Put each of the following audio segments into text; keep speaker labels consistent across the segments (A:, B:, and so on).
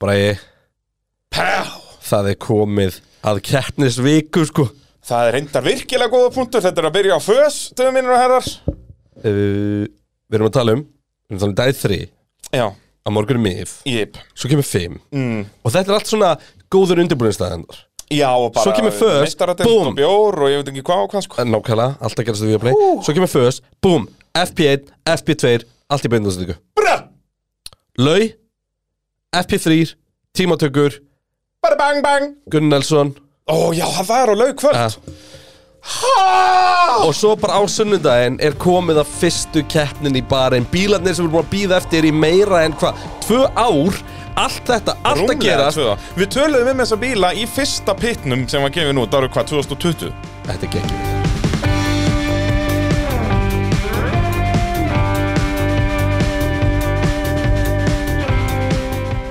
A: Bræði Það er komið að keppnisviku sko
B: Það er reyndar virkilega góða punktur, þetta er að byrja á fös, döfum minnur og herrar.
A: uh, Við erum að tala um Við erum að tala um dæð 3
B: Já,
A: Á morgun er mif
B: jip.
A: Svo kemur 5 mm. Og þetta er allt svona góður undirbúinstæðanar
B: Já, og bara...
A: Svo kemur first,
B: meistaradeild
A: boom.
B: og bjór og ég veit ekki hvað og hvað, sko.
A: Eh, Nákvæmlega, allt að gerast við að play Svo kemur first, boom, FP1, FP2 Allt í beinundastöku
B: Brr!
A: Lau, FP3 Tímatökur,
B: Bara bang, bang!
A: Gunnelsson
B: Ó, já, það er á laug
A: Ja.
B: kvöld. Ha!
A: Og svo bara á sunnudaginn er komið að fyrstu keppnin í barinn Bílarnir sem eru búin að býða eftir í meira en hvað Tvö ár, allt þetta, allt
B: Rúmlega
A: að gerast
B: tvö. Við töluðum um þessa bíla í fyrsta pitnum sem var gefið nú, það eru hvað, 2020?
A: Þetta er geggjum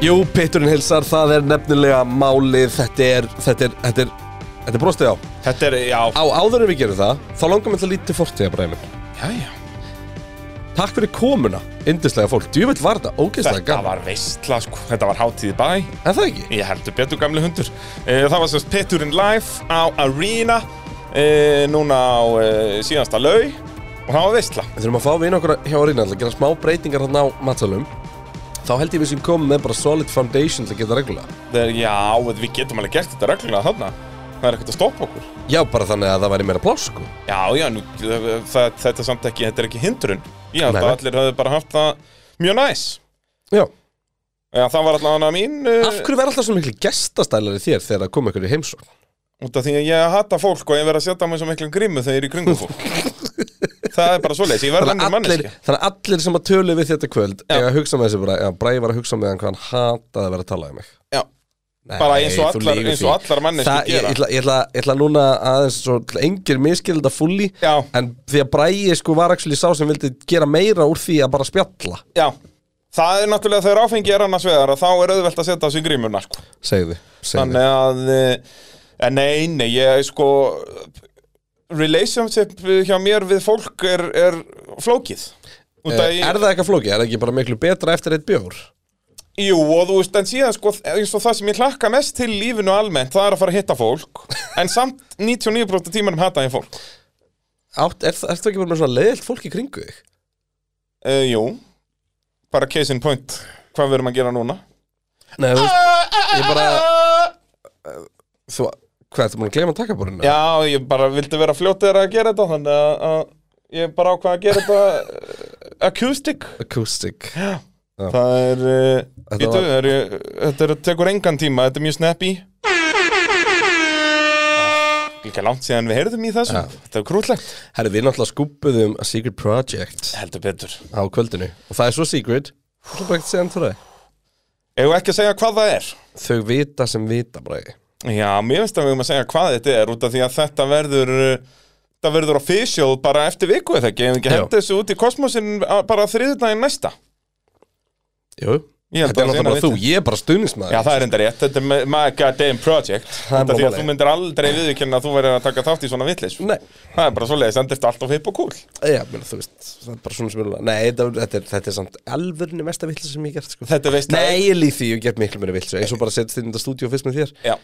A: Jú, Pitturinn hilsar, það er nefnilega málið, þetta er, þetta er, þetta er, þetta er brostið á.
B: Þetta er, já,
A: Á áður en við gerum það, þá langar mér til að lítið fortíða bara einmitt.
B: já, já.
A: Takk fyrir komuna, yndislega fólk, djúvill var þetta, ógeðslega
B: Þetta
A: gaman,
B: var veistla, sko. Þetta var hátíð í bæ.
A: en það ekki?
B: Ég heldur betur gamli hundur Eh, Það var semst Peturinn live á Arena eh, Núna á eh, síðasta lau Og það var veistla
A: Við þurfum að fá vinn okkur hjá Rínan til að gera smá breytingar þarna á matsalum. Þá held ég við sem komum með bara solid foundation til að geta reglulega.
B: Þegar já, við getum alveg gert þetta reglulega þarna Það er ekkert að stoppa okkur
A: Já, bara þannig að það væri meira pláss, sko.
B: Já, já, nú, það, þetta, er samt ekki, þetta er ekki hindrun Ég held
A: Nei,
B: að
A: nei.
B: allir höfðu bara haft það mjög næs
A: Já.
B: Já, það var allavega mín eh,
A: Af hverju verða alltaf svona miklu gestastælar í þér þegar það kom ykkur í heimsókn?
B: Út af því að ég hata fólk og ég verð að setja mig svo miklum grimmu þegar ég er í kringum fólk Það er bara svoleiðis, ég verð
A: Þannig
B: þannig
A: að allir,
B: manneski
A: þannig að allir sem að tölu við þetta kvöld
B: Já.
A: eiga að hugsa með þessi bara, já, Bræði var að hugsa með hann hvað hann hataði að vera að tala um mig.
B: Já,
A: Nei,
B: Bara eins og
A: þú
B: allar-
A: lýgur
B: eins
A: því.
B: og allar manneskjur
A: Það- ég-
B: gera.
A: Ég ætla- ég ætla- ég ætla núna aðeins svo til engir miskilda fulli
B: Já.
A: en því að Bræði sko var actually sá sem vildi gera meira úr því að bara spjalla,
B: Já, það er náttúrulega þegar áfengi er annars vegar að þá er auðvelt að setja sig í grímuna sko.
A: segðu, segðu.
B: Þannig að, eh, en nei, nei, ég sko Relationship hjá mér við fólk er, er flókið Út að
A: Eh, Er
B: ég,
A: það eitthvað flókið? Er það ekki bara miklu betra eftir eitt bjór?
B: jú, og þú veist, en síðan sko, eins og það sem ég hlakka mest til í lífinu almennt, það er að fara að hitta fólk En samt 99% tímanum hata ég fólk
A: Átt, er, er það ekki bara með svona leiðilt fólk í kringu þig?
B: uh, Jú, bara case in point, hvað við erum að gera núna
A: Nei, þú veist, ég bara eh, Þú, hvað, ertu búin að gleyma takkaborinu?
B: Já, ég bara vildi vera fljótið að gera þetta þannig að, að ég bara ákvað að gera þetta eh, acoustic
A: Acoustic
B: Það er, uh,
A: Þetta
B: býtu,
A: var-
B: er ég, þetta er, tekur engan tíma, þetta er mjög snappy
A: Ah.
B: Líka langt síðan við heyrðum í þessu, þetta er krúllegt
A: Herri, við náttúrulega skúpuðum A Secret Project
B: Heldur betur
A: á kvöldinu Og það er svo secret Þú bara ekki segja hann til það
B: Eigum við ekki að segja hvað það er?
A: Þau vita sem vita, bræði
B: Já, mér finnst að við erum að segja hvað þetta er út af því að þetta verður eh, Þetta verður official bara eftir viku eða ekki, ef við ekki
A: Já.
B: henda þessu út í kosmosin bara þriðudaginn næsta
A: Jú
B: Ég held
A: Þetta er
B: að það sé
A: náttúrulega bara
B: eina
A: þú, ég er bara stuðnismæður
B: Já, það er enda rétt, þetta er my- my goddamn project
A: er
B: Þetta
A: bara
B: því að
A: málið.
B: þú myndir aldrei viðurkenna að þú verður að taka þátt í svona vitleis
A: Nei,
B: Það er bara svoleiðis, endist allt of hip og cool
A: já, meni, þú veist Það er bara svona sem er Nei, þetta, þetta, er, þetta er samt alvörinu mesta villu sem ég hef gert sko.
B: Þetta veist
A: Nei, ég líð því, ég get miklu mér villu Eins og bara setjast inn í þetta stúdíu og fyrst með þér
B: Já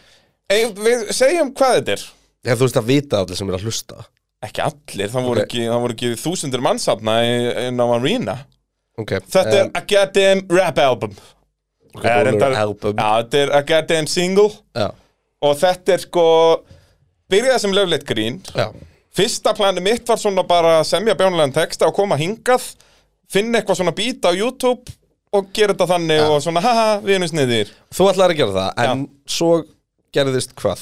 B: Ei, Við segjum hvað þetta er
A: Já, þú veist að vita allir sem er að hlusta
B: Ekki allir, það voru,
A: Ok.
B: ekki, það voru ekki þúsundir mannsafna inn á Arena
A: okay.
B: Þetta
A: um,
B: er a goddamn rap album
A: ok,
B: Eh,
A: Roller
B: reyndar-
A: album
B: Já, þetta er a goddamn single
A: Já,
B: Og þetta er sko Byrjaði sem löfleitt grín
A: já
B: Fyrsta planið mitt var svona bara að semja bjónulegan texta og koma hingað finna eitthvað svona bít á YouTube og gera þetta þannig og svona haha, við erum sniðir
A: Þú ætlaði að gera það, en svo gerðist hvað?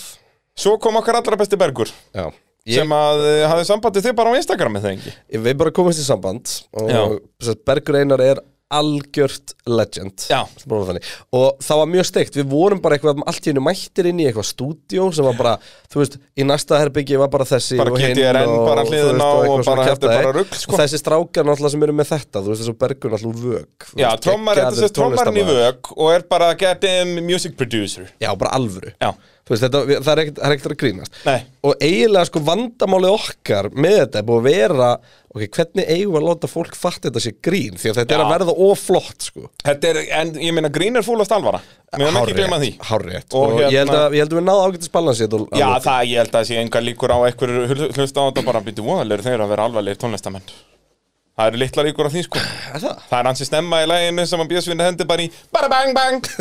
B: Svo kom okkar allra besti Bergur
A: Já. Ég,
B: sem að uh, hafði sambandið þig bara á Instagram eða ekki
A: við bara komumst í samband og
B: Já.
A: sem sagt, Bergur Einar er algjört legend
B: Já.
A: Sem bara var þannig. og það var mjög steikt, við vorum bara eitthvað um allt í hennu mættir inn í eitthvað stúdíó sem var bara, þú veist, í næsta herbyggji var bara þessi
B: Bara
A: og hinn
B: GTRN
A: og,
B: bara
A: þú
B: hliðina
A: veist,
B: og
A: eitthvað svona
B: bara- þetta er
A: kjaftaði.
B: bara rugl, sko.
A: og þessi strákar náttúrulega sem eru með þetta þú veist þessu Bergur náttúrulega úr vök
B: Já, trommar, þetta sést trommarinn í vök og er bara goddamn music producer
A: Já, bara alvöru
B: Já,
A: Þú veist, þetta, við- það er ekkert það er ekkert að grínast
B: Nei.
A: Og eiginlega sko vandamálið okkar með þetta er búið að vera Ok, hvernig eigum við að láta fólk fatta þetta sé grín Því að þetta er að
B: Já.
A: verða oflott sko
B: Þetta er, en ég meina grín er fúlast alvara Mér erum ekki
A: Hárrétt,
B: glema því
A: hárrétt.
B: Og
A: Og, ég, held
B: hérna-
A: að, ég held að við náðum ágætis balansið
B: Já, það ég held að sé engar líkur á einhverju hl- hlusta á þetta bara býtu voðalegur þeir að vera alvarlegir tónlistamenn Það eru litlar líkur á því sko
A: það
B: Það er hans í snemma í læginu sem hann bjöðsvinni hendi bara í bara bang bang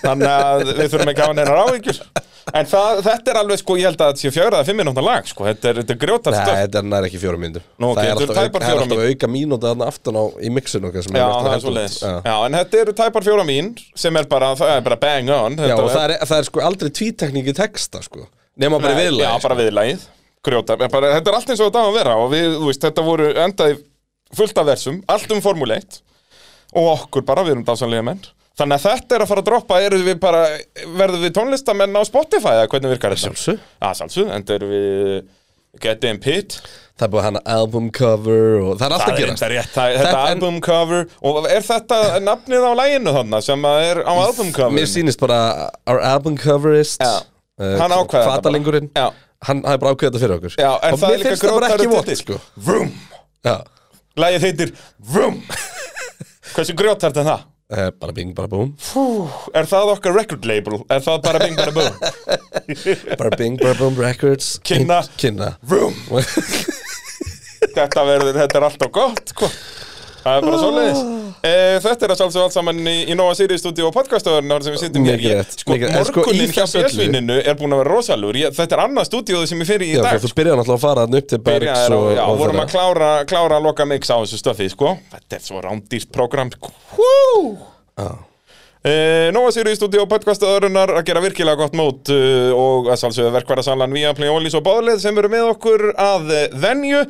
B: Þannig að við þurfum ekki að hafa hennar áhyggjur En það, þetta er alveg sko, ég held að þetta sé fjögur eða fimm minúta lag sko Þetta er, þetta er grjótast
A: Nei,
B: stöf
A: þetta er nær ekki fjórum mínútur
B: Nú, ok,
A: Það er
B: þetta eru
A: alltaf, auk, það
B: tæpar
A: er
B: fjórar
A: alltaf auka mínútur þarna aftan á í mixun okkar sem
B: Já,
A: er alltaf
B: það er
A: hent út.
B: svo leiðis
A: Já.
B: Já, en þetta eru tæpar fjóra mín sem er bara, það er bara bang on
A: Já,
B: Þetta
A: og það er, það er sko aldrei tvítekningi texta sko Nefna bara sko.
B: Nei,
A: viðlega
B: Já, bara viðlagið Grjóta, ég bara, þetta er allt eins og þetta á að vera og við, þú veist, þetta voru endaði fullt af versum, allt um formuleitt og okkur bara, við erum dásanlega menn þannig að þetta er að fara að droppa erum við bara, verðum við tónlistamenn á Spotify eða hvernig virkar þetta?
A: Sjálfsög
B: Já, sjálfsög, en það eru við Get In Pit
A: Það er búið að hanna album cover og það er alltaf
B: Það
A: að
B: er
A: gera
B: enda rétt, það, þetta
A: Þetta- en-
B: album cover og er þetta nafnið á læginu þarna sem að er á album cover?
A: Mér sýnist bara our album coverist
B: Já. Hann ákvað þetta bara.
A: Fatalingurinn
B: Já.
A: Hann hafi bara ákveðið þetta fyrir okkur
B: Já, en
A: Og
B: það er
A: mér
B: líka
A: finnst það bara
B: grótari
A: ekki vott
B: titill.
A: sko
B: Vroom
A: Já
B: Lægið heitir Vroom Hversu grjótart er það?
A: Eh, Bara bing, bara búm
B: Er það okkar record label? Er það bara bing bara boom?
A: Bara bing, bara búm records
B: Kynna.
A: Kynna
B: Vroom Þetta verður, þetta er alltaf gott hva? Það er bara svoleiðis e, Þetta er að sjálfsög allt saman í, í Nova Sirius stúdíu og podcastöðurnar sem við sittum hér
A: Mikið
B: í
A: rétt,
B: Sko,
A: mikið rétt. En sko, í
B: morgunin hjá
A: þessu öllu-
B: Björsvininu er búin að vera rosalur ég, Þetta er annað stúdíu sem ég fyrir í
A: Já,
B: dag
A: þú þú byrjar náttúrulega að fara þarna upp til Bergs
B: Byrjaðir
A: og,
B: á- já,
A: og
B: vorum
A: þeirra.
B: að klára, klára að loka mix á þessu stöfi, sko Þetta er svo rándýrt program Hú
A: Já.
B: Eh, Nova Sirius stúdíu og podcastaðurinnar að gera virkilega gott mót uh, og að sálsögðu verkværasalan via Play Olís og Báðlið sem eru með okkur að eh, venju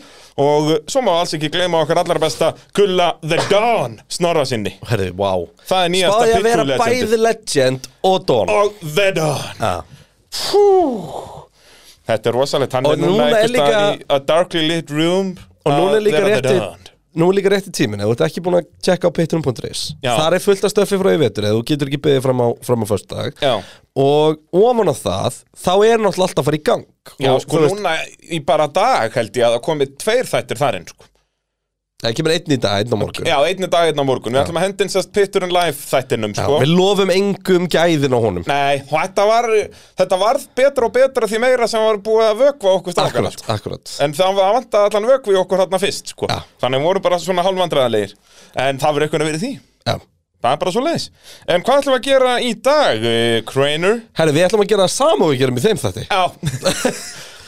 B: og svo má alls ekki gleyma okkar allar besta Gulla The Dawn snorra sinni
A: Herðu, vá
B: Það er nýjasta
A: Spáði að
B: Pitbull
A: vera
B: legendið.
A: bæði legend og don
B: og The Dawn
A: Já.
B: Hú. Þetta er rosalegt, hann
A: Og
B: er núna
A: núna er
B: einhvers staðar
A: líka-
B: í A Darkly Lit Room
A: Og núna er líka rétti
B: rétti
A: Nú er líka rétti tímin Ef þú ert ekki búin að tjekka á patreon.is
B: Já.
A: Þar er fullt af stöfi frá í vetur Ef þú getur ekki beðið fram á, fram á föstudag
B: Já.
A: Og ofan á það Þá er náttúrulega alltaf að fara í gang
B: Já,
A: og,
B: sko
A: þú veist,
B: núna í bara dag held ég að það komið tveir þættir þar inn sko
A: Það kemur einn í dag, einn á morgun
B: Já, einni dag, einna morgun Við ætlum að hendin sérst Pittur and Life þættinum sko.
A: Við lofum engum gæðin á honum
B: Nei, og þetta var Þetta varð betra og betra því meira sem var búið að vökva okkur strákana
A: Akkurat,
B: sko.
A: akkurat
B: En það var að vanta allan vökvi okkur þarna fyrst sko.
A: Já.
B: Þannig voru bara svona hálfvandræðalegir En það verður eitthvað að vera því
A: Já.
B: Það er bara svo leiðis En hvað ætlum við að gera í dag, eh, Craner?
A: Herru, við ætlum að gera það sama og við gerum í þeim þætti
B: Já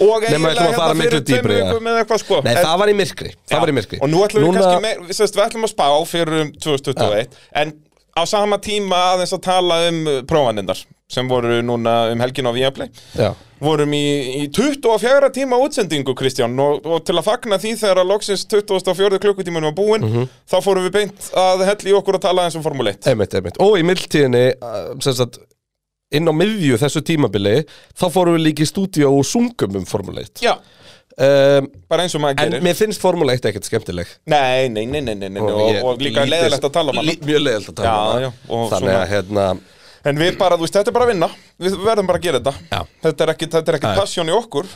B: Og
A: ætlum að
B: eiginlega
A: fara
B: hérna
A: miklu
B: fyrir tveim
A: dýpri, ja.
B: vikum eða eitthvað sko
A: Nei,
B: En-
A: það var í myrkri Það var í myrkri
B: Og nú ætlum við
A: Núna-
B: kannski meir, sérst, við ætlum að spá fyrir um 2021 En á sama tíma aðeins að tala um uh, prófanindar Sem voru núna um helgin á Viaplay
A: Já.
B: Vorum í, í 24 tíma útsendingu, Kristján og, og til að fagna því þegar að loksins 24 klukkutíman var búinn
A: Mhm.
B: Þá fórum við beint að hella í okkur að tala eins um Formule 1
A: Einmitt, einmitt. Og í mildtíðinni, uh, sem sagt, inn á miðju þessu tímabili, þá fórum við líka í stúdíu og sungum um Formule 1.
B: Já,
A: Um,
B: bara eins og maður
A: en
B: gerir
A: mér finnst Formule 1 ekkert skemmtileg.
B: Nei, nei, nei, nei, nei, nei. Og, og,
A: ég-
B: líka
A: lítið-
B: leiðilegt að tala um hana
A: lí- Mjög leiðilegt að tala
B: Já,
A: um hana.
B: já, og
A: Þannig að, hérna,
B: En við bara, þú veist, þetta er bara að vinna Við verðum bara að gera þetta
A: Já.
B: Þetta er ekkit, þetta
A: Já.
B: er ekkit passion í okkur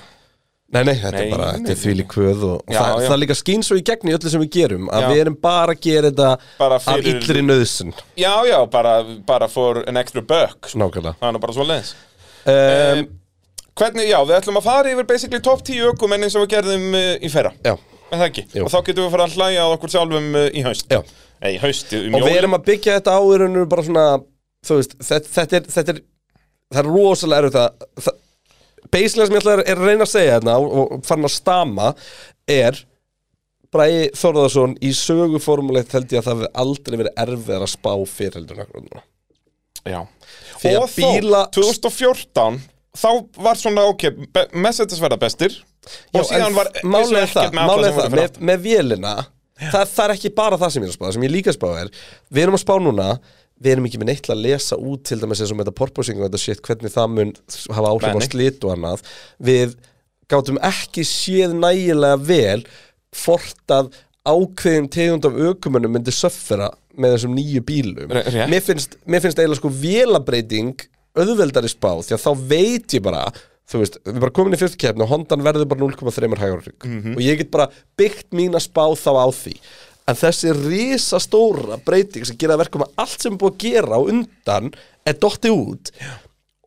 A: nei, nei, þetta
B: Nei,
A: er bara,
B: nei,
A: þetta er því lík hvöð og, og
B: Já,
A: það,
B: já.
A: það líka skín svo í gegn í öllu sem við gerum, að
B: Já.
A: við erum bara að gera þetta
B: Bara
A: af
B: fyrir-
A: illri nöðsun,
B: Já, já, bara, bara for an extra buck sko.
A: nákvæmlega.
B: Það er nú bara svo leiðis Eh,
A: Um,
B: Hvernig, já, við ætlum að fara yfir basically top 10 ökumenn eins og við gerðum uh, í fyrra
A: já,
B: En það ekki,
A: Jú.
B: og þá getum við fara að hlæja að okkur sjálfum uh, í haust
A: já.
B: Nei, í haust, um í
A: og við
B: mjóli
A: erum að byggja þetta á í rauninu bara svona þú veist, þetta, þetta, er, þetta er það er rosalega erut að það- basically sem ég ætla að- er að reyna að segja þetta og og farin að stama er Bræði Þorðarsson í söguformulegt held ég að það hefði aldrei verið erfið að spá fyrirhildun
B: Já
A: Því að
B: Og þó,
A: bíla-
B: 2014 Þá var svona, ok, be- Mercedes verða bestir Og síðan var e-,
A: málið er það, málið er það
B: með
A: með, með vélina það, það er ekki bara það sem ég er að spá það sem ég líka að spá er við erum að spá núna við erum ekki með neitt til að lesa út til dæmis eins og með þetta porpoising og þetta shit hvernig það mun hafa áhrif
B: Nei,
A: á
B: nei.
A: slit og annað við gátum ekki séð nægilega vel hvort að ákveðin tegund af aukumunum myndi söffera með þessum nýju bílum
B: Re- rétt.
A: mér finnst, mér finnst eiginlega sko vélabreiting auðveldari spá því að þá veit ég bara þú veist, við erum bara komin í fyrstu keppni og Hondan verður bara 0,3 hægur
B: Mhm.
A: og ég get bara byggt mína spá þá á því en þessi risastóra breyting sem gera að verkum að allt sem er búið að gera á undan er dotti út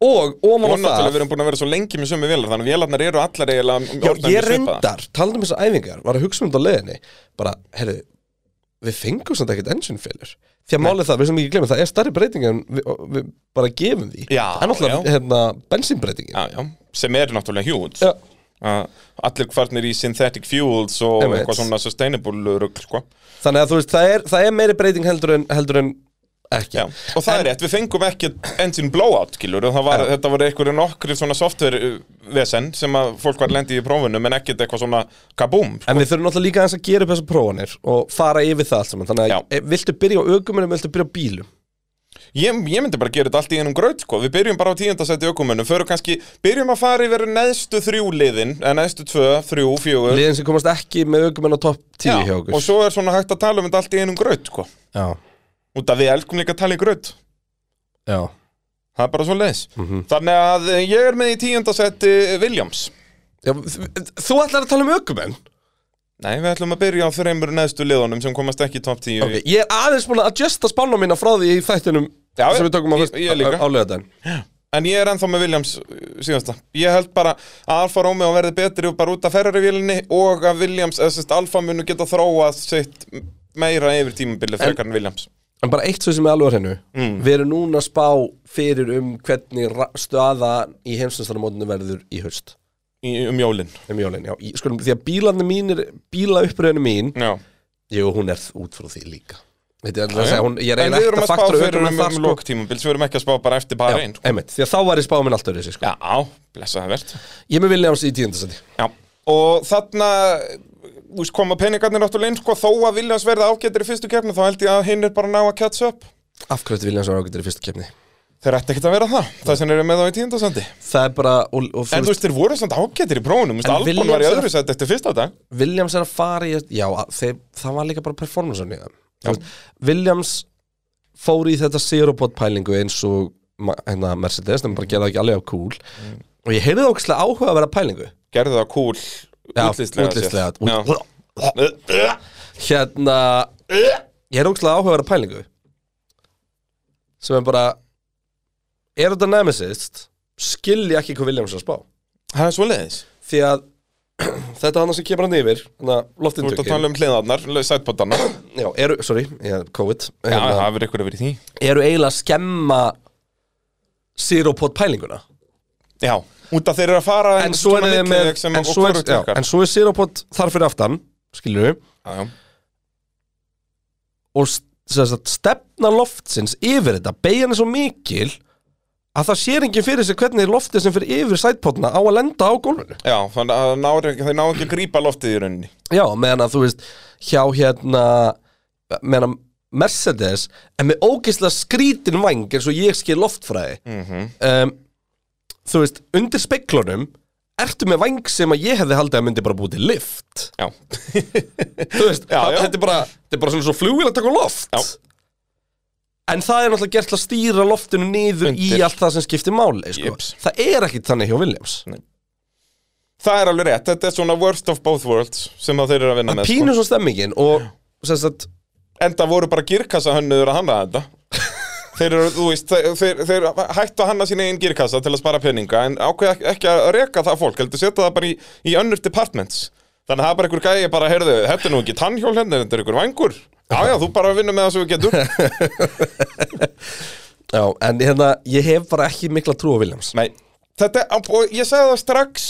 A: og
B: Og
A: ofan á
B: náttúrulega
A: það
B: við erum búin að vera svo lengi með sömu vélar Þannig að vélarnar eru allar eiginlega
A: Já,
B: orðnar
A: ég
B: mjög svipaðar.
A: reyndar, talandi um þessar æfingar var að hugsa um þetta á leiðinni bara, heyrðu, við fengum samt ekkert engine failure því að málið það, við sem ekki glemum það er starri breyting en við, við bara gefum því
B: Já,
A: það er náttúrulega
B: já.
A: hérna, bensínbreytingin
B: Já, já, sem er náttúrulega hjúð
A: Já.
B: Allir farnir í synthetic fuels og
A: Einmitt.
B: eitthvað svona sustainable rugl, sko
A: þannig að þú veist, það er, það er meiri breyting heldur en, heldur en ekki
B: Já, og það er rétt, við fengum ekki engine blowout, killur, og það var, þetta voru einhverju nokkri svona software vesen sem að fólk var lendi í prófinu, menn ekkert eitthvað svona kaboom, sko.
A: En við þurfum náttúrulega líka aðeins að gera upp þessar prófanir og fara yfir það allt saman Þannig
B: Já.
A: að e, viltu byrja á ökumunum, viltu byrja á bílum
B: Ég, ég myndi bara gera þetta allt í einum gröð, sko. Við byrjum bara á tíundasætti ökumönnum, förum kannski, byrjum að fara yfir neðstu þrjú liðin, eh, neðstu tvö, þrjú, fjögur.
A: Liðin sem komast ekki með ökumun á topp 10 hjá okkur
B: og svo er svona hægt að tala um þetta allt í einum gröð, sko.
A: Já,
B: Út að við elgum líka að tala í gröð.
A: já
B: Það er bara svo leiðis.
A: Mhm.
B: Þannig að eh, ég er með í tíundasætti Williams.
A: Já, þ- Þú ætlar að tala um ökumenn?
B: Nei, við ætlum að byrja á þreymur neðstu liðunum sem komast ekki í top 10.
A: Ok, ég er aðeins búin að adjusta spána mína frá því í þættinum
B: Já,
A: sem
B: já,
A: við tökum á,
B: ég-
A: fyrst-
B: ég líka.
A: á löðan
B: En ég er ennþá með Williams uh, síðasta. Ég held bara að Alfa Romeo verði betri og bara út af ferrarivélinni og að Williams, eða sérst Alfa munu geta þróað sitt meira yfir tímabilið frekar en Williams.
A: En bara eitt svo sem er alveg á hreinu
B: Mm.
A: Við erum núna að spá fyrir um hvernig ra- staða í heimsumstaramótinu verður í haust
B: Í, um jólinn.
A: um jólin, já, í- skulum, því að bílarnir mínir bíla uppröðinu mín,
B: Já.
A: jú, hún er út frá því líka Þetta er alltaf að
B: Já, já.
A: segja, hún, ég er
B: En við
A: eiginlega ekkert
B: erum að
A: að
B: spá
A: faktura
B: fyrir
A: ökumenn
B: um,
A: þar,
B: um
A: sko
B: loktímabils, við erum ekki að spá bara eftir bara einn. sko.
A: Einmitt, því að þá var ég spáð minn alltaf þessi, sko
B: Já, blessaði verð.
A: Ég er með Williams í tíundasæti
B: Já, og þarna þú veist, koma peningarnir náttúrulega inn sko, þó að Williams verða ágættir í fyrstu keppni þá held ég að hinn er bara að ná að catch up
A: Af hverju þetta Williams var ágættur í fyrstu kefni
B: þeir ætti ekkert að vera það, það sem eru með þá í tíundasandi
A: Það er bara, og, og
B: en þú veist, þeir voru samt ágættir í prófunum Þú
A: En
B: veist, Albon
A: Williams
B: var í
A: er-
B: öðru sett eftir fyrsta dag
A: Williams er að fara í já, að þeir, það var líka bara performancean í það Þú veist, Williams fór í þetta zero-bot pælingu eins og ma- hérna, Mercedes, þeim bara gera það ekki alveg á cool og ég heyrði ókslega áhuga að vera pælingu
B: gerðu það cool, útlýstlega
A: útlistlega
B: sér.
A: út,
B: Já.
A: hérna ég heyrði ókslega áhuga að vera pælingu sem er bara er þetta nemesist skilja ekki hvað Williams er að spá
B: það er svo leiðis
A: því að þetta hann sem kemur hann yfir hérna,
B: þú ert að
A: loftindukin
B: tala um hliðarnar, sætbótarnar já,
A: já, eru, sorry, ég, COVID Hérna,
B: það verður ykkur yfir í því
A: eru eiginlega að skemma zero-pot pælinguna
B: já, út að þeir eru að fara
A: en svo er þið með
B: sem
A: en svo er,
B: okkur
A: já,
B: tökkar
A: en svo er zero-pot þar fyrir aftan skilur við
B: Já, já.
A: og s- sem sagt, stefna loftsins yfir þetta beigjan er svo mikil að það sér enginn fyrir sig hvernig loftið sem fyrir yfir sætpotna á að lenda á gólfinu
B: Já, þannig að ná, þeir ná ekki að grípa loftið í rauninni
A: já, meðan að þú veist hjá hérna meðan að Mercedes en með ógeðslega skrítin vang eins og ég skil loftfræði
B: Mhm.
A: um, þú veist, undir speiklunum ertu með vang sem að ég hefði haldið að myndi bara búið til lift
B: Já,
A: þú veist,
B: Já,
A: það-
B: já.
A: þetta er bara þetta er bara svona svo flugil að taka loft
B: Já.
A: en það er náttúrulega gert til að stýra loftinu niður í
B: Undir.
A: allt það sem skiptir máli sko.
B: Jips.
A: það er ekkit þannig hjá Williams
B: það er alveg rétt, þetta er svona worst of both worlds sem að þeir eru að vinna með
A: pínu svo stemmingin og sem sagt,
B: sko. Enda voru bara girkassa hönnuður að hanna þetta Þeir eru, þú veist, þeir, þeir, þeir hættu að hanna sín eigin girkassa til að spara peninga En ákveð ek- ekki að reka það fólk, heldur setja það bara í, í önnur departments Þannig að það er bara einhver gæi bara, heyrðu, þetta er nú ekki tannhjól hérna, þetta er einhver vangur Já, já, þú bara vinnur með það sem við getur
A: já, en hérna ég hef bara ekki mikla trú á Williams
B: Nei, þetta, og ég sagði það strax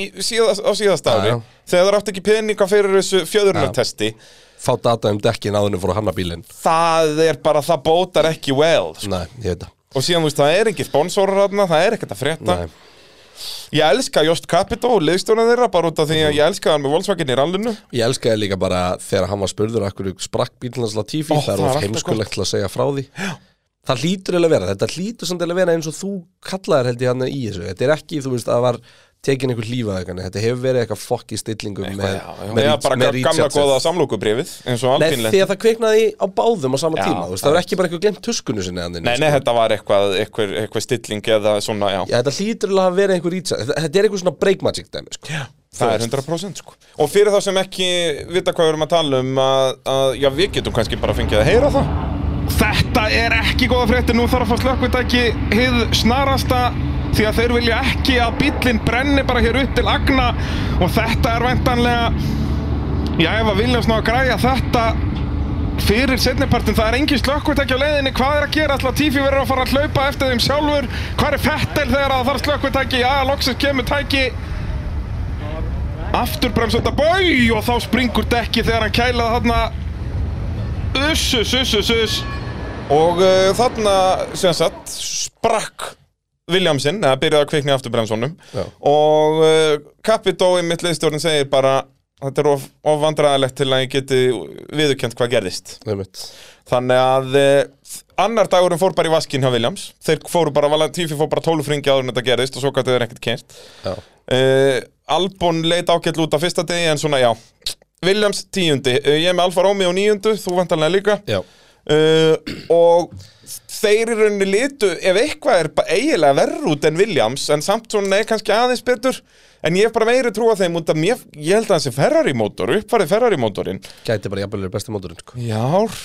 B: í, síðast, á síðast ári
A: Já, já.
B: Þegar það átti ekki peninga fyrir þessu fjöðrunartesti
A: fá data um dekkin áðunum fór að hanna bílinn
B: það er bara, það bótar ekki well sko.
A: nei, ég veit það
B: og síðan, þú veist, það er engin sponsorar þarna, það er ekkert að frétta
A: Nei.
B: ég elska Jost Capito og liðstjóna þeirra bara út af því að ég elska hann með Volkswagen í rallinu
A: Ég elskaði líka bara þegar hann var spurður af hverju sprakk bílunars Latifi, það
B: Ó,
A: er
B: það er
A: of
B: alltaf
A: heimskulegt til að segja frá því Það hlýtur eiginlega að vera, þetta hlýtur samt eiginlega að vera eins og þú kallaðir held ég hann í þessu Þetta er ekki, þú veist, að það var tekin einhver lífaðegani Þetta hefur verið eitthvað fokk í stillingu með, með,
B: eða
A: Reach-
B: bara
A: með
B: gamla
A: Richardson.
B: góða samlókubrifið eins og
A: Nei,
B: alpínlegt
A: því að það kviknaði á báðum á sama
B: Já,
A: tíma þú veist,
B: það
A: Það
B: er
A: var ekki bara eitthvað glemt tuskunu sinni hann inni,
B: Nei,
A: sko.
B: nei, þetta var eitthvað, eitthvað, eitthvað stilling eða svona, já,
A: Já, þetta hlýtur alveg að vera einhver rýtsa Þetta er einhver svona break magic dæmi sko. Já,
B: það er 100% sko. Og fyrir þá sem ekki vita hvað við erum að tala um að, að já, við getum kannski bara fengið að heyra það Þetta er ekki góða frétti, nú þarf að fá slökkvitæki hið snarasta því að þeir vilja ekki að bíllinn brenni bara hér upp til agna og þetta er vendanlega já, ef að Viljans ná að græja þetta fyrir setnipartin, það er engin slökkvitæki á leiðinni, hvað er að gera alltaf Tífi verður að fara að hlaupa eftir þeim sjálfur hvað er fettel þegar það þarf slökkvitæki já, loksins kemur tæki afturbremsa þetta bau og þá springur dekki þegar hann kælaði þarna uss, uss, uss, uss, uss og uh, þarna sem sagt sprakk Williamsinn, eða byrjaði að kvikna í afturbremsunum
A: Já.
B: og uh, Capitó í mitt leiðstjórn segir bara þetta er of, of vandræðilegt til að ég geti viðurkjönt hvað gerðist
A: einmitt.
B: þannig að uh, annar dagurinn fór bara í vaskinn hjá Williams þeir fóru bara, Tífi fór bara 12 ringi áður en þetta gerðist og svo gæti þeir ekkert kynnt
A: Já.
B: Uh, Albon leit ágætt út af fyrsta degi en svona já Williams tíundi, uh, ég er með Alfa Romeo níundu, þú vantanlega líka
A: Já.
B: uh, og þeir í rauninni litu ef eitthvað er bara eiginlega verður út en Williams en samt svona er kannski aðeins betur en ég hef bara meiri trúa þeim út af mér, ég held að þessi Ferrari mótor, uppfarið Ferrari mótorinn
A: Gæti bara jafnvel verið besti mótorinn sko.
B: já,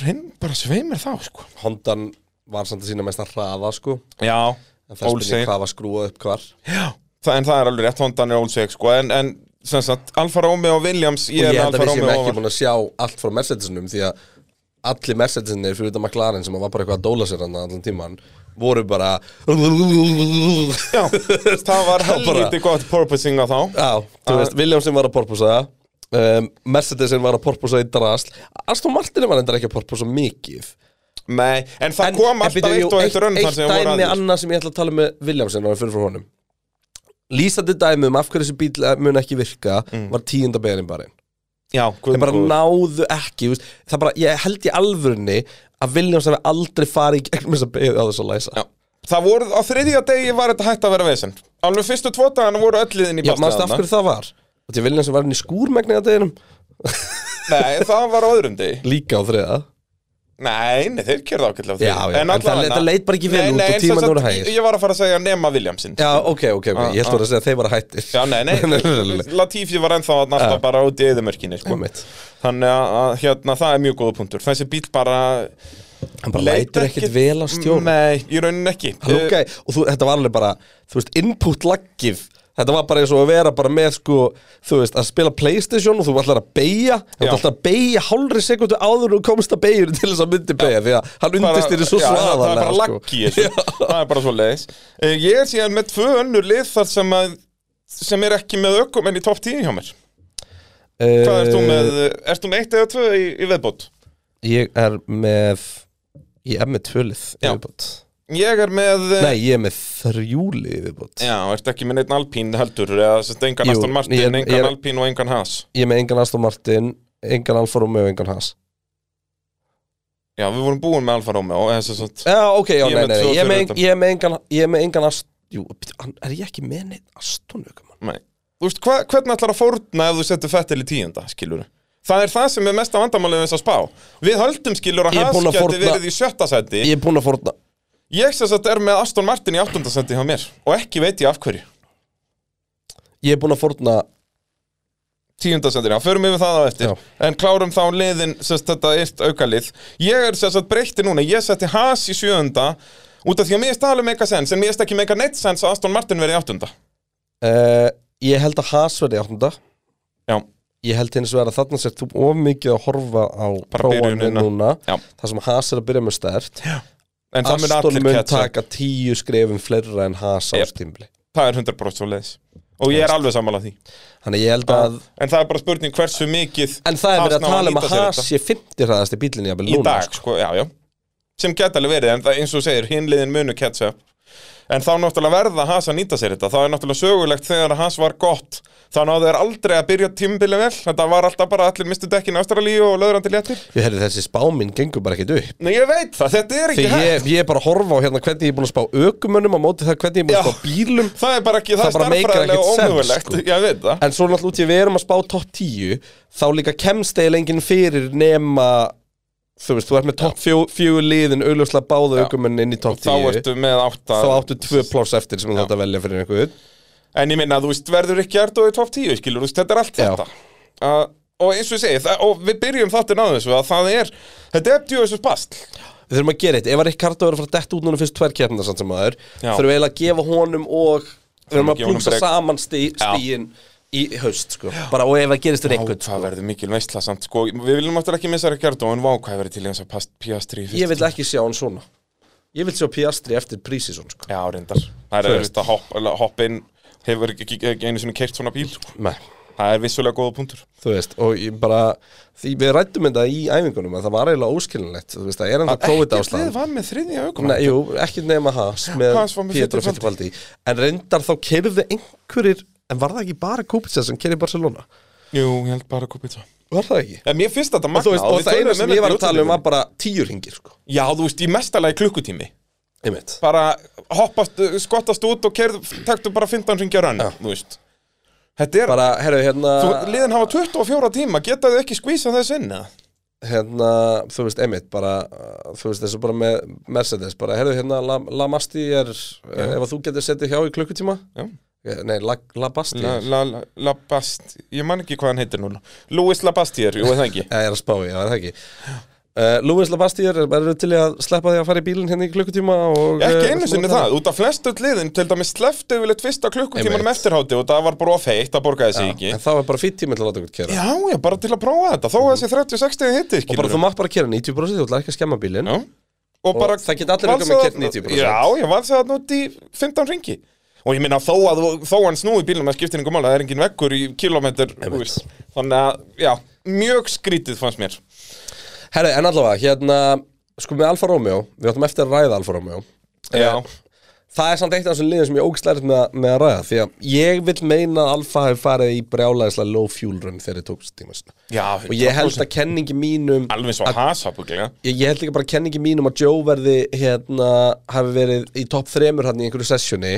B: hinn bara sveimir þá sko
A: Hondan var samt að sína mest að hraða sko.
B: já,
A: En það spyrir
B: Olsey.
A: hvað var skrúa upp hvar
B: já, það, en það er alveg rétt hondan er ólseg sko en, en sem sagt, Alfa Romeo og Williams
A: Og
B: ég,
A: ég
B: er
A: held
B: með
A: að
B: Alfa
A: við séum
B: Romeo
A: ekki
B: ofan.
A: búin að sjá allt frá Mercedesinum Því að allir Mercedesinir fyrir þetta McLaren sem var bara eitthvað að dóla sér hann allan tíman voru bara Já,
B: Já, það var
A: bara-
B: helviti gott porpoising á þá
A: þú veist, Williamsin var að porposa um, Mercedesin var að porposa í drasl Aston Martin var endur ekki að porposa mikið
B: Nei, en það kom alltaf
A: byrju,
B: eitt og
A: jú,
B: eitt rönn þar sem
A: Eitt
B: voru
A: dæmi
B: aðeins
A: annað sem ég ætla að tala um með Williamson og fyrir frá honum Lýsandi dæmi um af hverju þessi bíl mun ekki virka
B: Mm.
A: var tíunda beðin bara
B: Já,
A: Þeir bara
B: guðmgóður.
A: náðu ekki þú veist, Það bara, ég held í alvörunni að Williams hefði aldrei farið í gegnum þess að beðið á þess að læsa
B: Já. Það voru, á þriðja degi var þetta hægt að vera vesen Alveg fyrstu tvo dagana voru öll liðin í
A: Já, maður af
B: bastaðana
A: hverju það var Og til Williams var hann í skúrmegni að deginum
B: Nei, það var á öðrum degi
A: Líka á þriða
B: Nei, nei þeir kjörðu ákveðlega á þriðja.
A: Já, já, en það-
B: allavega-
A: þetta leit bara ekki vel
B: Nei,
A: út
B: nei,
A: og
B: en
A: tímarnir
B: sem sagt,
A: voru hægir.
B: Ég var að fara að segja nema Williamsinn
A: Já, ok, ok, ok, ég held að vera að segja að þeir var að hættir
B: Ah, Já, nei, nei, Latifi var ennþá að
A: Já.
B: alltaf bara út í eðumörkinni sko.
A: Einmitt.
B: Þannig að, að hérna, það er mjög góða punktur Þessi bíl bara
A: Hann bara lætur ekkert vel á stjórn
B: Nei, í rauninni ekki Eh,
A: Ok, og þú, þetta var alveg bara, þú veist, input laggið Þetta var bara eins og að vera bara með sko, þú veist, að spila Playstation og þú ætlar að beigja, þú
B: Já.
A: ætlar að beigja hálfri sekundu áður og komst að beigjur til þess að myndi beigja, því að hann
B: Bara-
A: undist þér svo
B: já,
A: svaðalega sko.
B: Það er bara lagg í þessu Það er bara svo leiðis Ég er síðan með tvö önnur lið þar sem að sem er ekki með ökum en í topp 10 hjá mér Hvað ert þú
A: Eh,
B: með, eh, ert þú með eitt eða tvö í, í viðbót?
A: Ég er með, ég er með tvölið
B: Já.
A: yfirbútt
B: Ég er með eh,
A: Nei, ég er með þrjúlið yfirbútt
B: Já, ertu ekki með neitt alpín heldur eða sem sagt, engan
A: Jú,
B: Aston Martin,
A: ég er-
B: engan
A: ég er-
B: alpín og engan Haas
A: Ég er með engan Aston Martin, engan Alfa Romeo og engan Haas
B: Já, við vorum búin með Alfa Romeo eða sem sagt-
A: Já, ok, já,
B: Ég
A: nei,
B: er með
A: nei,
B: tvo
A: nei, ég er með,
B: fyrir
A: ég er með engan, ég er með engan Aston Jú, býttu, hann- er ég ekki með neitt Aston Ökumann?
B: Nei. Þú veist, hva, hvernig ætlar að fórna ef þú setur Fettel í tíunda, skilur Það er það sem er mesta vandamálið við þess að spá. Við höldum skilur að
A: Ég er
B: Haas
A: búinn að
B: geti
A: fórna-
B: verið í sjötta seti.
A: Ég er búinn að forna
B: Ég sem sagt er með Aston Martin í áttunda seti hjá mér og ekki veit ég af hverju.
A: Ég er búinn að forna
B: Tíunda seti, já, förum yfir það á eftir.
A: Já.
B: En klárum þá liðin, sem sagt þetta eitt aukalið. Ég er sem sagt breytti núna, ég setti Haas í sjöunda út af því að mér erst alveg mega sens, en mér erst ekki mega neitt sens að Aston Martin verið í áttunda.
A: uh, Ég held að Haas verði áttunda
B: Já,
A: Ég held hins vegar að þarna sér þú of mikið að horfa á
B: Bara
A: prófanir
B: byrjunina.
A: núna
B: Já.
A: Það sem Haas er að byrja með stert
B: en það mun
A: Aston
B: allir
A: mun
B: ketsa.
A: taka tíu skrefum fleira en Haas á
B: Yep.
A: stímbli
B: Það er 100% svo leiðis. Og ég er alveg sammála því.
A: Þannig ég held að
B: En það er bara spurning hversu mikið
A: En það er verið að
B: Haas ná
A: tala um
B: nýta
A: að
B: sér
A: Haas
B: þetta.
A: sé 50 hraðast í bílinni jafnvel
B: Í
A: núna
B: dag,
A: sko.
B: sko, já, já Sem geta alveg verið, en það eins og þú segir, hinliðin munu catch up En þá náttúrulega verða Haas að nýta sér þetta Þá er náttúrulega sögulegt þegar Haas var gott það náðu þeir aldrei að byrja tímbilið vel þetta var alltaf bara allir mistu dekkin Ástralíu og löðrandi léttir
A: Ég herri þessi spáminn gengur bara ekkert upp
B: Nei, ég veit það, þetta er ekki
A: Þegar ég, ég er bara að horfa á hérna hvernig ég er búin að spá ökumönnum á móti það hvernig ég er búin að
B: Já.
A: spá bílum
B: Það er bara ekki, það,
A: Það bara
B: er
A: meikar
B: starffræðilega
A: ekkert sens,
B: ómögulegt
A: sko.
B: Ég veit það
A: En svo náttúrulega út í að við erum að spá topp 10 þá líka kemst eða enginn fyrir nema þú veist, þú ert með topp fjó, fjögur liðin auðljóslega báða
B: Já.
A: aukumenn inn í topp
B: Þá
A: 10
B: ertu með átta
A: þá áttu tvö pláss eftir sem þú þátt að velja fyrir einhver
B: En ég minna, þú veist, verður ekki Erdó í top 10, skilur, þú veist, þetta er allt
A: Já.
B: þetta uh, Og eins og ég segi, það, og við byrjum þáttir náðu þessu að það er, þetta er djöfisins bast
A: Við þurfum að gera eitt, ef að Ricardo er að fara að detta út núna fyrst tvær kjarnar samt sem maður
B: Já.
A: þurfum við eiginlega að gefa honum og þurfum
B: að
A: að
B: gefa honum
A: plúsa
B: break.
A: saman stí, stíin í haust sko. bara og ef það gerist fyrir einhvern
B: Það verður mikil veistla samt, sko, við viljum áttur ekki missa Erdó En vá, hvað verður til eins að past Piastri í fyrsta
A: Ég vil ekki sjá hann svona Ég vil sjá Piastri eftir prísísson sko.
B: tíma. Já, reyndar, það
A: Þú
B: er
A: veist.
B: þetta hopp, alveg hopp inn, hefur ekki, ekki, ekki einu sinni keirt svona bíl sko.
A: Nei,
B: Það er vissulega góða punktur
A: þú veist og ég bara, því við rættum þetta í æfingunum að það var eiginlega óskilinlegt þú veist, það er hann það COVID
B: Ekkert lið
A: ástæðan
B: var með þriðja aukum
A: Nei, jú, ekki nema Haas með
B: Haas var með
A: Pietro
B: Fittipaldi.
A: Fittipaldi en reyndar þá kerði einhverjir en var það ekki bara Kupica sem kerði Barcelona
B: Jú, ég held bara að kúpa þetta
A: var það ekki?
B: En mér finnst þetta
A: Og, þú
B: magnað
A: veist, og
B: við
A: það
B: tölum
A: eina
B: um
A: sem
B: þetta
A: ég var
B: í
A: að tala um
B: útvarpinu.
A: var bara tíu ringir sko.
B: Já, þú veist, í mestalagi klukkutími
A: einmitt
B: bara hoppast, skottast út og kerð, taktu bara 15 ringja rann þú veist þetta er,
A: bara, herru, hérna
B: þú, liðin hafa 24 tíma geta þau ekki skvísað þess inn eða?
A: hérna, þú veist, Emmett bara, uh, þú veist, þessu bara með Mercedes, bara, herðu, hérna, La, La Masti er, Já. ef að þú getur setið hjá í klukkutíma
B: Já.
A: Eh, nei, La, La Basti
B: La- La- La- Labast, ég man ekki hvað hann heitir núna Louis Labastier, jú, er það ekki
A: Eh, er að spá í, já, er það ekki uh, Louis La Basti er, er til í að sleppa því að fara í bílinn hérna í klukkutíma og,
B: ekki
A: eh,
B: einu sinni
A: svona-
B: það, út af flestu öll liðin til dæmis sleftu yfirleitt fyrsta klukkutímanum
A: Einmitt.
B: eftirhátti og það var bara of heitt, það borgaði sig ekki
A: en þá er bara fýtt tími til að láta okkur kera
B: já, ég bara til að prófa þetta, þó að þessi 30-60 hitti
A: og bara þú mátt bara kera 90% þú ætlar ekki að skemma bílinn
B: Já. Og, bara
A: það geta allir eitthvað með
B: valsað
A: keppni
B: þarna-
A: 90%.
B: Já, ég valsa það nút í 15 ringi Og ég minna þó að þú- þó hann snúi bílum að skiptir einhver mála, það er engin vekkur í kilometr
A: Einmitt.
B: Þannig að, já, mjög skrítið fannst mér
A: herru, en allavega, hérna sko með Alfa Romeo, við áttum eftir að ræða Alfa Romeo
B: Já,
A: Það er samt eitt af þessum liðum sem ég ógst lærið með, að- með að ræða Því að ég vil meina að Alfa hefur farið í brjálæðislega low fuel run þegar þið tókst tíma sinna
B: já
A: Og ég held að kenningi mínum
B: Alveg svo hasabuglega
A: Ég, ég held líka bara að kenningi mínum að Joe verði hérna Hafi verið í topp þremur hann í einhverju sessjoni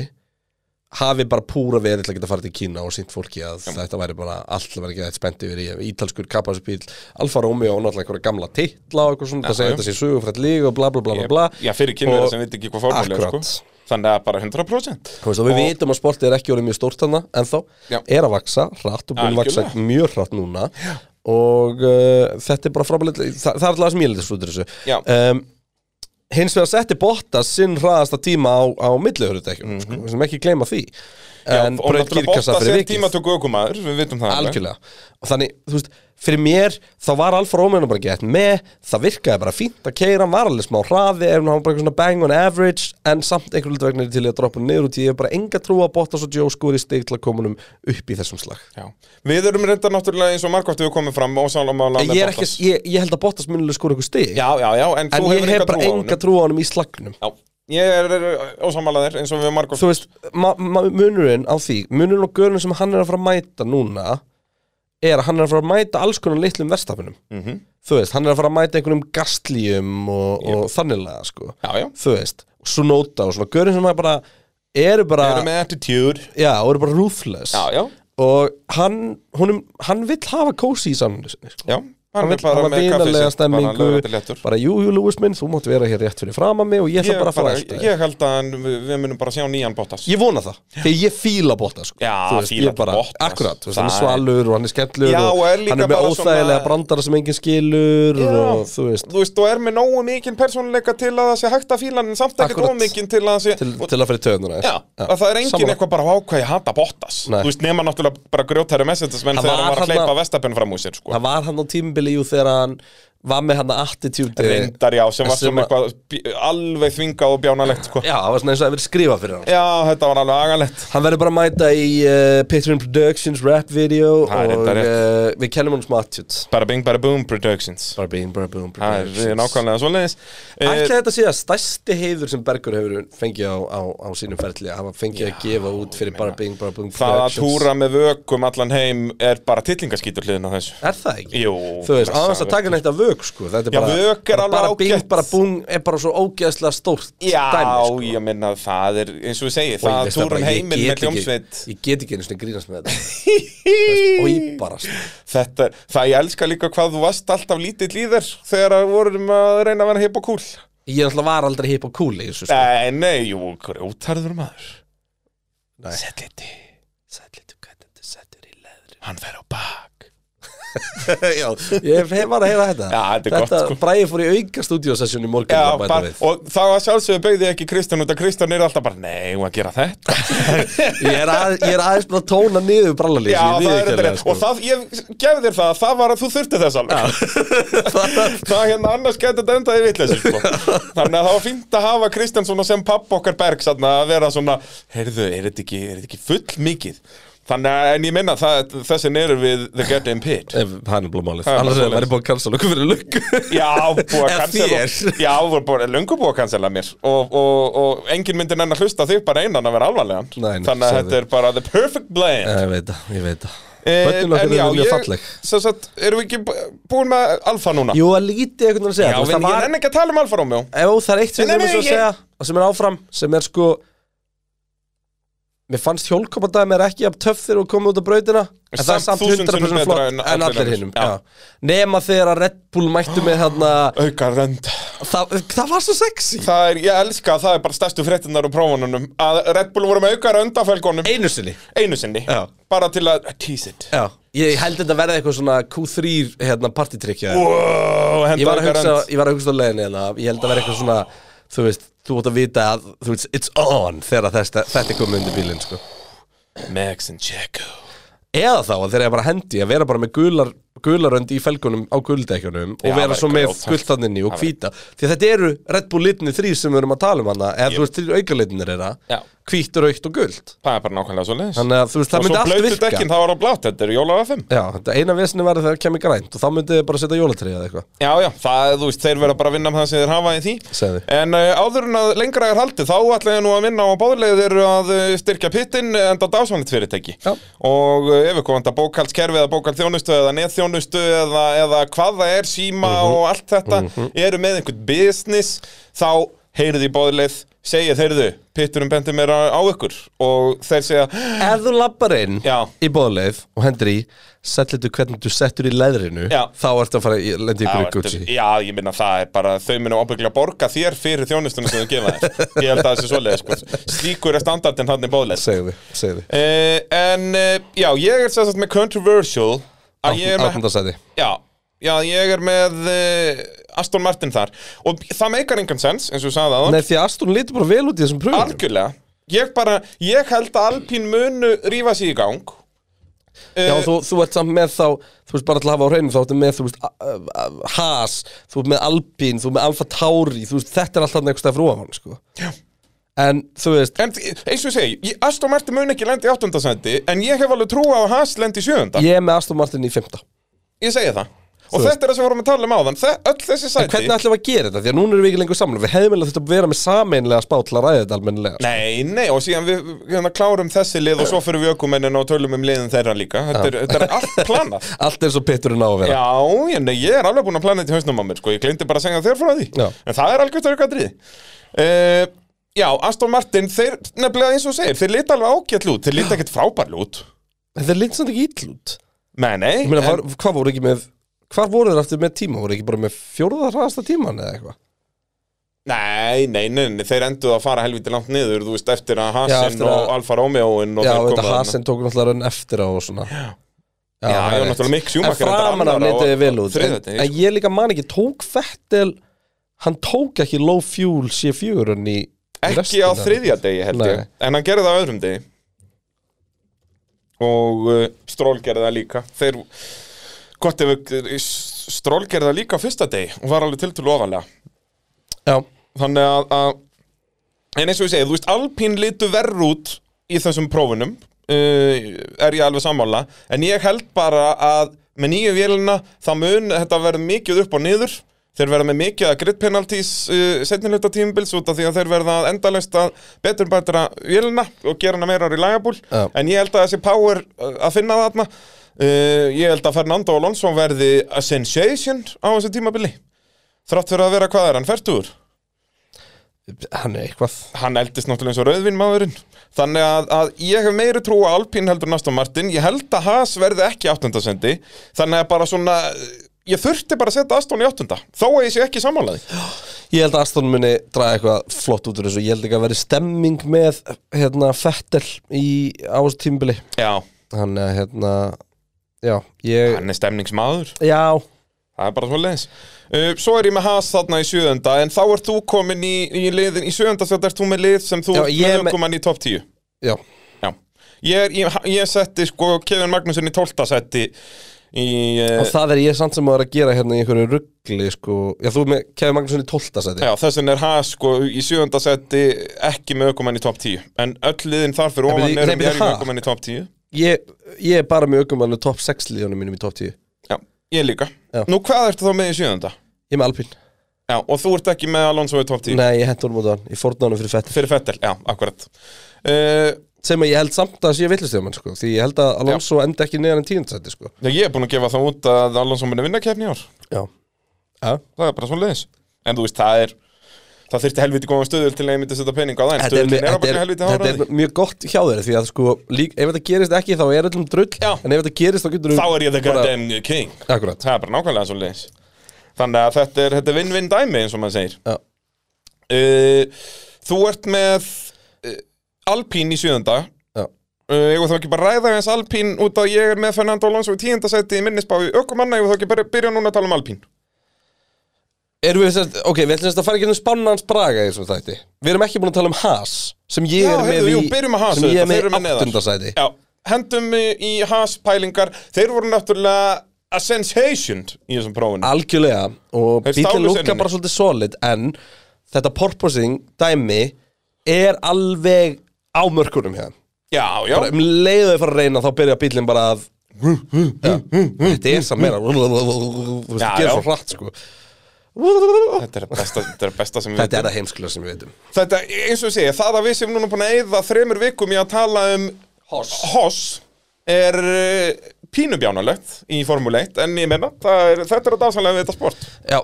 A: Hafi bara púra verið til að geta farið til Kína og sínt fólki að þetta væri bara allt að vera ekki þetta spennt yfir í ítalskur kappasbíl Alfa Romeo og náttúrulega einhverja gamla titla og eitthvað svona, það
B: já.
A: segja þetta sé sögufrætt líka og bla bla bla bla bla
B: Já, fyrir kynverið
A: Og-
B: sem veit ekki hvað fórmúlega sko.
A: Akkurat.
B: Þannig að bara 100%
A: Þú veist, og við vitum að sportið er ekki orðið mjög stórt hana en þá
B: Já.
A: er að vaksa hratt og búin að vaksa
B: Algjörlega.
A: mjög hratt núna og uh, þetta er bara frábæðilegt Þa, það er alltaf sem ég leitist út úr
B: Já.
A: þessu um, hins vegar setti Botta sinn hraðasta tíma á, á millihörðutekjum mm sko, við sem ekki gleyma því en
B: Mhm. Og
A: braut
B: náttúrulega
A: kirkassa
B: bóta
A: fyrir
B: sér
A: vikið
B: tímatöku aukumæður, við vitum það alveg.
A: algjörlega og þannig, þú veist, fyrir mér þá var Alfa Romeo bara gett með það virkaði bara fínt að keira, hann var alveg smá hraði ef hann var bara eitthvað svona bang on average en samt einhver hlut vegna er ég til í að droppa hann niður út í ég hef bara enga trú að Bottas og Joe skori stig til að koma hann upp í þessum slag
B: Já. Við erum reyndar náttúrulega eins og margótt við komum fram og sálamála
A: ég, er ekki, ég, ég held að Bottas munileg skori eitthvað stig
B: Já, já, já, en,
A: en
B: þú
A: ég
B: hefur
A: hef
B: enga
A: bara
B: trú á honum.
A: enga trú á hann í slagnum
B: Já, ég er ósamálaðir eins og við margum
A: þú veist, ma- ma- munurinn á því munurinn á görnum sem hann er að fara að mæta núna er að hann er að fara að mæta alls konar litlum verstafinum
B: Mhm.
A: -hmm. þú veist, hann er að fara að mæta einhverjum gastlíum og, og þanniglega sko.
B: Já, já,
A: þú veist, svo nota og svona görnum sem hann bara, eru bara
B: erum með attitude
A: já, og eru bara ruthless
B: Já, já,
A: og hann, honum, hann vill hafa kósi í samlunni sinni sko.
B: já
A: hann
B: er
A: vill hafa vinalega stemmingu bara jú, jú, Lewis minn, þú mátt vera hér rétt fyrir fram að mig og ég ætla
B: Ég,
A: bara að fara
B: bara,
A: alltaf
B: ég held að hann- við, við munum bara sjá nýjan Bottas
A: Ég vona það, þegar ég fíla Bottas sko.
B: Já,
A: Þú veist,
B: fíla
A: ég bara,
B: Bottas.
A: Akkurat, þú veist,
B: Það
A: hann er svalur og hann er skemmtlur
B: Já,
A: og
B: og er líka
A: hann er með
B: bara svona-
A: óþægilega brandara sem enginn skilur
B: Já.
A: og þú veist,
B: Þú veist, og er með nógu mikinn persónuleika til að það sé hægt að fíla hann en samt ekkert
A: Akkurat.
B: ómikinn til að það sé
A: til, til að fyrir töðuna sko.
B: Já, að það er enginn eitthvað bara ákveði hata Bottas
A: Nei.
B: Þú veist, nema náttúrulega bara grjótæri messages menn
A: Það
B: þegar
A: var
B: hann var að
A: þarna-
B: hleypa vestapinn fram úr sér sko.
A: Það var hann á tímabili jú þegar hann var með hann attitude
B: reyndar já, sem var
A: Sem
B: svona
A: að-
B: eitthvað bí- alveg þvingað og bjánalegt sko.
A: Já, það var svona eins og það verið skrifað fyrir hann
B: Já, þetta var alveg agalegt
A: Hann verður bara að mæta í uh, Patreon Productions rap video
B: Það er
A: og
B: reyndar rétt.
A: uh, við kennum hann smá attitude
B: Bara bing, bara boom productions
A: Bara bing, bara boom,
B: Það er eh,
A: productions
B: nákvæmlega svoleiðis
A: Ætli
B: eh,
A: þetta sé að stærsti heiður sem Bergur hefur fengið á, á, á sínum ferli að hafa fengið að gefa út fyrir bara bing, bara bing
B: Eh, Það að
A: Productions.
B: túra með vökum allan heim er bara tillingaskítur hliðin á þessu
A: Er það ekki?
B: Jú,
A: Þú veist,
B: blessaður.
A: aðeins að taka neitt af vök sko Þetta er
B: Já,
A: bara,
B: vök er
A: bara,
B: alveg
A: bara bing,
B: ágætt.
A: bara búm er bara svo ógeðslega stórt
B: Já,
A: dæmi sko.
B: ég minna að það er, eins og við segi,
A: Og ég
B: það
A: veist
B: túrum
A: bara, ég get
B: heiminn með
A: ekki-
B: hljómsveit
A: Ég get ekki einu sinni grínast með þetta Og ég bara sko.
B: Þetta, er- það ég elska líka hvað þú varst alltaf lítill í þér þegar að vorum að reyna að vera hip og cool
A: Ég er alltaf var aldrei hip og cool í þessu sko.
B: Nei, nei, jú, grjótarður maður
A: Nei.
B: Sett liti,
A: Sætlitu gætandi settur í leðri
B: hann fer á bak
A: Já, ég hef var að heyra þetta
B: Já, þetta er gott, sko.
A: Bragi fór í auka stúdíosessjón í morgun
B: Já,
A: að bæta
B: bara,
A: við.
B: og það var sjálfsögðu beigði ekki Kristján út að Kristján er alltaf bara, nei, hún að gera þetta
A: ég, er að, ég er aðeins búin að tóna niður brallalýs
B: Já, það er
A: sko.
B: þetta rétt, og það, ég gef þér það, það var að þú þurfti þess alveg Það hérna annars gæti þetta endaði vitleysu sko. Þannig að það var fínt að hafa Kristján svona sem papp okkar berg sannig, að vera svona, heyrðu, er þetta ekki, er þetta ekki full mikið? Þannig að, en ég minna, þessi neyru við The Goddamn Pit
A: Hann er blómálið,
B: er bara
A: annars er
B: svoleiðis.
A: það búin að kansa lukku fyrir lukku
B: Já, búið að
A: Eða
B: cancela
A: þér.
B: Já, búið búið, löngu búið að cancela mér og, og, og enginn myndi nenn að hlusta á þig bara einan að vera alvarlegan
A: Nei, nei,
B: Þannig að
A: sagði.
B: þetta er bara the perfect
A: Eh,
B: blend
A: Ég veit það, ég veit það
B: Eh,
A: Bönnum
B: en
A: okkur
B: já,
A: er mjög
B: ég-
A: falleg
B: sem sagt, erum við ekki bú- búin með alfa núna?
A: Jú, að lítið einhvern veginn að
B: já,
A: segja þú veist,
B: en
A: það
B: ég
A: var-
B: nenni ekki að tala um alfa Romeo
A: Ef það er eitt sem ég
B: Nei, nei,
A: vil svo
B: nei,
A: segja og sem er áfram, sem er sko Mér fannst hjólkopadæmi er ekki jafn töff þegar þú komið út á brautina En það er
B: Samt
A: samt
B: þúsund sinnum
A: 100%
B: betra
A: flott
B: en
A: en,
B: allir
A: allir
B: önnur.
A: hinnum
B: Já.
A: Nema þegar að Red Bull mættu með þarna
B: Auka rönd
A: það, það var svo sexy
B: Það er, ég elska að það er bara stærstu fréttinnar úr prófununum Að Red Bull voru með auka rönd á fölgunum
A: Einu sinni
B: Einu sinni
A: Já.
B: Bara til að tease it
A: Já, ég held þetta verði eitthvað svona Q3 hérna, partytrykja
B: Wow,
A: ég
B: henda
A: var að
B: auka
A: hugsa,
B: rönd
A: ég var að hugsa á leiðinni hérna, ég held að vera eitthvað svona þú veist, þú átt að vita að þú veist, it's on þegar þetta, þetta er komið undir bílinn sko.
B: Max and Checo
A: eða þá að þeir eru bara að hendi að vera bara með gular, gularönd í felgunum á guldekjunum
B: Já,
A: og vera
B: væri
A: svo með
B: grjóthart.
A: guldtanninni og hvíta því að þetta eru Red Bull litni þrýr sem við erum að tala um hana eða þú veist, þrýr aukalitinir er
B: Já.
A: það hvít, raukt og guld
B: Það er bara nákvæmlega svo leiðis
A: þannig að þú veist,
B: Og
A: það
B: svo
A: myndi allt
B: blöytu
A: virka
B: dekkin, það var á blátt, þetta er jólaga 5
A: Já, þetta eina vesinu var að það kemur grænt og þá myndi þið bara setja jólatrið eða eitthvað
B: Já, já, það, þú veist, þeir vera bara að vinna með það sem þeir hafa í því
A: Segðu.
B: En uh, áður en að lengra er haldið, þá ætla ég nú að minna á að báðlegið eru að uh, styrkja pittin enda dásanlegt fyrirtæki
A: Já.
B: Og uh, ef við komanda bókaldskerfi eða bókaldþjónustu eða netþjónustu eða, eða hvað það er, síma og allt þetta Eru með einhvern business, þá heyrðu í báðlegið, segja þeirðu, pitturum bendi mér á, á ykkur Og þeir segja,
A: Ef þú lappar inn
B: Já.
A: í bóðleif og hendur í Settlítu hvernig þú settur í leðrinu
B: Já.
A: Þá ertu að fara að lendi
B: Já,
A: ykkur í
B: þetta-
A: Gucci
B: Já, ég minna það er bara þau minna ábyggla borga þér fyrir þjónustunum sem þau gefa þér Ég held að það sé svoleiðis sko. Slíkur er standardin hann í bóðleis uh,
A: Segðu, segðu
B: En uh, já, ég er sérstætt með controversial að ég er með,
A: Áttundasæti
B: já, já, ég er með uh, Aston Martin þar Og það meikar engan sens, eins og við sagði það
A: Nei, því að Aston lítur bara vel út í þessum pröfunum
B: Algjörlega Ég bara, ég held að Alpín munu rífa sig í gang
A: Já,
B: eh,
A: þú, þú ert samt með þá, þú veist bara til að hafa á hreinu Þá ertu með, þú veist, a- a- a- Haas Þú ert með Alpine, þú ert með Alfa Tauri Þú veist, þetta er alltaf einhver stað frá ofan, sko
B: Já.
A: En, þú veist,
B: En eins og ég segi, ég- Aston Martin mun ekki lendi í áttundasendi En ég hef alveg trú á að Haas lendi í sjöunda
A: ég er með Aston Martin í fymta
B: Ég segi það Og
A: Þú
B: þetta er það sem við vorum að tala um áðan Þe, Öll þessi
A: En
B: sæti
A: hvernig ætlum við að gera þetta? Því að núna erum við ekki lengur saman Við hefðum eiginlega þetta að vera með sameinlega spá til að ræða þetta almennilega sko.
B: Nei, nei, og síðan við við hérna klárum þessi lið og svo fyrir við ökumennin og tölum um liðin þeirra líka Þetta er, þetta er allt planað
A: Allt eins og pitturinn á að vera
B: Já, ég, nei, ég er alveg búin að plana þetta í hausnum á mér sko. Ég glemdi bara að segja þér frá því
A: Já.
B: En það er algjört auka drið uh, Já, Aston Martin, þeir nefnilega eins og þú segir Þeir lita alveg ágætt lút, þeir lita ekkert frábær lút
A: Þetta er lindsand ekki ítlút
B: Nei, nei
A: Ég meina,
B: en-
A: var, hvað voru ekki með Hvað voru þeir aftur með tíma? Voru ekki bara með fjórða hraðasta tíman eða eitthvað?
B: Nei, nei, nei, nei, þeir enduðu að fara helviti langt niður, þú veist, eftir að
A: Já,
B: Hasin
A: eftir að-
B: og Alfa Romeoin og
A: Já,
B: þeir
A: þetta
B: komu þarna.
A: Hasen tók náttúrulega raun eftir á og svona Já,
B: Já,
A: það
B: já,
A: er rétt.
B: náttúrulega Mick Schumacher
A: En
B: reyndar
A: framan af
B: annar á- sko.
A: litiði vel út en,
B: þriðjudegi,
A: en ég líka man ekki, tók Fettel Hann tók ekki low fuel C4 -un í í
B: Ekki
A: restina.
B: á þriðja degi held ég
A: Nei.
B: En hann gerði það á öðrum degi Og uh, Stról gerði það líka Þeir Gott ef við- s- Stroll gerði það líka á fyrsta deg og var alveg til til ofalega
A: Já,
B: þannig að, að en eins og ég segi, þú veist, Alpín litu verð út í þessum prófunum uh, er ég alveg sammála en ég held bara að með nýju vélina það mun þetta verði mikið upp og niður þeir verða með mikið að grid penalties uh, setnilegta tímubils út af því að þeir verða endalaust að betur bætra vélina og gera hana meira reliable
A: Já.
B: en ég held að þessi power uh, að finna þarna uh, ég held að Fernando Alonso verði a sensation á þessu tímabili þrátt fyrir að vera hvað er hann, færtur?
A: hann er eitthvað
B: hann eldist náttúrulega eins og rauðvinn maðurinn þannig að, að ég hef meiri trú á Alpín heldur næsta Martin, ég held að Haas verði ekki áttundasendi, þannig að bara svona ég þurfti bara að setja Aston í áttunda þó að ég sé ekki samanlæði
A: Ég held að Aston muni draga eitthvað flott út úr þessu Ég held ekki að veri stemming með hérna, Fettel í ástímbili
B: já,
A: Hann er hérna Já, ég
B: hann er stemningsmaður
A: Já,
B: það er bara svona leins uh, svo er ég með Haas þarna í sjöðunda en þá ert þú komin í, í liðin í sjöðunda þá ert þú með lið sem þú
A: Já, ég er
B: með
A: með-
B: aukumann í topp 10
A: já
B: já, ég, er, ég, ég setti sko Kevin Magnusson í 12. setti í uh,
A: Og það er ég samt sem að vera að gera hérna í einhverju ruggli sko. Já, þú er með Kevin Magnússon í 12. seti
B: Já, þess vegna er Haas sko í sjöfunda seti ekki með ökumenn í top 10 En öll liðin þar
A: En
B: fyrir ofan
A: byrju,
B: eru
A: nei,
B: með
A: byrju, ha?
B: ökumenn í top 10
A: ég, ég er bara með aukumannu top 6 líðunum mínum í top 10 Ég
B: Já, ég líka
A: Já.
B: Nú hvað ertu þá með í sjöfunda?
A: er með Alpín
B: Já, og þú ert ekki með Alonso í top 10
A: Nei, ég hendur honum út á hann Ég fórna honum fyrir Fettel
B: Fyrir Fettel, já, akkurat uh,
A: Sem að ég held samt að sé villust mann sko. Því ég held að Alonso endi ekki neðan en 10. seti sko.
B: já, Ég er búin að gefa það út að Alonso muni vinna kefni í ár
A: Já Já
B: Það er bara svona liðis En þú veist, það er Það þyrfti helviti góðan stöðul til að ég myndi setja pening á það En
A: Þetta er,
B: stöðulinn er,
A: þetta,
B: bara
A: er,
B: helviti
A: þetta
B: háraði
A: er mjög gott hjá þér því að sko, lík, ef þetta gerist ekki þá er öllum drull
B: Já.
A: en ef þetta gerist þá getur
B: Þá er ég the goddamn king
A: Akkurat
B: Það er bara nákvæmlega svona liðis Þannig að þetta er, þetta er vinn-vinn dæmi eins og maður segir
A: Já.
B: uh, Þú ert með uh, Alpín í sjöðunda
A: Já.
B: Uh, ég var þá ekki bara að ræða eins Alpín út af ég er með Fernando Alonso í tíundasæti í minnisbá í ökumanna, ég var þá ekki bara að byrja núna að tala um Alpín
A: Erum við þess ok, við ætlum þess að fara ekki um spannans braga í þessum þætti Við erum ekki búin að tala um Haas sem ég
B: Já,
A: er með
B: heyrðu, jú,
A: í,
B: byrjum að Haas
A: sem ég
B: auðvitað,
A: er
B: þeir eru
A: með
B: með
A: í
B: neðar.
A: áttundasæti
B: Já, hendum í, í Haas pælingar þeir voru náttúrulega a sensation í þessum prófinu
A: Algjörlega og
B: Þeir stálu
A: bílinn lúka
B: senunni.
A: bara svolítið solid en þetta porpoising dæmi er alveg á mörkunum hérna
B: Já, já,
A: bara um leiðu að fara að reyna þá byrja bílinn bara að Já, þetta er samt meira þú veist,
B: Já,
A: það gerir
B: já.
A: svo hratt sko þetta
B: þetta er að besta, þetta er að besta sem við
A: er það heimskulega sem við veitum
B: Þetta, eins og ég segja, það að við sem núna búin að eyða þremur vikum í að tala um
A: Hoss.
B: er er pínubjánalegt í Formule 1 en ég menna, er, þetta er að dásanlega við þetta sport
A: já,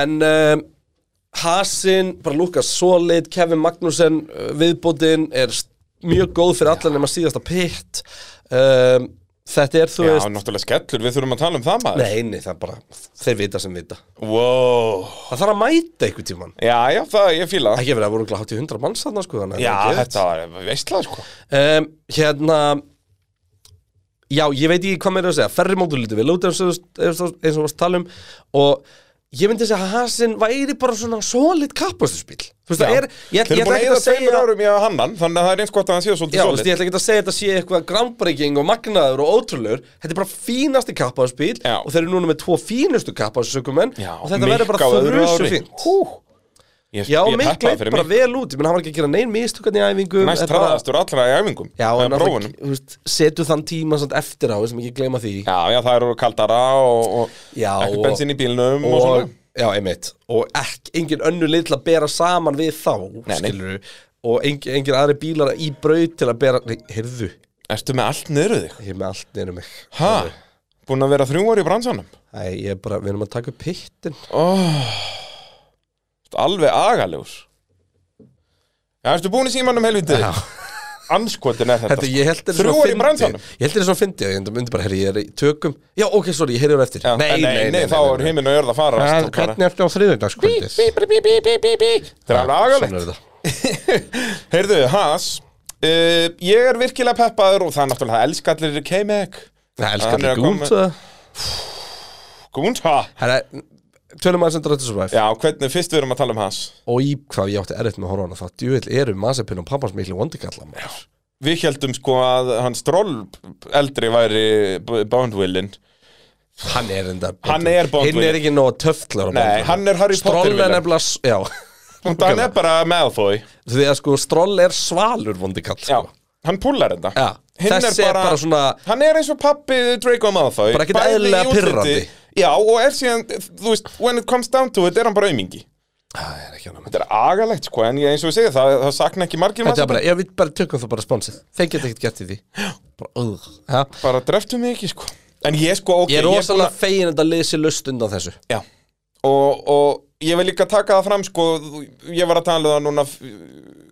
A: en um, Hasin, bara Lukas Solid Kevin Magnussen, uh, viðbótin er st- mjög góð fyrir allan nema síðasta pitt um, þetta er, þú
B: Já,
A: veist
B: náttúrulega skellur, við þurfum að tala um það maður
A: nei, nei, það er bara, þeir vita sem vita
B: wow.
A: það þarf að mæta einhvern tímann
B: Já, já, það, ég fíla það
A: ekki verið að voru hátt í hundra manns þarna sko þannig að
B: Já,
A: það er geðveikt.
B: þetta var veistlað, sko
A: um, Hérna Já, ég veit ekki hvað meira að segja Ferri mótur lítið vel út eins og eins og eins og varst að tala um Og ég myndi að segja að Hasin væri bara svona solid kappastuspíl Þú veist, það er Ég
B: Þeir
A: ætla ég
B: eru
A: ætla
B: búin að
A: ekki að
B: eyða tveimur
A: segja
B: árum í að hanna hann, þannig að það er eins gott að hann sé
A: Já,
B: svolítið
A: þú veist,
B: svolít
A: ég ætla ekki að segja að þetta sé eitthvað groundbreaking og magnaður og ótrúlegur Þetta er bara fínasti kappaðspíl
B: Já.
A: og þeir eru núna með tvo fínustu kappaðsökumenn
B: Já,
A: og þetta verður bara
B: Mikka á öðru
A: þurrusu
B: ári.
A: fínt
B: Hú. Ég,
A: Já,
B: ég
A: Mikk
B: peppaði
A: leit
B: fyrir
A: bara
B: mig
A: vel út, ég menn hann var ekki að gera nein mistökarni í æfingum
B: Næst
A: þetta var-
B: traðastur allra í æfingum
A: Já,
B: eða
A: en alltaf,
B: prófunum.
A: þú veist, setu þann tíma samt eftir á, við sem ekki gleyma því
B: Já, já, það eru kaldara og, og
A: Já,
B: ekkert
A: og-
B: bensín í bílnum og,
A: og,
B: svona
A: já, einmitt og ekki, engin önnu lið til að bera saman við þá,
B: Nei, nei.
A: skilur og engin, engin aðri bílar í braut til að bera nei, heyrðu,
B: Ertu með allt niður við þig?
A: ég er með allt neyru mig
B: Ha? Búin að vera þrjú ári í bransanum?
A: Æ, ég er bara, við erum að taka upp pittin
B: Ertu Alveg agalegur Já, ertu búin í símanum helviti?
A: Já.
B: Anskotin er þetta, sko.
A: Þetta, ég held þetta
B: Þrjú
A: svona
B: ár í
A: fyndið.
B: bransanum?
A: Ég held þetta svona fyndi, ég myndi bara, herri, ég er í tökum Já, ok, sorry, ég heyrði á eftir
B: Já, en þá er heiminn og jörð að fara sko,
A: Það- Hvernig ertu á þriðudagskvöldis?
B: Þetta er alveg agalegt Heyrðu, Haas uh, Ég er virkilega peppaður og það er náttúrulega það elskallir K-Mac
A: Það
B: Hann
A: elskar
B: er að
A: þetta
B: koma-
A: gúnt það
B: Gúnt, ha?
A: Herra, tölum aðeins um Drive to Survive
B: Já, hvernig fyrst við erum að tala um Haas
A: Og í hvað ég átti erfitt með að horfa á hana það Djúvill eru Mazepin og pappans miklu vondikallar maður
B: Við heldum sko að hann Stroll eldri væri Boundwillin
A: Hann er enda
B: Hann er Bond
A: Hinn er
B: William.
A: ekki nóg töftlar
B: Nei, hann er Harry Potter
A: Stroll er
B: William.
A: nefnilega s- Já
B: Þannig hann er bara Malfoy
A: Því að sko Stroll er svalur vondi kall
B: Já,
A: sko.
B: hann púlar þetta
A: Já,
B: Hinn
A: þessi er bara svona-
B: Hann er eins og pappi Draco Malfoy
A: Bara ekkert
B: bæði í
A: eðlilega
B: útliti.
A: pirrandi.
B: Já, og er síðan, þú veist, when it comes down to it er hann bara aumingi
A: Það er ekki hann
B: Þetta er agalegt, sko, en ég, eins og ég segi það, það sakna ekki margir
A: Þetta er
B: bara,
A: bara, ég vil bara tökum það bara sponsið Þeir geta ekkert gert í því bara, uh, ha?
B: bara dreftu mig ekki, sko En ég, sko, ok
A: Ég er
B: búin
A: rosalega
B: að-
A: fegin að þetta leysi lust undan þessu
B: Já, og, og ég vil líka taka það fram, sko Ég var að tala um það núna f-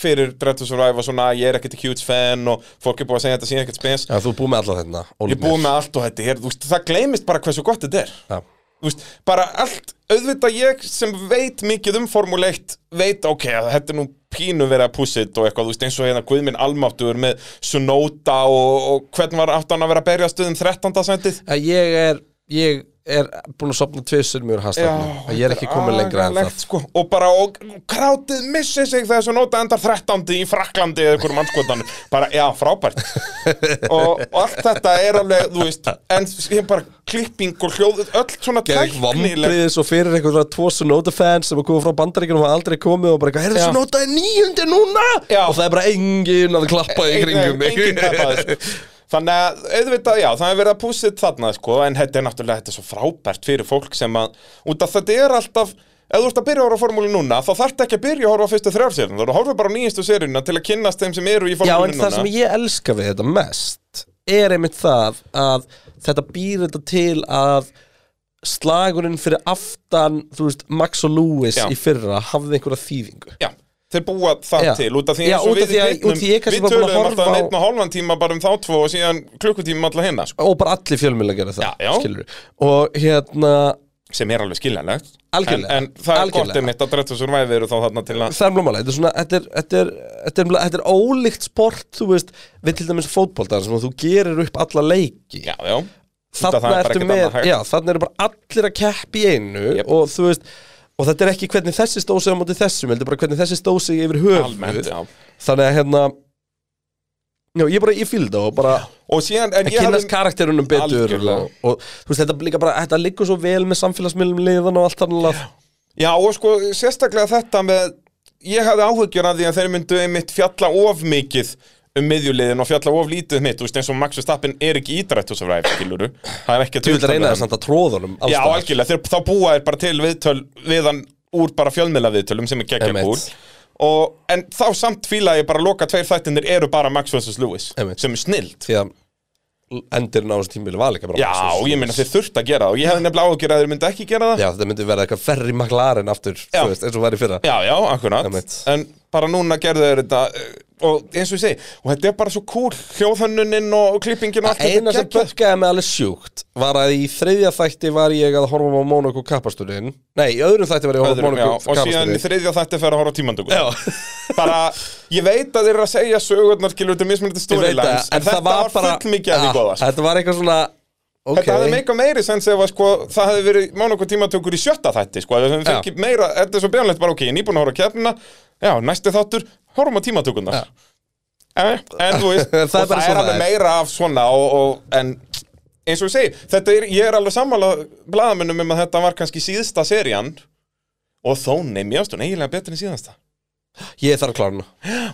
B: fyrir Dread to Survive og svona, ég er ekkert a huge fan og fólk er búið að segja þetta síðan ekkert spens
A: Já, þú er búið með alla þetta
B: Ég er búið með allt og þetta er, þú veist, það gleymist bara hversu gott þetta er
A: Já,
B: Þú veist, bara allt, auðvitað ég sem veit mikið um Formule 1 veit, ok, að þetta er nú pínu verið að pússitt og eitthvað, þú veist, eins og hérna Guðminn Almáttur með Sunoda og, og hvernig var aftan að um vera að berja stuðum 13. sendið
A: Að ég er, ég er búin að sopna tvisur mjög hastafnum Ég er ekki komin lengra en það
B: sko, og bara, og krátið missi sig þegar Sunoda endar 13. í Fraklandi eða einhverjum mannskotanum, bara, já, frábært og, og allt þetta er alveg, þú veist, en ég bara klipping og hljóð, öll svona
A: Geðveik
B: tæknileg
A: Vombriðis og fyrir einhverja tvo Sunoda fans sem að koma frá bandaríkjunum og aldrei komið og bara eitthvað, heyrðu
B: Já.
A: Sunoda er nýjundi núna
B: Já.
A: og það er bara engin að klappa í kringum mig
B: Engin tapaði, sko. Þannig að auðvitað, já, það er verið að pússið þarna, sko, en þetta er náttúrulega þetta er svo frábært fyrir fólk sem að, út af þetta er alltaf, ef þú ert að byrja að horfa á formúli núna, þá þarf ekki að byrja að horfa á fyrstu þrjár serjum, þú horfa bara á nýjastu serjuna til að kynnast þeim sem eru í
A: Já,
B: formúli
A: en það
B: núna.
A: sem ég elska við þetta mest er einmitt það að þetta býr þetta til að slagurinn fyrir aftan, þú veist, Max og Lewis
B: Já.
A: í fyrra hafði einhverja þýðingu
B: Já, þeir búa það
A: Já.
B: til, út af því
A: Já,
B: eins og
A: út af
B: við
A: því að-
B: vitnum,
A: út af því ég kannski
B: við
A: bara búin að
B: töluðum
A: horfa
B: alltaf
A: á-
B: einn og hálfan tíma bara um þá tvo og síðan klukkutíma alltaf hinna, sko,
A: og bara allir fjölmiðla gera það,
B: Já, já.
A: skilurðu. og hérna,
B: sem er alveg skiljanlegt. En,
A: Algjörlega.
B: en það er
A: Algjörlega.
B: gott einmitt að Drettur Survivor eru þá þarna til að
A: það er blómálega þetta er svona, þetta er, þetta er, þetta er, þetta er ólíkt sport, þú veist, við til dæmis fótboltar sem þú gerir upp alla leiki
B: Já, já, Út af það
A: þarna
B: er bara
A: ertu
B: ekkert
A: með,
B: annað hægt.
A: já, þarna eru bara allir að keppi í einu
B: Jep.
A: og þú veist, og þetta er ekki hvernig þessi stósi á móti þessum, heldur bara hvernig þessi stósi yfir höfuð,
B: almennt, já.
A: þannig að hérna já, ég bara, ég fylgd á og bara
B: Og síðan, en
A: að
B: ég
A: kynast
B: hafði
A: karakterunum betur
B: Algjörlega.
A: og, og þú veist, þetta líka bara, þetta liggur svo vel með samfélagsmiðlum liðan og allt annað
B: Já, og sko, sérstaklega þetta með Ég hafði áhyggjur að því að þeir myndu einmitt fjalla of mikið um miðjuleiðin og fjalla of lítið um mitt, þú veist eins og Max Verstappen er ekki ídrætt hos að ræða, skiluru Það er ekki að
A: þú vil
B: tauta með
A: reyna þess
B: hann.
A: að þetta tróðunum alls
B: Já,
A: staðar.
B: algjörlega, þeir, þá búa er bara til viðtöl við hann úr bara fjölmiðla viðtölum sem er geggja
A: Einmitt.
B: úr og, En þá samt fíla ég bara að loka tveir þættinir eru bara Max vs. Lewis
A: Einmitt.
B: sem er snild
A: því að endirinn á þessu tímili var líka bara
B: Já, og ég meina þeir þurft að gera það og ég hefði nefnilega áhyggjur að þeir myndu ekki gera það
A: já, þetta myndi vera eitthvað ferri maklarinn aftur,
B: Já.
A: þú veist, eins og var í fyrra
B: Já, já, akkurat
A: Einmitt.
B: En bara núna gerðu þeir þetta eh, Og eins og ég segi, og þetta er bara svo cool Hljóðhönnuninn og klippingin og allt
A: eina
B: þetta
A: sem bökkaði mig alveg sjúkt var að í þriðja þætti var ég að horfa á Monaco kappasturinn nei, í öðrum þætti var ég að horfa á
B: Öðrum, já,
A: Monaco
B: og síðan í
A: kappasturinn
B: þriðja þætti fer að horfa á tímandöku
A: Já,
B: bara, ég veit að þeir eru að segja sögurnar skilur þetta mismunandi
A: ég veit það,
B: storylines en, þetta var, full mikið að því
A: Ah,
B: góða sko.
A: Þetta var eitthvað svona okay.
B: þetta hefði meika meiri sens ef að sko, það hefði verið mánokur tímatökur í sjötta þætti sko, ef þeim
A: Já.
B: fengi meira, þetta er svo bjánlegt bara ok, ég er nýbúin að horfa á keppnina já, næsti þáttur, horfum á tímatökurnar en, en þú veist,
A: Það er
B: og það,
A: bara
B: er
A: svona
B: alveg
A: það er.
B: meira af svona og, og, en eins og ég segi, þetta er, ég er alveg sammála blaðamennum um að þetta var kannski síðsta serían og þó nefn ég ástun eiginlega betur en síðasta
A: Ég þarf að klára hana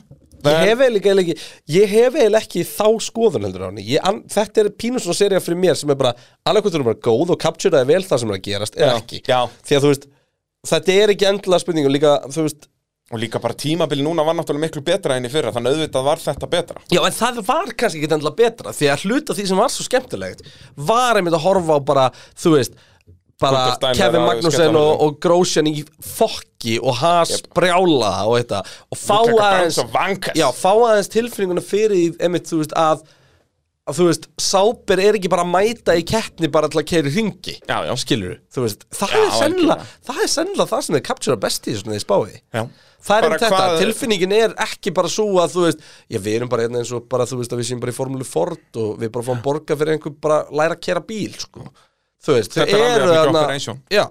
A: Ég
B: En-
A: hef eiginlega eiginlega ekki, ég hef eiginlega ekki þá skoðun heldur á henni Ég an, Þetta er pínu svona serið fyrir mér sem er bara alveg hvort þú eru bara góð og capturaði vel það sem er að gerast eða
B: Já,
A: ekki
B: já.
A: Því að þú veist, þetta er ekki endilega spurning og líka, þú veist
B: og líka bara tímabili núna var náttúrulega miklu betra enn í fyrra þannig auðvitað var þetta betra
A: Já, en það var kannski ekki endilega betra því að hluta því sem var svo skemmtilegt var einmitt að horfa á bara, þú veist bara
B: Gunter Steiner
A: Kevin
B: að
A: Magnúsen
B: skella
A: og,
B: honum.
A: og Grósjan í fokki og has
B: Jep.
A: brjála og þetta og fá
B: Lukaku
A: aðeins
B: Banks og Vankas.
A: já, fá aðeins tilfinninguna fyrir því, einmitt, þú veist, að að þú veist, sáber er ekki bara að mæta í keppni bara til að keiri hringi
B: Já, já.
A: skilur þú veist, það
B: Já,
A: er sennilega
B: algjörlega.
A: það er sennilega það sem þeir captura best í þessum þeir spáði
B: Já.
A: það er
B: Bara
A: um þetta,
B: hvað-
A: tilfinningin er ekki bara svo að þú veist, já við erum bara hérna eins og bara þú veist að við séum bara í formúlu Ford og við bara fáum borga fyrir einhver bara læra að kera bíl sko, þú veist, þau
B: Þetta er alveg
A: eru
B: mikið
A: þarna-
B: okkar eins og.
A: já,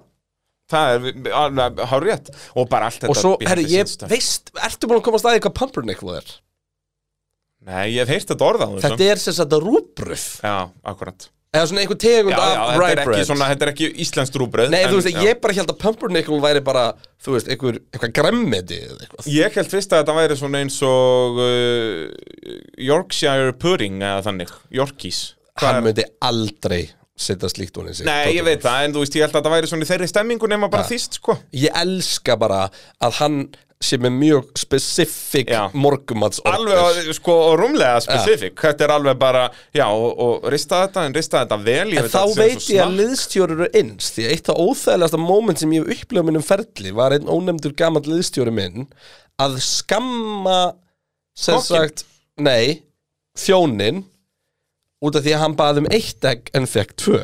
B: það er alveg hárétt og bara allt þetta
A: og svo, herru,
B: behind the
A: ég
B: scenes stuff.
A: veist ertu búin að komast að því hvað Pumpernickel er
B: Nei, ég hef heyrt þetta orðað
A: þetta er sem sagt að rúbröð
B: Já, akkurat
A: eða svona einhver tegund
B: Já, já,
A: af
B: þetta er
A: rye
B: ekki
A: bread
B: svona, þetta er ekki íslenskt rúbröð
A: Nei,
B: en-
A: þú veist,
B: já.
A: ég bara held að pumpernickel væri bara, þú veist, einhver, eitthvað gremmedi eða eitthvað
B: Ég held fyrst að þetta væri svona eins og uh, Yorkshire pudding eða þannig, Yorkies Hvað
A: Hann
B: er-
A: myndi aldrei setja slíkt hún í sig
B: Nei,
A: Tóti.
B: ég veit það, en þú veist, ég held að þetta væri svona í þeirri stemmingu nema bara þýst, sko
A: Ég elska bara að hann sé með mjög specific
B: Já.
A: morgumats
B: Alveg, sko, og rúmlega specifík Þetta er alveg bara, já, og, og rista þetta en rista þetta vel, ég
A: En þá
B: að þetta sé
A: veit
B: svo
A: ég að
B: smakk.
A: liðstjóri eru eins Því að eitt af óþægilegasta moment sem ég hef upplifað minnum ferli Var einn ónefndur gamall liðstjóri minn Að skamma Sem
B: Kokkinn?
A: sagt, nei Þjónin Út af því að hann baði um eitt egg en fekk tvö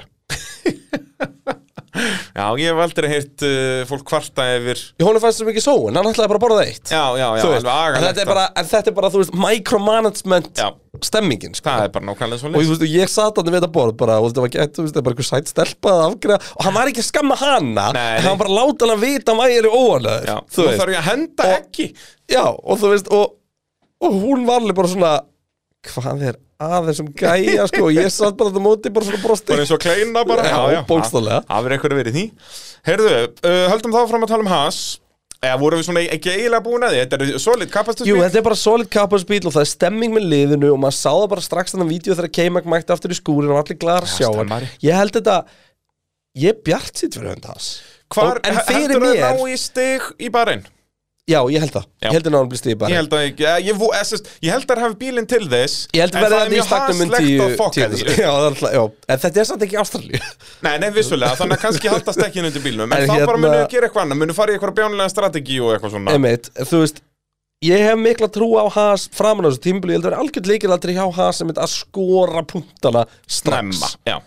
B: Já, ég hef aldrei heyrt uh, fólk kvarta yfir
A: Í honum fannst það mikið sóun, hann ætlaði bara að borða eitt
B: Já, já, já,
A: Þú
B: alveg
A: veist, en
B: agalegt sko.
A: þetta er bara, en þetta er bara, þú veist, micromanagement
B: Já.
A: stemmingin, sko
B: Það er bara nákvæmlega svo
A: og þú veist, ég satt hann við þetta borð bara og þetta var gett, þú veist, það er bara einhver sætt stelpa að afgreða og hann var ekki að skamma hana
B: Nei.
A: en hann bara láta hann að vita að væri
B: Já,
A: óanæður
B: nú þarf ég að henda
A: Og-
B: ekki
A: já, og þú veist, og, og hún var alveg bara svona hvað er að þessum gæja, sko og ég satt bara þetta móti bara svona brosti
B: bara eins og kleina bara
A: Já, bókstaflega.
B: Það verður eitthvað verið í því Heyrðu, uh, höldum þá fram að tala um Haas Eða vorum við svona e- ekki eiginlega búin að því Þetta er solid
A: Jú,
B: kapastusvík
A: þetta er bara solid kapparsbíl og það er stemming með liðinu og maður sá það bara strax þannig að vídeo þegar K-Mac mætti aftur í skúrin og allir glæðar að sjá hann
B: stemmari.
A: Ég held þetta, ég er bjart sitt fyrir hönda hans
B: Hvar
A: en fyrir
B: heldur að
A: mér-
B: ná í stig í barinn?
A: Já, ég held það,
B: Já.
A: ég held að náðan blir stíði
B: Ég
A: bara
B: held að ekki, ég, ég, vo- eða, sest, ég held að hafa bílinn til þess
A: Ég held
B: en
A: að verða
B: það er
A: þetta í
B: mjög
A: staknum um
B: haslegt
A: tíu,
B: að fokka
A: tíu,
B: þessu.
A: já, það er alltaf, já, en þetta er samt ekki ástralíu
B: Nei, nei, vissulega, þannig að kannski haldast ekki inn undir bílnum En
A: En
B: þá bara
A: hérna-
B: munu að gera eitthvað annað, munu fara í eitthvað bjánulega strategi og eitthvað svona
A: Einmitt, þú veist Ég hef mikla trú á Haas framan á þessu tímbili, ég held að vera algjörn leikilaldri hjá Haas sem að skora punktana strax
B: Snemma, já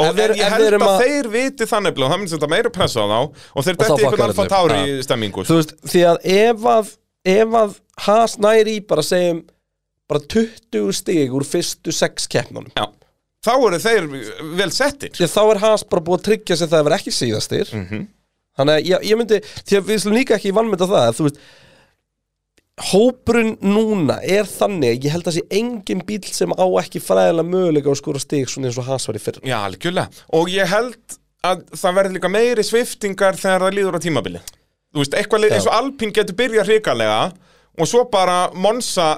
B: Og
A: Ef við-
B: en ég
A: ef við
B: held
A: erum
B: að,
A: að-
B: þeir viti þannig og það minnst þetta meira pressa á þá og þeir
A: þá
B: detti
A: fuckar
B: ykkur alfa
A: þetta upp,
B: tári í stemmingu sko.
A: þú veist, því að ef að ef að Haas næri í bara segjum bara 20 stig úr fyrstu 6 keppnunum
B: Já. Þá eru þeir vel settir
A: því að þá er Haas bara búið að tryggja sig það að vera ekki síðastir
B: Mhm.
A: -hmm. þannig að ég, ég myndi því að við slum líka ekki vannmynda það að þú veist hópurinn núna er þannig að ég held að sé engin bíl sem á ekki fræðilega möguleika á að skora stig svona eins og Haas var í fyrra
B: Já, algjörlega Og ég held að það verði líka meiri sviftingar þegar það líður á tímabili Þú veist, eitthvað lið, eins og Alpín getur byrjað hrikalega og svo bara Monsa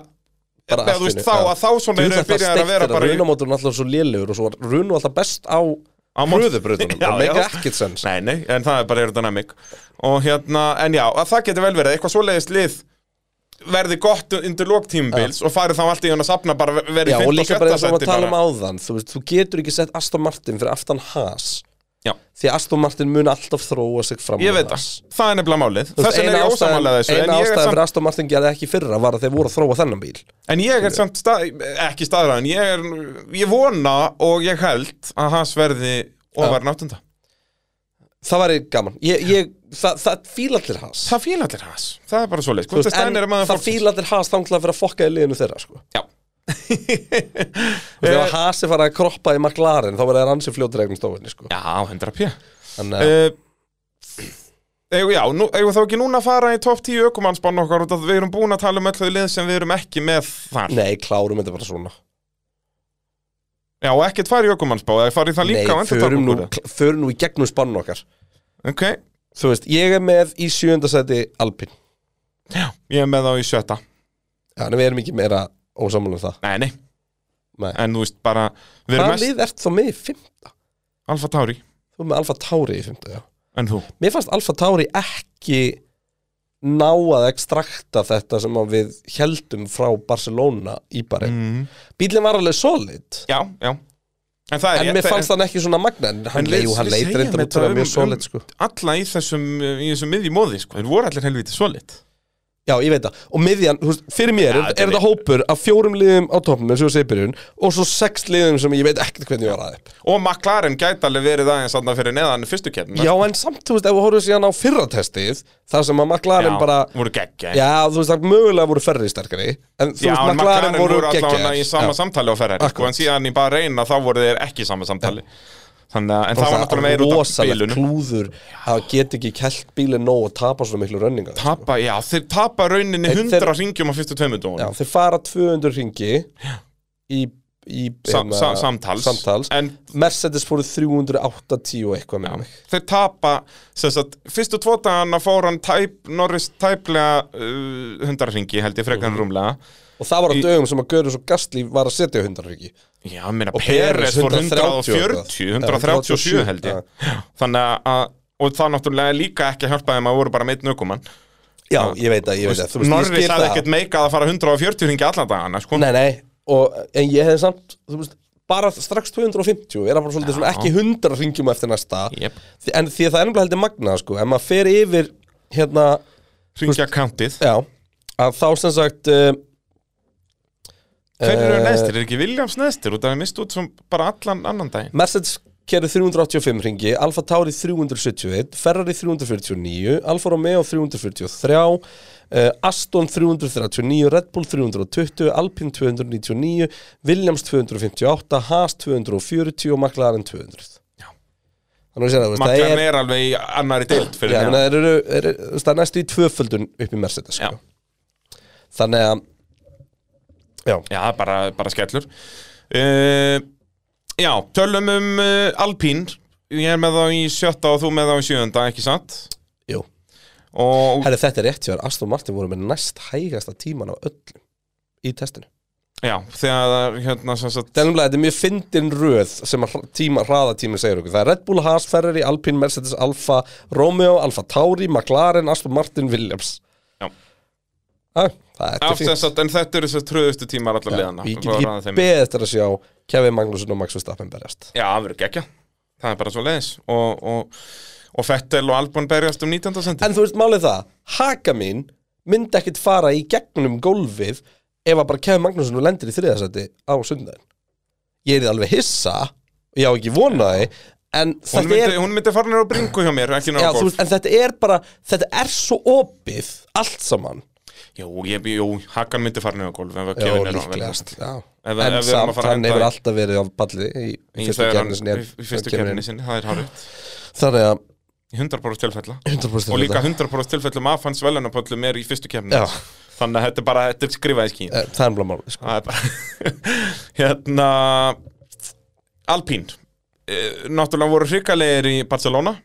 A: bara
B: eða þú veist, þá að þá svona eru byrjaðir að vera bara í-
A: runamóturinn alltaf svo lélugur og svo var runu alltaf best á
B: á Monza.
A: hröðubröðunum
B: Já,
A: það meikar
B: já.
A: ekkert sens
B: Nei, nei, en það er bara aerodynamic Og hérna, en já, að það getur vel verið Eitthvað svoleiðist lið verði gott undir lóktímubils og farið þá allt í hann að sapna bara verið
A: Já,
B: í
A: og
B: 15
A: líka bara eins og við
B: sæti bara.
A: talum áðan þú, veist, þú getur ekki sett Aston Martin fyrir aftan Haas
B: Já.
A: Því að Aston Martin mun alltaf þróa sig fram
B: Ég
A: úr
B: veit það,
A: Haas.
B: það er nefnilega
A: Þú
B: málið
A: veist,
B: Þess vegna er
A: eina
B: ég
A: ástæðan-
B: ósamálega þessu en
A: Eina
B: ég, er
A: ástæðan fyrir
B: samt,
A: Aston Martin gerði ekki í fyrra var að þeir voru að þróa þennan bíl
B: en ég er samt stað, ekki staðræðan ég, er, ég vona og ég held að hans verði ofar náttunda
A: Það væri gaman ég, ég, Það, það fíla allir Haas
B: Það fíla allir hans, það er bara svoleiðis Gunther
A: En
B: Steiner er maður
A: það
B: fólksins.
A: fíla allir Haas þanglað fyrir að fokka í liðinu þeirra sko.
B: Já.
A: Þegar eh. Haas er farið að kroppa í McLaren þá verða þeir ansið fljótur eigum stofinni sko.
B: Já, 100 pjö
A: Þannig að
B: uh, eigum, já, nú, eigum þá ekki núna að fara í topp 10 ökumannsbann okkar út af við erum búin að tala um öll þau lið sem við erum ekki með þar
A: Nei, klárum þetta bara svona
B: Já, og ekkert fara í ökumannsbá eða fara í það líka á
A: Nei, förum nú,
B: endurtakmörkunum.
A: förum nú í gegnum spann okkar
B: Ok,
A: Þú veist, ég er með í sjöndasæti Alpin
B: ég er með þá í sjötta
A: Já, en við erum ekki meira ósammála um það
B: Nei, nei,
A: Nei.
B: en þú veist bara við erum
A: Hvað
B: mest
A: lið ert þá með í fymta?
B: Alfa Tauri
A: Þú er með Alfa Tauri í fymta, já
B: En þú?
A: Mér fannst Alfa Tauri ekki ná að ekstrakta þetta sem að við heldum frá Barcelona í bara
B: Mm.
A: Bílinn var alveg solid
B: Já, já En það er
A: En mér fannst hann ekki svona magna En hann,
B: við-
A: leið, jú, hann
B: við
A: leitir
B: segjum
A: enda
B: þetta
A: út að vera
B: um-
A: mjög solid sko.
B: um Alla í þessum, eh, í þessum miðjumóði sko. Þeir voru allir helviti solid
A: Já, ég veit það Og miðjan, þú veist, fyrir mér
B: Já,
A: er,
B: þetta er
A: er þetta hópur af fjórum liðum á toppnum eins og ég segi í byrjun og svo sex liðum sem ég veit ekkert hvernig ég var aðeins
B: Og McLaren gæti alveg verið aðeins þarna fyrir neðan í fyrstu keppnum
A: Já, en samt, þú veist, ef við horfum síðan á fyrra testið þar sem að McLaren bara
B: voru geggja
A: Já, þú veist, það mögulega voru færri sterkari En þú
B: Já,
A: veist,
B: en
A: McLaren voru
B: allavega
A: geggjaðir
B: í sama
A: Já.
B: samtali á Ferrari sko,
A: Akkurat.
B: en síðan í bara reyna þá voru þeir ekki í sama samtali Þannig að, en það
A: Það
B: var náttúrulega meira út af
A: rosalegt
B: bílunum
A: klúður sko. að get ekki kelt bílinn nóg og tapa svona miklu rönninga
B: Tapa, já, þeir tapa rauninni
A: Þeir-
B: 100 ringjum á fyrstu tveimur
A: Já,
B: dónum
A: þeir fara 200 ringi í í
B: Sam,
A: hérna,
B: sam, samtals.
A: samtals.
B: En
A: Mercedes fóru 380 og eitthvað með mig
B: þeir tapa sem sagt, fyrstu tvo dagana fór hann tæp, Norris tæplega uh, hundarringi held ég
A: Mhm.
B: frekar en rúmlega
A: og það var á
B: Í-
A: dögum sem að Görus og Gastli var að setja hundarriki
B: Já, minna,
A: Og
B: Peres
A: Perez
B: fór
A: 130 og
B: 140,
A: eitthvað.
B: 137 held
A: Ja.
B: ég Já, Þannig að, og það náttúrulega líka ekki að hjálpa þeim að voru bara meitt nökumann
A: Já, ég veit að, ég veit að þú veist, ég
B: Norris
A: skil
B: hafði
A: það.
B: ekkert meikað að fara 140 ringi allan dagana sko.
A: Nei, nei, og, en ég hefði samt þú veist, bara strax 250 er það bara svolítið svona ekki 100 ringjum eftir næsta
B: Jep.
A: Því- en því að það er ennlega heldur magna sko, ef maður fer yfir hérna,
B: Ringja kantið
A: já að þá sem sagt uh,
B: Hver eru
A: Eh,
B: næstir? Er ekki Williams næstir? Út af að mist út sem bara allan annan daginn
A: Mercedes kerði 385 ringi Alfa Tauri 371 Ferrari 349, Alfa Romeo 343 uh, Aston 339, Red Bull 320 Alpine 299 Williams 258, Haas 240 og McLaren 200
B: Já.
A: Þannig að sér það, þú veist, það
B: Maklan
A: er,
B: er alveg í annari deild
A: já,
B: fyrir
A: ég
B: mér
A: meina, þeir eru, er, það er næstu í tvöföldun upp í Mercedes
B: Já.
A: sko. Þannig að Já,
B: Já, bara, bara skellur uh, Já, tölum um uh, Alpín Ég er með þá í sjötta og þú með þá í sjöunda, ekki satt?
A: jú
B: Og,
A: Herri, þetta er rétt hjá þér. Aston Martin voru með næst hægasta tíman af öllum í testinu
B: já, þegar það, hérna, sem sagt
A: Það er nefnilega, þetta er mjög fyndin röð sem að hra- tíma, hraðatími segir okkur. Það er Red Bull, Haas, Ferrari, Alpine, Mercedes, Alfa, Romeo, Alfa Tauri, McLaren, Aston Martin, Williams.
B: Já.
A: Æ, það er
B: Af
A: fínt.
B: þess að, en þetta eru þess að tröðustu tímar allar leðana
A: Ég get ekki beðið eftir að sjá Kevin Magnússon og Max Verstappen berjast.
B: Já, það verður gekkja Það er bara svo leiðis Og, og, og Fettel og Albon berjast um 19. sendi
A: En þú veist málið það, haka mín myndi ekkit fara í gegnum gólfið ef að bara Kevin Magnússon lendir í þriðasæti á sundaginn. Ég er alveg hissa, ég á ekki vonaði, en
B: Hún
A: þetta er
B: myndi, hún myndi fara nýra á bringu hjá mér, ekki
A: Já,
B: nýra á
A: þú
B: golf
A: veist, en þetta er bara, þetta er svo opið allt saman
B: Jú, ég, jú, Hakan myndi fara nýra á golf Ef
A: Já,
B: að Kevin er á
A: líklegast já.
B: Ef- ef
A: En
B: við erum að
A: samt,
B: fara
A: hann
B: að henda
A: hefur
B: í-
A: alltaf verið á palli í, í
B: Í
A: fyrstu
B: þegar hann-
A: kemni sinni
B: í- í fyrstu kemni sinni, það er hárið
A: Þannig að,
B: 100% tilfella
A: 100%
B: og líka
A: þetta.
B: 100% tilfellum af hans velunapöllum er í fyrstu kemni
A: Já.
B: þannig að þetta er bara þetta er skrifað í skín
A: Eh, Það er bara mál sko.
B: Það er bara hérna Alpín Eh, náttúrulega voru hrikalegir í Barcelona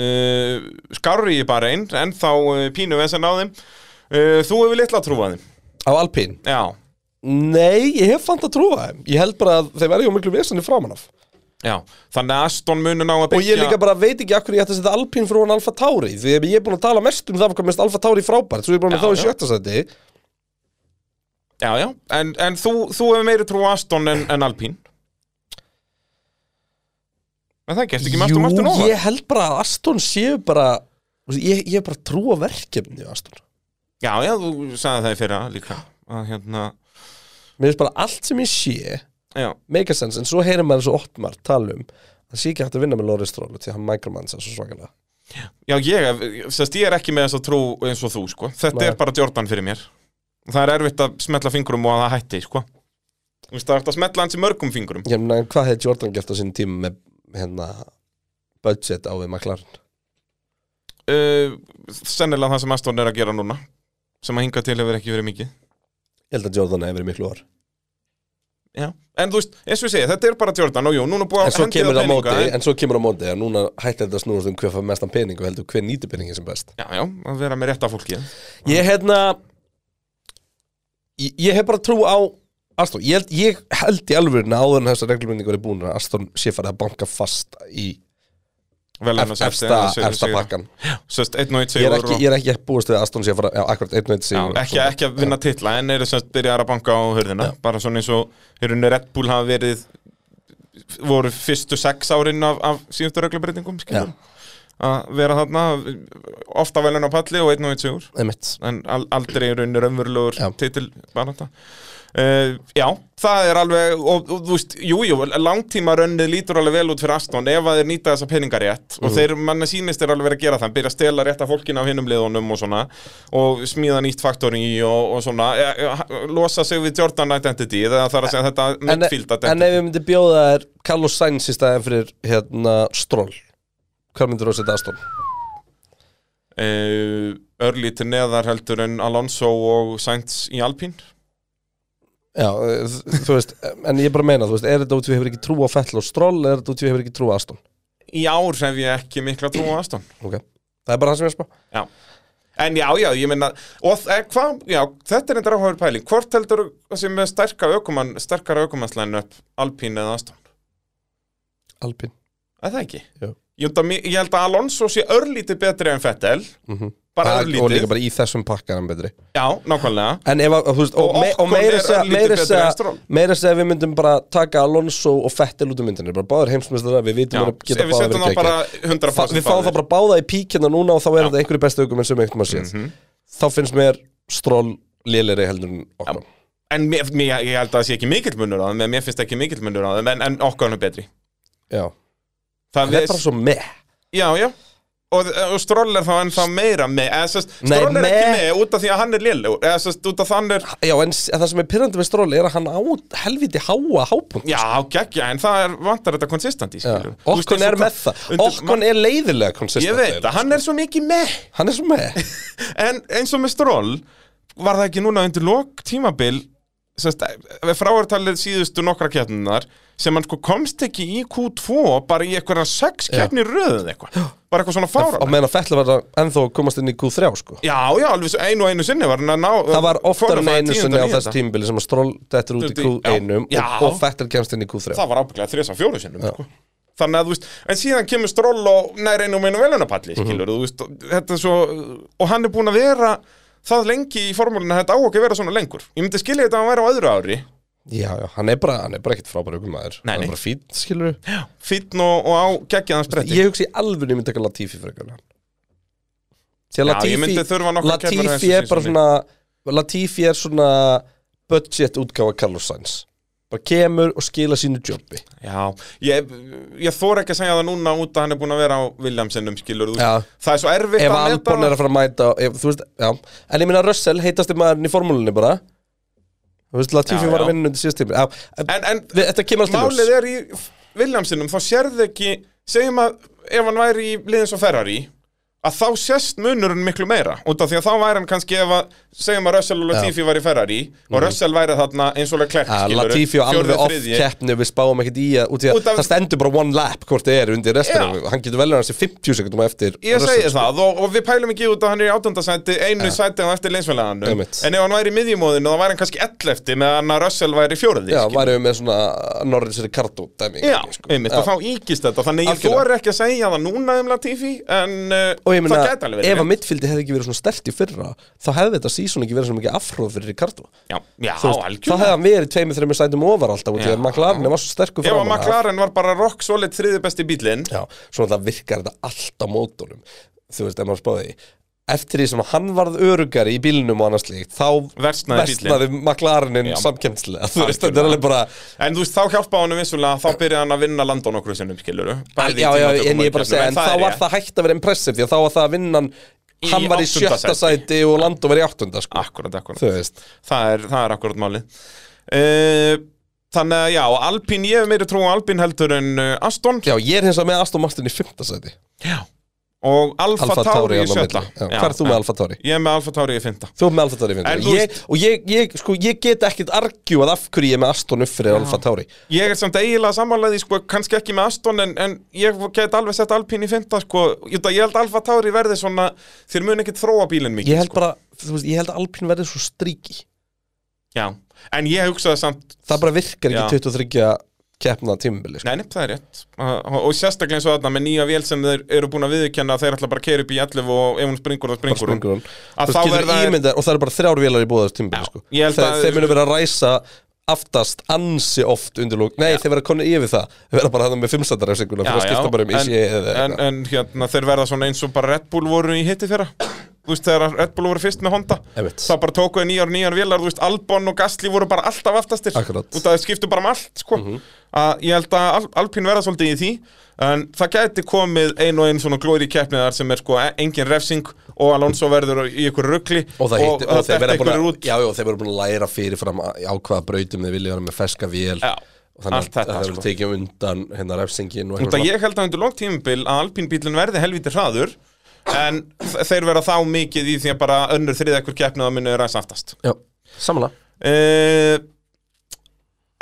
B: uh, skarri í bara einn en þá pínu vesen á þeim uh, þú hefur litla trúaði
A: Á Alpín
B: já,
A: Nei, ég hef fant að trúa þeim Ég held bara að þeir verði á miklu vesinni framan af
B: já þannig að Aston munu ná að
A: Og ég
B: byggja
A: líka bara veit ekki akkur ég ætti að setja Alpín frá hann Alfa Tauri Því að ég er búin að tala mest um það hvað mest Alfa Tauri frábært Svo ég er búin
B: Já,
A: að þá í
B: já.
A: sjötta seti
B: já, já. en, en þú, þú hefur meiri trú á Aston en, en Alpín en það gerst ekki með Aston Martin
A: Jú,
B: ofar
A: ég held bara að Aston séu bara þú veist, Ég ég er bara að trúa verkefni á Aston
B: Já, já, þú sagði það í fyrra líka að hérna,
A: Mér finnst bara allt sem ég sé
B: já,
A: make a sense, en svo heyrir maður eins og Ottmar tala um að sé ekki hægt að vinna með Loris Stroll því að hann micromansa svo svakalega
B: já ég, sérst, ég er ekki með þess að trú eins og þú, sko þetta
A: Nei.
B: er bara Jordan fyrir mér það er erfitt að smetla fingrum og að það hætti, sko þú veist, það er hægt að smetla hans í mörgum fingrum
A: Ég meina, en hvað hefði Jordan gert á sínum tíma með hérna budget á við McLaren?
B: uh, sennilega það sem Aston er að gera núna sem að hinga til hefur ekki verið mikið
A: Ég held að Jordan hefði verið miklu orð
B: já. en þú veist, eins og ég segi, þetta er bara Jordan og jú, núna er búið
A: en svo,
B: hendi
A: kemur á
B: peninga, eh?
A: móti,
B: en-
A: en svo kemur á móti að núna hætti þetta að snúast um hver fær mestan pening og heldur hver nýtir peningin sem best
B: já, já, að vera með rétta fólki
A: Ég hérna Ég, ég hef bara trú á Aston, ég held, ég held í alvörinu áður en þessar reglumyndingur er búin að Aston sé farið að banka fast í
B: vel hann að
A: efsta, efsta pakkan
B: sérst, einn og
A: ég
B: einn
A: er,
B: sigur
A: ekki,
B: og-
A: ég er ekki búist við að Aston sé að fara Já, akkurat, einn veit
B: Já,
A: sigur
B: ekki, ekki að vinna titla en eru semst byrjar að banka á hörðina bara svona eins og í rauninni Red Bull hafa verið voru fyrstu sex árin af, af síðustu reglubreitingum skilur. að vera þarna ofta velun á palli og einn og einn sigur
A: Einmitt
B: en al aldrei í rauninni raunverulegur
A: Já.
B: titil barata Uh, já, það er alveg og, og þú veist, jú, jú, langtíma rönnið lítur alveg vel út fyrir Aston ef að þeir nýta þessa peningar rétt
A: Mhm.
B: og þeir manna sýnist er alveg verið að gera það, byrja að stela rétta fólkin af hinnum liðunum og svona og smíða nýtt faktori í og, og svona e, e, losa sig við Jordan identity eða það er að segja þetta
A: En,
B: midfield
A: en
B: identity
A: ef við myndi bjóða þær Carlos Sainz í staðin fyrir hérna Stroll Hvað myndir þú að setja Aston?
B: Eh, uh, örlítur neðar heldur en Alonso og Sainz í Alpine
A: Já, eh, þú veist, en ég bara meina, þú veist, er þetta út við hefur ekki trú á Fettel og Stroll, eða er þetta út við hefur ekki trú á Aston?
B: Í ár hef ég ekki mikla trú á Aston
A: Ok, það er bara það sem ég er að spá.
B: Já En já, já, ég meina, og e, hvað, já, þetta er eitthvað áhugur pæling. Hvort heldur sem með sterka aukumann, sterkara aukumannslæn upp Alpín eða Aston?
A: Alpín.
B: Er það ekki?
A: Jú.
B: Ég held, að, mi- ég held að Alonso sé örlítið betri en Fettel,
A: Mhm.
B: bara
A: Það- Og
B: örlítið.
A: líka bara í þessum pakkanum betri.
B: Já, nákvæmlega.
A: En ef að, þú veist, og,
B: Og
A: me, og
B: Ocon
A: meira
B: er
A: segja,
B: örlítið
A: meira
B: betri en
A: segja,
B: Stroll.
A: meira segja að við myndum bara taka Alonso og Fettel út um myndinni, bara báður heimsmyndstara, við
B: Já,
A: vitum að
B: ef
A: geta
B: við
A: báður
B: setjum
A: verið
B: það
A: ekki.
B: bara 100%
A: Fa- Við fáum
B: báðir.
A: það bara báða í píkina núna og þá er þetta einhverju bestu aukum en sem einhverjum að séð.
B: Mhm.
A: Þá finnst mér Stroll lélegri heldur en okkur.
B: En mér, mér, ég held að það sé ekki mikill munur á þeim, en mér finnst ekki mikill munur á þeim, en, en okkur hann er betri.
A: Já. Það
B: Það
A: er
B: við-
A: bara svo með.
B: Já, já. Og, eh, og Stroll er þá ennþá meira með, eða sérst,
A: Nei,
B: Stroll er ekki
A: með-
B: með út af því að hann er lélegur, eða sérst, út af þann er,
A: Já, en s- það sem er pyrrandi með Stroll er að hann á helviti háa hápunkt.
B: já, geggja, en það er, vantar þetta konsistenti, skilju.
A: Okkon er með það. Okkon er leiðilega konsistent.
B: Ég veit það, hann er svo mikið með,
A: Hann er svo með.
B: en eins og með Stroll, var það ekki núna undir lok tímabil, sérst, við fráartalið síðustu nokkra keppnunar, sem hann sko komst ekki í Q2, bara í eitthvað sex keppni röðuð eitthvað, bara eitthvað svona fára.
A: Á meðan að Fettla var það ennþá að komast inn í Q3, sko.
B: Já, já, alveg svo einu og einu sinni var hann að ná
A: Það var oftar en
B: Qualify
A: einu
B: 10.
A: sinni á
B: níunda.
A: þessu tímubili sem að Stroll dettur út í
B: Þetta í-
A: Q1 og,
B: já.
A: og Fettel kemst inn í Q3.
B: Það var ábygglega þrjus af fjóru sinnum sko. Þannig að þú veist, en síðan kemur stról og nær einu og einu velunapalli
A: Mhm.
B: skilur, þú veist, og þetta er svo og hann er búin að vera það lengi í formúlinu að þetta á ekki að vera svona lengur Ég myndi skilja þetta að hann væri á öðru ári
A: Já, já, hann er bara, hann er bara ekkert frábæri okkur maður.
B: Nei,
A: Hann
B: nei.
A: er bara fín, skilur við.
B: fýtn og, og á geggjaðan spretti
A: Ég hugsi alveg ég myndi taka Latifi frekar. en hann. Því að
B: Já, ég myndi
A: Latifi,
B: þurfa nokkra keppnir á þessu
A: Latifi er bara
B: sísoni.
A: svona, Latifi er svona budget útgáfa Carlos Sainz. Bara kemur og skila sínu jobbi.
B: Já, ég, ég þor ekki að segja það núna út að hann er búin að vera á Williamsinnum skilur, þú veist, það er svo erfitt
A: ef
B: að meta
A: Albon er að fara að mæta ef, þú veist, já, en ég minna Russell heitast í maðurinn í formúlunni bara þú veist, Latifi
B: Já,
A: var að
B: já.
A: vinna undir síðast tími já, en,
B: en, en
A: við, þetta kemur alltaf
B: Málið er í Williamsinum, þá sérðu ekki segjum að ef hann væri í liðins og Ferrari að þá sérst munurinn miklu meira út af því að þá væri hann kannski ef að segjum að Russell og Latifi væri í Ferrari og Russell væri þarna eins og Leclerc
A: Mhm. Já,
B: skilurðu,
A: Ah, Latifi og
B: fjórði,
A: alveg off
B: þriðji.
A: keppni við spáum ekkert í að, út í að
B: Út af-
A: það stendur bara one lap hvort þið er undir restina
B: Já.
A: hann getur velur hans í 50 sekundum á eftir
B: Ég
A: Russell,
B: segi
A: sko.
B: það og, og við pælum ekki út að hann er í áttundasæti einu sæti á eftir leinsfélaganu en
A: Einmitt.
B: ef hann væri í miðjumóðinu þá væri hann kannski 11 meðan að Russell væri í fjóraði
A: já, væri við með svona Norris Ricardo dæmi
B: Já,
A: sko.
B: einmitt, og þá íkist þetta Þannig ég
A: Algjörlega.
B: þor ekki að segja það núna um Latifi En uh,
A: og ég
B: það
A: meina,
B: gæti alveg verið
A: ef að
B: rétt.
A: midfildi hefði ekki verið svona stert í fyrra þá hefði þetta season ekki verið svona mikið afhróð fyrir Ricardo
B: Já, já
A: Þú veist, þá
B: algjörlega
A: hefði hann verið tveimur, þreimur sætum ofar alltaf út í
B: Já.
A: að McLaren var svo sterkur
B: Já,
A: framan
B: og
A: af.
B: McLaren var bara rock solid þriði besti bílinn
A: Já, svona það virkar þetta allt á mótunum Þú veist, ef maður spáði því. Eftir því sem hann varð örugari í bílnum og annars líkt Þá
B: Versnaði
A: versnaði McLareninn
B: Já.
A: samkemslega Þú veist,
B: Algjörlega.
A: þetta er alveg bara
B: En þú veist, þá hjálpa honum vissulega Þá byrjaði hann að vinna landa á nokkru sinnum, skiluru
A: Já, já, en ég er bara að segja En þá var það hægt að vera impressive Því að þá var það að vinnan
B: Í
A: Hann var í
B: áttunda
A: sjötta
B: sæti. Ah.
A: sæti og Lando var í áttunda sko.
B: Akkurat, akkurat
A: Þú veist
B: það, er, það er akkurat málið uh, Þannig að já, Alpín, ég hef meiri trú á Alpín heldur en uh, Aston
A: Já, ég er hins vegar með Aston Martin í fymta sæti
B: Já. Og Alfa,
A: Alfa Tauri
B: Tauri í
A: hann á milli.
B: sjötta
A: Já, Hvað er þú með
B: en-
A: Alfa Tauri?
B: Ég er með Alfa Tauri í fynda
A: Þú ert með Alfa Tauri í
B: En
A: fymta
B: þú
A: Ég- Og ég, ég, sko, ég get ekkit argjúað af hverju ég er með Aston upp fyrir Alfa Tauri
B: Ég er samt eiginlega sammálaði, sko, kannski ekki með Aston en, en ég get alveg sett Alpín í fynda, sko Ég ég held Alfa Tauri verði svona Þeir mun ekkit þróa bílinn mikið sko.
A: Ég held bara, þú veist, ég held að Alpín verði svo stríki
B: Já, en ég hugsaði samt
A: Það bara virkar
B: Já.
A: ekki 23 keppna tímubili sko.
B: Nei, nefn, það er rétt Uh, og, og sérstaklega eins og þarna með nýja vél sem þeir eru búin að viðurkenna að þeir ætla bara að keira upp í 11 og ef hún springur þá springur hún
A: Springur hún.
B: Að
A: Þú
B: þá
A: veist, getur
B: verða-
A: ímyndað- Og það eru bara þrjár vélar í búðast tímubili
B: Já,
A: sko.
B: ég held
A: Þe,
B: að-
A: Þeir munu vera að ræsa aftast ansi oft undir lók Nei, þeir vera konu yfir það Þeir vera bara hann með fimmstættar ef seguna Fyrir að skipta bara um
B: en,
A: ICE eða
B: en,
A: eitthvað.
B: en hérna, þeir verða svona eins og bara Red Bull voru í hitti þeirra Þú veist, þegar Red Bull voru fyrst með Honda
A: Einmitt.
B: Það bara tókuði nýjar og nýjar vélar, þú veist, Albon og Gasly voru bara alltaf aftastir
A: Akkurat. Mhm.
B: Út að þeir skiptu bara um allt, sko að, Ég held að Al Alpín verða svolítið í því En það gæti komið ein og ein svona glóri keppniðar sem er sko e- engin refsing og Alonso verður í ykkur rugli
A: Og, það hitti- og þeir
B: þetta
A: vera búin
B: einhverjir
A: að-
B: út
A: já, já, þeir vera búin að læra fyrirfram að- á hvaða brautum þeir vilja vera með feska vél
B: Já,
A: og þannig
B: allt
A: að
B: þetta,
A: það verður
B: sko.
A: tekið undan hérna refsingin og
B: Út að
A: eitthvað
B: ég held að undir langt tímabil að alpínbílinn verði helviti hraður en þ- þeir verða þá mikið í því að bara önnur þriða ekkur keppnið að munið ræs aftast
A: svona. Já, samanlega
B: uh,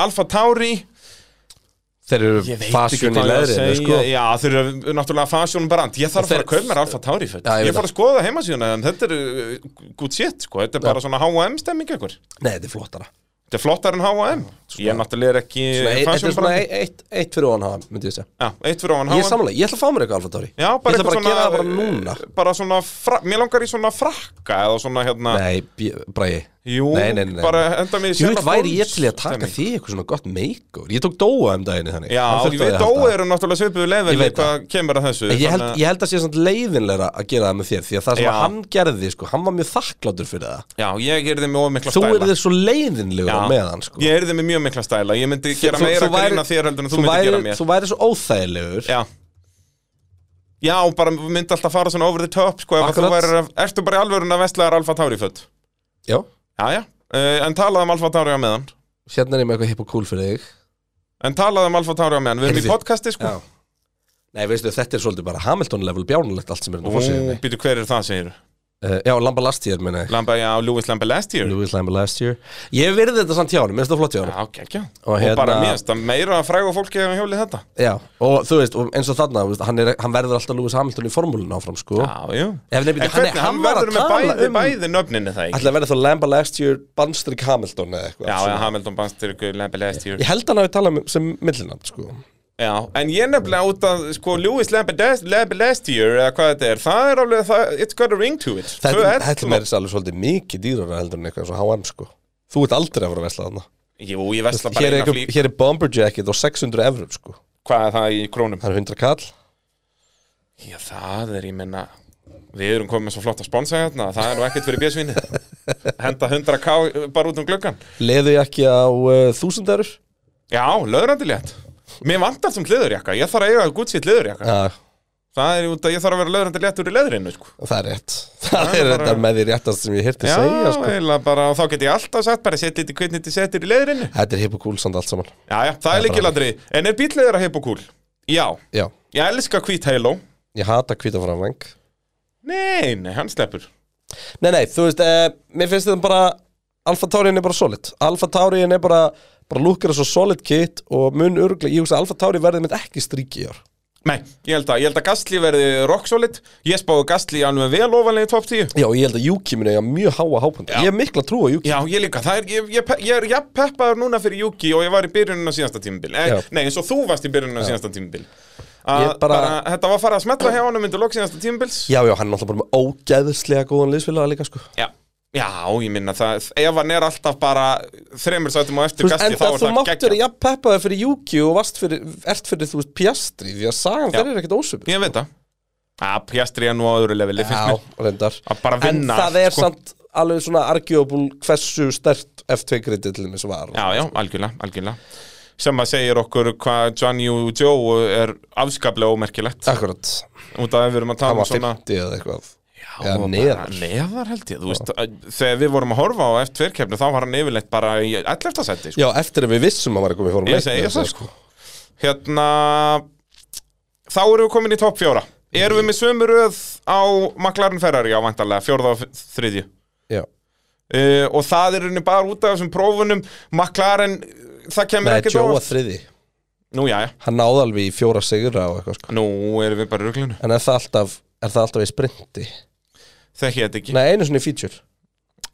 B: Alfa Tauri
A: Þeir eru fasjón í leðrinu sko.
B: Já, þeir eru náttúrulega fasjón brand Ég þarf að fara
A: Þeir-
B: að kaupa mér Alfa Tauri föt.
A: Já, ég veit
B: Ég fór að skoða heimasíðuna en þetta er uh, good shit sko. Þetta er bara svona H&M stemming ekkur
A: Nei, þetta er flottara
B: Þetta er flottar en H&M Ég náttúrulega er ekki
A: Nei, Þetta er
B: fashion
A: svona
B: brand
A: eitt, eitt, eitt fyrir ofan hann, myndi ég segja
B: Já, eitt fyrir ofan
A: Ég er
B: H&M
A: samlega, ég ætla að fá mér eitthvað Alfa Tauri
B: Já,
A: Ég
B: bara
A: ætla bara að
B: eitthvað
A: gera það bara
B: svona,
A: núna
B: eh, bara svona fra, Mér langar í svona frakka eða svona hérna
A: Nei, bj- Bragi
B: Jú,
A: Nei, nei, nei, nei.
B: bara enda mig í
A: Jú,
B: Sherlock
A: væri ég
B: Holmes
A: til í að taka
B: stemming.
A: þig eitthvað svona gott makeover Ég tók dóa um daginn í þannig
B: Já,
A: Hann
B: ég
A: þurfti á því
B: veit
A: að halda.
B: Dói eru náttúrulega svipuðu
A: Ég
B: level
A: veit
B: hvað kemur að þessu
A: En Ég held,
B: þannig að-
A: ég held að sé samt leiðinleira að gera það með þér Því að það sem
B: Já.
A: að hann gerði, sko, hann var mjög þakkláttur fyrir það
B: Já, ég er þeim mjög mikla
A: Þú
B: stæla
A: er þið svo leiðinlegur
B: Já.
A: með hann, sko
B: Ég er þið með mjög mikla stæla, ég myndi gera
A: Þú-
B: meira
A: þú væri-
B: grína þér heldur en þú, myndi
A: væri,
B: gera mér
A: Þú væri svo óþægilegur
B: Já Já, bara myndi alltaf fara svona over the top sko, ef að þú
A: Akkurat.
B: væri, Ertu bara í alvörun að vestlaðar Alfa Tauri föt?
A: Já,
B: Já, já, uh, en talaðu um Alfa Tauri á meðan
A: hérna er ég með eitthvað hipp og cool fyrir þig
B: En talaðu um Alfa Tauri á meðan, við erum í
A: Heyrðu.
B: podcasti sko
A: Já Nei, veistu, þetta er svolítið bara Hamilton level bjánulegt allt sem er hérna nú fórsíðinni
B: Býtu, hver er það, segir
A: uh, Já, Lamba last year, minna
B: Lamba, já, Lewis Lamba last year
A: Lewis Lamba last year Ég virði þetta samt hjá hann, minnst það flott hjá hann
B: Já, ok, ekki
A: Og
B: Og,
A: hérna-
B: bara mér, finnst það meira að fræga fólki hefum hjólið þetta
A: Já, og þú veist, og eins og þarna þú veist, hann, er, hann verður alltaf Lewis Hamilton í formúlun áfram, sko
B: Já, jú
A: Ef nefnir, hann,
B: En
A: hann,
B: hvernig, hann
A: hann var að
B: verður með
A: tala
B: bæði,
A: um
B: bæði nöfninni það ekki
A: Ætli að verða þá Lamba last year Banstrik Hamilton eða eitthvað
B: Já,
A: svona.
B: já, Hamilton Banstyrku, Lamba last year
A: Ég held hann hafi talað um sem millinand, sko
B: Já, en ég nefnilega út að sko Lewis Lamba last year eða hvað þetta er, það er alveg það, it's got a ring to it
A: Þetta
B: Tvö
A: er-
B: ell-
A: þetta er mér alveg svolítið mikið dýrar heldur en eitthvað eins og H&M, sko Þú ert aldrei að fara að vesla þarna
B: Jú, ég vesla bara
A: Hér er,
B: eina
A: einhver,
B: flýk
A: hér er bomber jacket og 600 evrum, sko
B: Hvað er það í krónum?
A: Það er 100 kall
B: Já, það er, ég menna Við erum komið með svo flott að sponsa hérna Það er nú ekkert fyrir björsvinni Henda 100k bara út um glöggan
A: Leðu jakki á uh, 1000 eurur
B: Já, löðrandi létt Mér vantar sem leðurjakka, ég þarf að eiga gútsýtt leðurjakka
A: Já,
B: Það er út að ég þarf að vera löðrandi létt úr í leðrinu sko.
A: það er rétt Það er þetta með því réttast sem ég hirti
B: Já,
A: segja, sko
B: eiginlega bara, og þá get ég alltaf sagt bara setja lítið hvernig þið setjir í leðrinu
A: Þetta er hipp og cool samt allt saman
B: Já, já, það er líkilandri En er bílleður að heipa kúl? Já,
A: Já,
B: ég elska hvít heiló
A: ég hata hvíta framvæng
B: Nei, nei, hann sleppur
A: Nei, nei, þú veist, eh, mér finnst þetta bara Alfa Taurin er bara solid Alfa Taurin er bara, bara lúkir að svo solid kit og mun örglega, ég hugsa að Alfa Taurin verði mitt ekki stríki í ár
B: Nei, ég held að, ég held að Gastli verði rock solid Ég spáði Gastli alveg vel ofanlega í top 10
A: Já, og ég held að Juki muni eiga mjög háa hápandi Ég hef mikla trú á Juki
B: Já, ég líka, það er, ég, ég, pe- ég er jafn peppaður núna fyrir Juki og ég var í byrjunum á síðasta tímabil e,
A: Já.
B: Nei, eins og þú varst í byrjunum á síðasta tímabil að
A: Ég bara-
B: bara... Þetta var farið að smetla hjá honum undir lok síðasta tímabils
A: Já, já, hann er alltaf bara með ógeðslega góðan liðsfélaga líka, sko
B: Já, já ég minna það Ef hann er alltaf bara þreymur sætum og
A: Þú
B: eftir
A: veist,
B: Gastli
A: en
B: þá
A: það
B: er
A: þú
B: það
A: máttur
B: geggjað
A: að jafn peppaði fyrir Juki og varst fyrir, ert fyrir, þú veist, Piastri Því að sagan
B: Já.
A: þeir eru ekkert ósöp
B: Ég veit það Já, Piastri er nú á öðru leveli finnst
A: Já,
B: mér.
A: reyndar
B: Að bara
A: En
B: vinna
A: það
B: allt,
A: er
B: sko.
A: samt alveg svona arguable hversu stert F2 kredið til þess var
B: Já, já, algjörlega, algjörlega sem að segir okkur hvað John Yu Joe er afskaplega ómerkilegt
A: Akkurat,
B: út af að við erum að
A: hann
B: tala um
A: var
B: svona
A: 50 eða eitthvað
B: Já,
A: eða
B: bara
A: neðar.
B: neðar held ég, þú veist að, þegar við vorum að horfa á F2-kefni þá var hann yfirleitt bara í 11. seti sko.
A: Já, eftir að við vissum að maður er komið í form
B: Ég segi það sko Hérna Þá erum við komin í topp fjóra Erum við með sömu röð á McLaren Ferrari á vantarlega, fjórða og þriðju
A: Já,
B: uh, og það er henni bara út af þessum prófunum McLaren, það kemur
A: með
B: ekkert
A: Joe
B: á
A: að þriði
B: Nú, já, já,
A: Hann náði alveg í fjóra sigra og eitthvað sko
B: nú erum við bara í ruglunu
A: En er það alltaf, er það alltaf í sprinti?
B: Þekki ég þetta ekki
A: Nei, einu svona í feature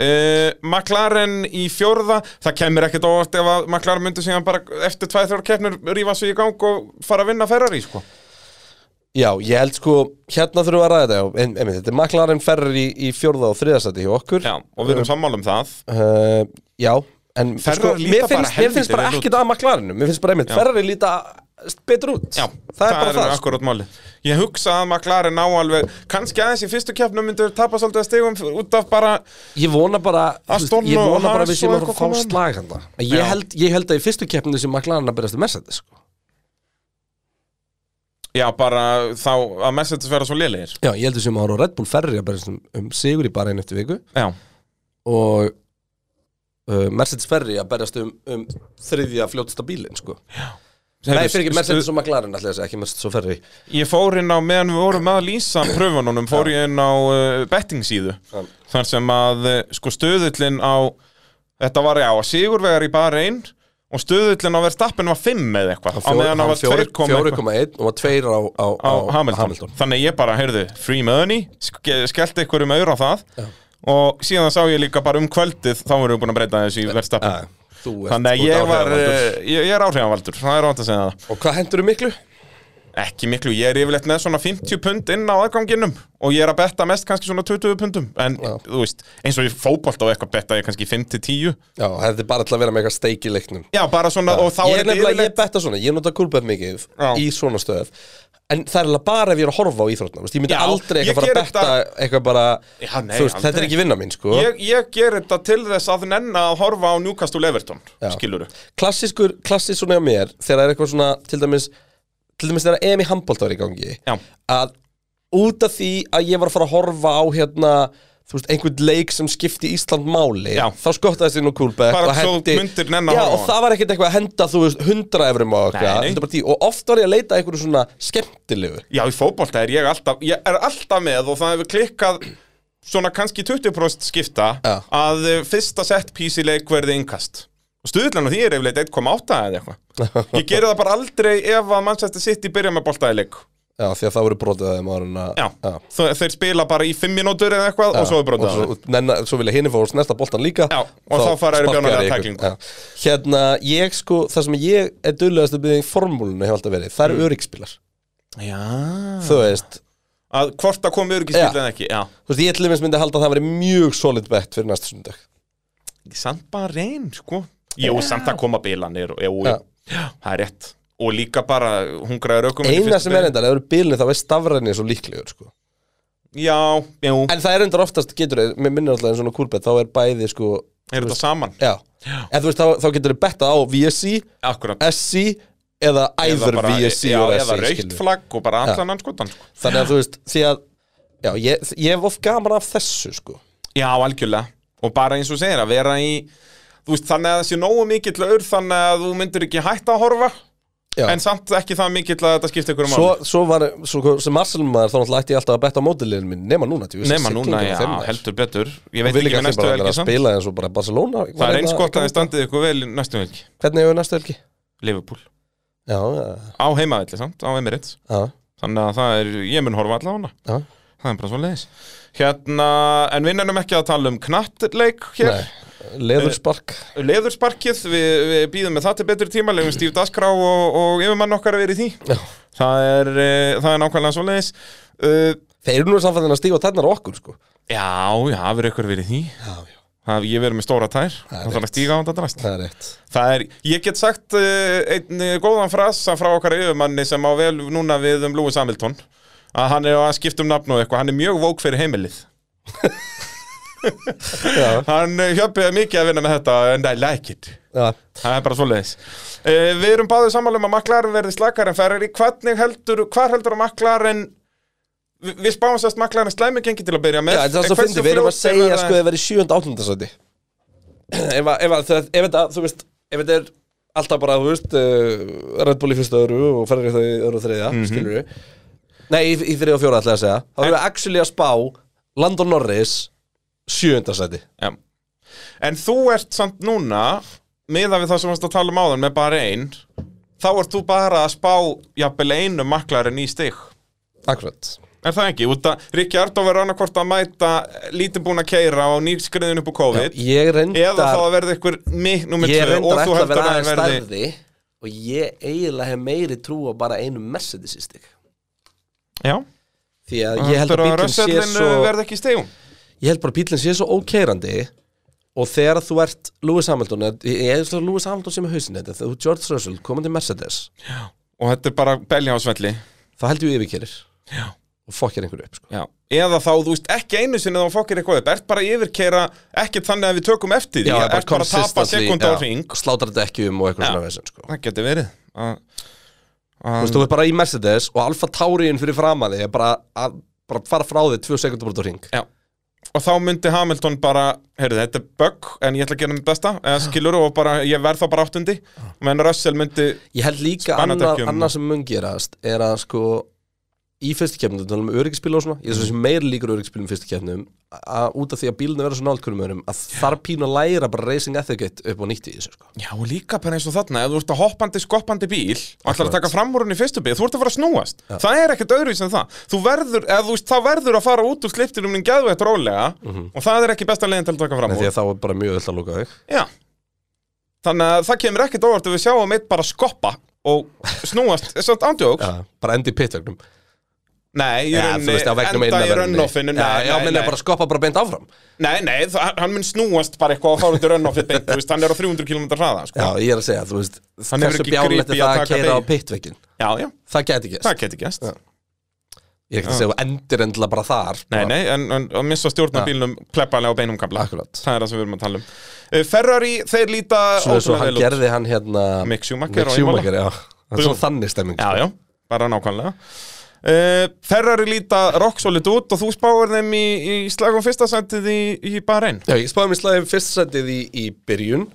B: Uh, McLaren í fjórða það kemur ekkert óvart ef að McLaren myndi síðan bara eftir 2-3 keppnir rífa sig í gang og fara að vinna Ferrari sko.
A: Já, ég held sko, hérna þurfum við að ræða þetta já, en, en, Þetta er McLaren Ferrari í, í fjórða og þriðasæti hjá okkur
B: Já, og við erum sammála um það
A: uh, Já, en
B: Ferrari
A: sko,
B: líta
A: mér
B: bara
A: finnst, mér
B: helvítið
A: finnst bara
B: vel út.
A: ekkert að McLarenu Mér finnst bara einmitt,
B: Já.
A: Ferrari líta betur út
B: Já,
A: það er bara það sko.
B: akkurat máli Ég hugsa að McLaren ná alveg kannski aðeins í fyrstu keppnum myndu tapa svolítið að stigum út af bara
A: Ég vona bara, þú veist,
B: Aston
A: ég
B: og
A: vona bara
B: Haas
A: að við séum
B: og
A: að fá
B: eitthvað koma.
A: slag hann ég
B: Já.
A: held, ég held að í fyrstu keppninu sem McLaren að byrjast í Mercedes sko.
B: já, bara þá að Mercedes vera svo lélegir
A: Já, ég held að við séum að horfa á Red Bull Ferrari að byrjast um, um sigur í bara einu eftir viku
B: Já,
A: og uh, Mercedes Ferrari að berjast um, um þriðja fljótasta bílinn sko. Nei, fyrir ekki Mercedes og McLaren ætla ég að segja, ekki Mercedes og Ferrari
B: Ég fór inn á, meðan við vorum að lýsa pröfununum, fór ég inn á uh, betting síðu
A: Já.
B: þar sem að uh, sko stöðullin á þetta var já, sigurvegar í bara einn og stöðullin á verðstappin var 5 eða eitthvað á meðan hann var 2,1
A: 4,1 og var 2 á, á,
B: á Hamilton. þannig ég bara, heyrðu, free money ske- skellti ykkur um auður á það og síðan sá ég líka bara um kvöldið þá vorum við búin að breyta þessu í verðstappin
A: Ja, þú ert-
B: þannig
A: þú ert
B: að ég var,
A: áhrifavaldur.
B: eh, ég, ég er áhrifanvaldur það er rátt að segja það
A: Og hvað hendur þú miklu?
B: Ekki miklu, ég er yfirleitt með svona 50 pund inn á aðganginum og ég er að betta mest kannski svona 20 pundum en
A: Já.
B: þú veist, eins og í fótbolt á eitthvað betta ég kannski 5-10
A: Já, þetta er bara til að vera með eitthvað steik í leiknum
B: Já, bara svona, og
A: Ég
B: þá er
A: er
B: þetta
A: nefnilega,
B: yfirleitt
A: ég betta svona, ég nota kulbett mikið
B: Já.
A: í svona stöð En það er alveg bara ef ég er að horfa á íþrótna Ég myndi
B: Já,
A: aldrei
B: ég
A: eitthvað fara að
B: geri
A: betta eitthvað bara
B: Já, nei,
A: Þú veist,
B: aldrei.
A: þetta er ekki vinna mín, sko
B: Ég, ég ger þetta til þess að nenna að horfa á Newcastle Everton,
A: Já.
B: skiluru
A: Klassískur, klassísk svona hjá mér Þegar það er eitthvað svona, til dæmis Til dæmis þegar EM í handbólt var í gangi
B: Já,
A: Að út af því að ég var að fara að horfa á hérna Þú veist, einhvern leik sem skipti Ísland máli
B: Já.
A: Þá skottaðist ég nú kulbett
B: Bara
A: og
B: svo
A: hendi
B: myndir nenna að
A: Já,
B: horfa á
A: og
B: hann.
A: það var ekkert eitthvað að henda, þú veist, 100 efrum og
B: Nei,
A: eitthvað
B: nei.
A: heldur bara 10. Og oft var ég að leita að einhverju svona skemmtilegu
B: Já, í fótbolta er ég alltaf, ég er alltaf með og það hefur klikkað svona kannski 20% skipta
A: Já.
B: að eh, fyrsta set piece í leik verði innkast. Og stuðlan og því er yfirleitt 1,8 eða eitthvað. Ég geri það bara aldrei ef að Manchester City byrja með bolta í leik.
A: Já, því að það voru brotið þeim árin að
B: Já, Þe- þeir spila bara í 5 mínútur eða eitthvað og svo er brotað.
A: svo, nenna, svo vilja hinni fá að snerta boltan líka
B: Já, og þá fara þeir í
A: sparkar
B: bjónarlega
A: ykkur.
B: tæklingu.
A: Já. Hérna, ég sko, það sem ég er dullegast að byrja í formúlunni hefur alltaf verið, það eru mm. öryggspilar
B: Já.
A: Þú veist,
B: Að hvort að komi
A: Já.
B: öryggisbíl en ekki, já.
A: þú veist, ég til dæmis myndi halda að það væri mjög solid bett fyrir næsta sundag
B: Samt bara reyn, sko. Jú, samt að koma bílanir, jú, jú.
A: Já.
B: Já, það er rétt. Og líka bara hungraður ökum.
A: Eina sem er endar, ef það eru bílni þá er stafræni svo líklegur sko.
B: Já, jú,
A: En það er endar oftast, getur þau, mér minnir alltaf en svona kúlbett, þá er bæði sko
B: er þetta saman?
A: Já, en þú veist, þá, þá getur þau bettað á VSI,
B: Akkurat
A: SI eða æður
B: bara- e-
A: VSI
B: já,
A: og SI
B: eða
A: skilur.
B: raukt flagg og bara allan anskotan sko.
A: Þannig að þú veist, því að Já, ég, ég hef oft gaman af þessu, sko
B: Já, algjörlega Og bara eins og þú segir að vera í Þú veist, þannig að það sé nógu mikill aur Þannig að þú myndir ekki hætta að horfa
A: Já.
B: En samt ekki það mikill að þetta skipti ykkur um
A: Svo, svo var, svo, sem Marcelmaður, þá náttúrulega ætti ég alltaf að betta á mótilinu minn Nema núna, tjú
B: Nefna núna, já, heldur betur Ég veit
A: Vil
B: ekki
A: ekki allir
B: með næstu
A: bara
B: helgi
A: vera að
B: samt
A: spila eins og bara Barcelona
B: Það er eins
A: hérna-
B: gott að þið standið ykkur vel í næstu helgi
A: Hvernig hefur næstu helgi?
B: Liverpool
A: Já, já,
B: Á heimavelli samt, á Emirates
A: já,
B: Þannig að það er, ég mun horfa allavega á hana
A: já.
B: Það er bara svo leiðis Hérna, en við nennum ekki að tala um knattleik hér
A: Nei, leðurspark
B: leðursparkið, við, við býðum með það til betri tíma, legum Steve Daskrá og, og yfirmann okkar að vera í því
A: Já.
B: það er, eh, það er nákvæmlega svoleiðis uh,
A: Þeir eru nú samfæðin að stíga á tærnar á okkur, sko
B: Já, já, það verður ykkur verið í því
A: Já, já,
B: það, Ég verður með stóra tær,
A: er
B: það þarf
A: rétt.
B: að stíga á þetta drast
A: það er rétt
B: Það er, ég get sagt uh, einn eh, góðan frasa frá okkar yfirmanni sem á vel núna við um Lewis Hamilton að hann er að skipta um nafn og eitthvað hann er mjög vók fyrir heimilið
A: Já,
B: hann hjöpið mikið að vinna með þetta and I like it
A: já
B: Það er bara svoleiðis uh, Við erum báðið sammálum að maklaren verði slakar en Ferrari Hvernig heldur, hvar heldur að maklaren Vi, Við spáum sérst maklaren slæmi gengi til að byrja með
A: Já, þetta er
B: En
A: svo
B: hversu
A: fyndið, við erum að
B: fljótt þeir
A: segja
B: verða-
A: sko þið verið í 7. áttundasæti ef, að- ef, að það- ef þetta, þú veist, ef þetta er alltaf bara, þú veist, uh, Red Bull í fyrsta öru og ferðir þau í öru og þriðja, mm skilur við Nei, í, í þriðja og fjóra ætlaði að segja Þá erum við actually að spá Landon Norris 7. sæti
B: Já. En þú ert samt núna Miðað við það sem varst að tala um áðan með bara ein Þá ert þú bara að spá Jafnvel einu maklaren í stig
A: Akkurat
B: Er það ekki? Út að Rikki Ardó verður annarkvort að mæta Lítið búin að keira og nýskriðin upp á COVID
A: Ég
B: Eða þá
A: reyndar,
B: að verða ykkur mikk nummer
A: ég
B: 2
A: reyndar
B: og þú
A: ætla að vera
B: heldur að
A: aðeins
B: hann verði
A: stærði Og ég eiginlega hef meiri trú á bara einu Mercedes í stig
B: Já
A: Því að ég held að
B: Heldurðu
A: bílum sé
B: Russellin,
A: svo
B: uh, verði ekki í stegum
A: ég held bara að bílinn sé svo ókeirandi og þegar þú ert Lewis Hamilton eða- ég ég held að Lewis Hamilton sem er hausin þetta þegar þú ert George Russell komandi Mercedes
B: og þetta er bara belja á svelli
A: þá heldur við yfirkerir
B: Já.
A: og fokkir einhverju upp sko.
B: Já. eða þá, þú veist, ekki einu sinni þá fokkir eitthvað upp, ert bara að yfirkeira ekkert þannig að við tökum eftir því, ert bara að tapa sekund á ring
A: slátar þetta ekki um og eitthvað
B: Já.
A: svona veginn sko.
B: það getur verið Að-
A: þú veist þú er bara í Mercedes og Alfa Tauriin fyrir framan þig er bara að bara fara frá þig tvö sekundur brot á ring
B: Já. og þá myndi Hamilton bara heyrðu, þetta er bug, en ég ætla að gera mitt besta eða skilur og bara, ég verð þá bara áttundi menn Russell myndi,
A: ég held líka
B: Spannandi
A: annað
B: ekki um-
A: anna sem mun gerast er að sko í fyrstu keppnum, þannig um öryggispíla og svona ég er svo sem meir líkur öryggispílum í fyrstu keppnum að út af því að bílunum verður svo nálkunum öðrum að þarf pínu að læra bara racing etiquette upp á nýtt í þessu sko.
B: Já, og líka bara eins og þarna, ef þú ert að hoppandi, skoppandi bíl og ætlar að taka fram úr hún í fyrstu bíl, þú ert að fara að snúast það er ekkert öðru sem það þú verður, eða þú veist, það verður að fara út úr sliptinum en geðveitt rólega og það er ekki besta leiðin til að taka
A: en
B: fram
A: Mhm.
B: úr
A: því að þá er bara mjög öll að lúka þig
B: Já Þannig að það kemur ekkert óvart ef við sjáum eitt bara skoppa og snúast, er svona ándjóks
A: ja, bara endi í pittögnum
B: Nei, í
A: ja, þú
B: rauninni,
A: veist, á veggnum
B: enda í
A: innan verðinni.
B: runnoffinu Nei,
A: já, já,
B: nei,
A: menn
B: nei,
A: er bara að skoppa bara beint áfram
B: nei, nei það, hann mun snúast bara eitthvað og þá er þetta runnoffið beint, þú veist, hann er á 300 km hraða sko.
A: já, ég er að segja, þú veist,
B: Hann hefur
A: hversu
B: ekki
A: bjálett
B: grip
A: er
B: í að
A: það að
B: taka
A: keira á
B: þig.
A: pittvegin
B: já, já,
A: það geti ekki,
B: það geti gæst
A: Já. ég er ekki að segja þú endir endilega bara þar
B: Nei, nei, en, en að missa
A: Já.
B: stjórnabílnum pleppalega á beinum kamla
A: akkurat
B: Það er það sem við erum að tala um Eh, Ferrari, þeir líta
A: svo, svo
B: ótrúlega
A: hann
B: vel út.
A: gerði hann hérna
B: Mick
A: Mick
B: Schumacher og Imola.
A: Schumacher, já það er svo þannig stemming
B: Já, já, bara nákvæmlega uh, Ferrari líta rocksolid út og þú spáir þeim í, í slagum fyrsta sendið í, í Bahrein
A: Já, ég spáði mér slagið fyrst sætið í, í byrjun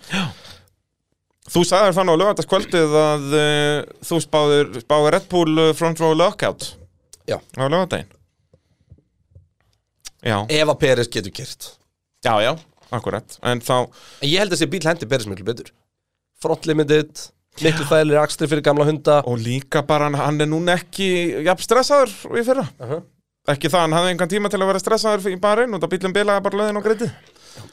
B: Þú sagðir þannig á lögataskvöldið að uh, þú spáðir, spáðir Red Bull eh, front row lockout
A: Já.
B: Á lögadaginn Já,
A: Ef að Peres getur kert
B: já, já, akkurat En þá,
A: En ég held að þessi bíl hendi Peres miklu betur Frontlimited, miklu þægilegri axlir fyrir gamla hunda
B: og líka bara hann- hann er núna ekki jafn stressaður í fyrra
A: uh -huh.
B: Ekki það, hann hafði engan tíma til að vera stressaður í Bahrein og það bílum bilaði bara löðin og greiti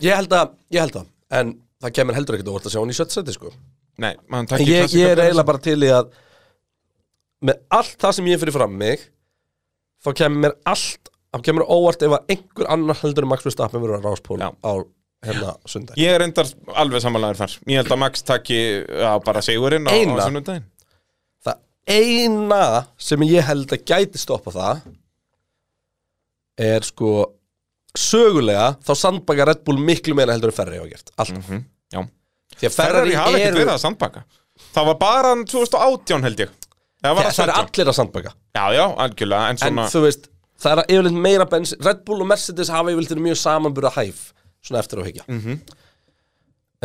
A: Ég held að, ég held að En það kemur heldur ekkert óvart að sjá hann í sjött sæti sko
B: Nei, maður
A: En
B: takk
A: ég, ég er eiginlega bara til í að Með allt það sem ég er fyrir fram mig Þá kemur mér allt Þá kemur óvart ef að einhver annar heldur en Max Verstappen verður að ráspól
B: Já.
A: á hérna sundag
B: Ég er endar alveg samanlegaður þar Ég held að Max takki já, bara sigurinn á,
A: Eina.
B: á sunnudaginn
A: Það eina sem ég held að gæti stoppa það er sko sögulega þá sandbaka Red Bull miklu meira heldur en Ferrari hafa gert alltaf
B: Já.
A: því að
B: Mhm. Ferrari
A: Ferrari,
B: hafi ekkert
A: eru
B: verið að sandbaka Það var bara hann 2018 held ég Það var
A: það,
B: að
A: það er
B: 17.
A: allir að sandbaka
B: Já, já, algjörlega En
A: en
B: svona,
A: þú veist það er yfirleitt meira bens Red Bull og Mercedes hafa yfirleitt verið mjög samanburða hæf svona eftir á higgja
B: Mhm.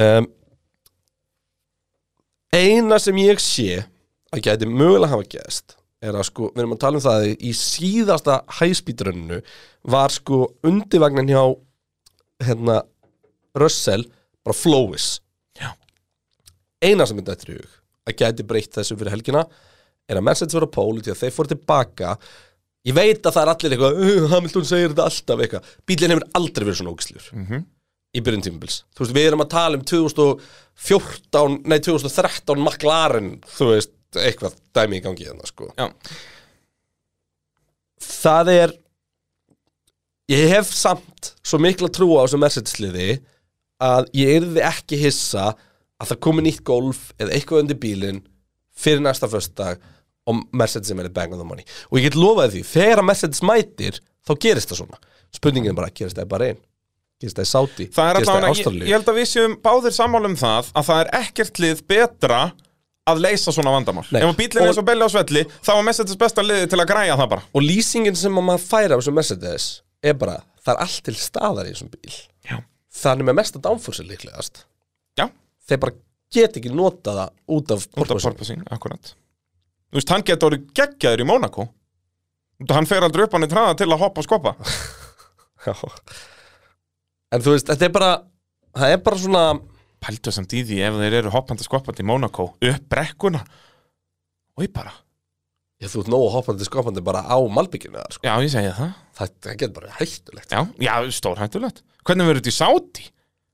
A: um, eina sem ég sé að gæti mögulega hafa gæst er að sko, við erum að tala um það að í síðasta hæspítrunnu var sko undirvagnin hjá hérna Russell bara Flowis
B: Já.
A: eina sem þetta eftir í hug að gæti breytt þessu fyrir helgina er að Mercedes verið á póli til að þeir fóru tilbaka ég veit að það er allir eitthvað "Uh, Hamilton segir þetta alltaf eitthvað bílinn hefur aldrei verið svona ógislur í byrjun tímabils þú veist, við erum að tala um 2014, nei 2013 McLaren, þú veist, eitthvað dæmi í gangi þarna, sko
B: já,
A: það er ég hef samt svo mikla trú á þessu Mercedes-liði að ég yrði ekki hissa að það komi nýtt golf eða eitthvað undir bílinn fyrir næsta föstudag og Mercedes er meira bang on the money og ég get lofaði því, þegar að Mercedes mætir þá gerist það svona, spurningin er bara gerist það bara einn, gerist það í Saudi
B: það er
A: gerist það í
B: allavega ég,
A: Ástralíu
B: ég held að við séum báðir sammála um það Að það er ekkert lið betra að leysa svona vandamál
A: Nei.
B: Ef að bíllinn
A: Og-
B: er svo belli á svelli þá var Mercedes besta liði til að græja það bara
A: og lýsingin sem að maður færa á þessu Mercedes er bara, það er allt til staðar í þessum bíl
B: Já.
A: þannig með mesta dánfórsi líklegast
B: Já,
A: þeir bara get ekki nota það út af
B: út af
A: porpoising.
B: porpoising, akkurat Þú veist, hann getur orðið geggjaður í Mónakó Þú- Hann fer aldrei upp hann í traða til að hoppa og skoppa
A: Já. en þú veist, þetta er bara það er bara svona
B: Pældu samt í því ef þeir eru hoppandi og skoppandi í Mónakó Upp brekkuna Og ég bara
A: ég þú ert nógu hoppandi skopandi bara á malbygginu þar, sko.
B: Já, ég segi það
A: það, það getur bara hættulegt
B: Já, já stórhættulegt Hvernig verður þetta í Sáti?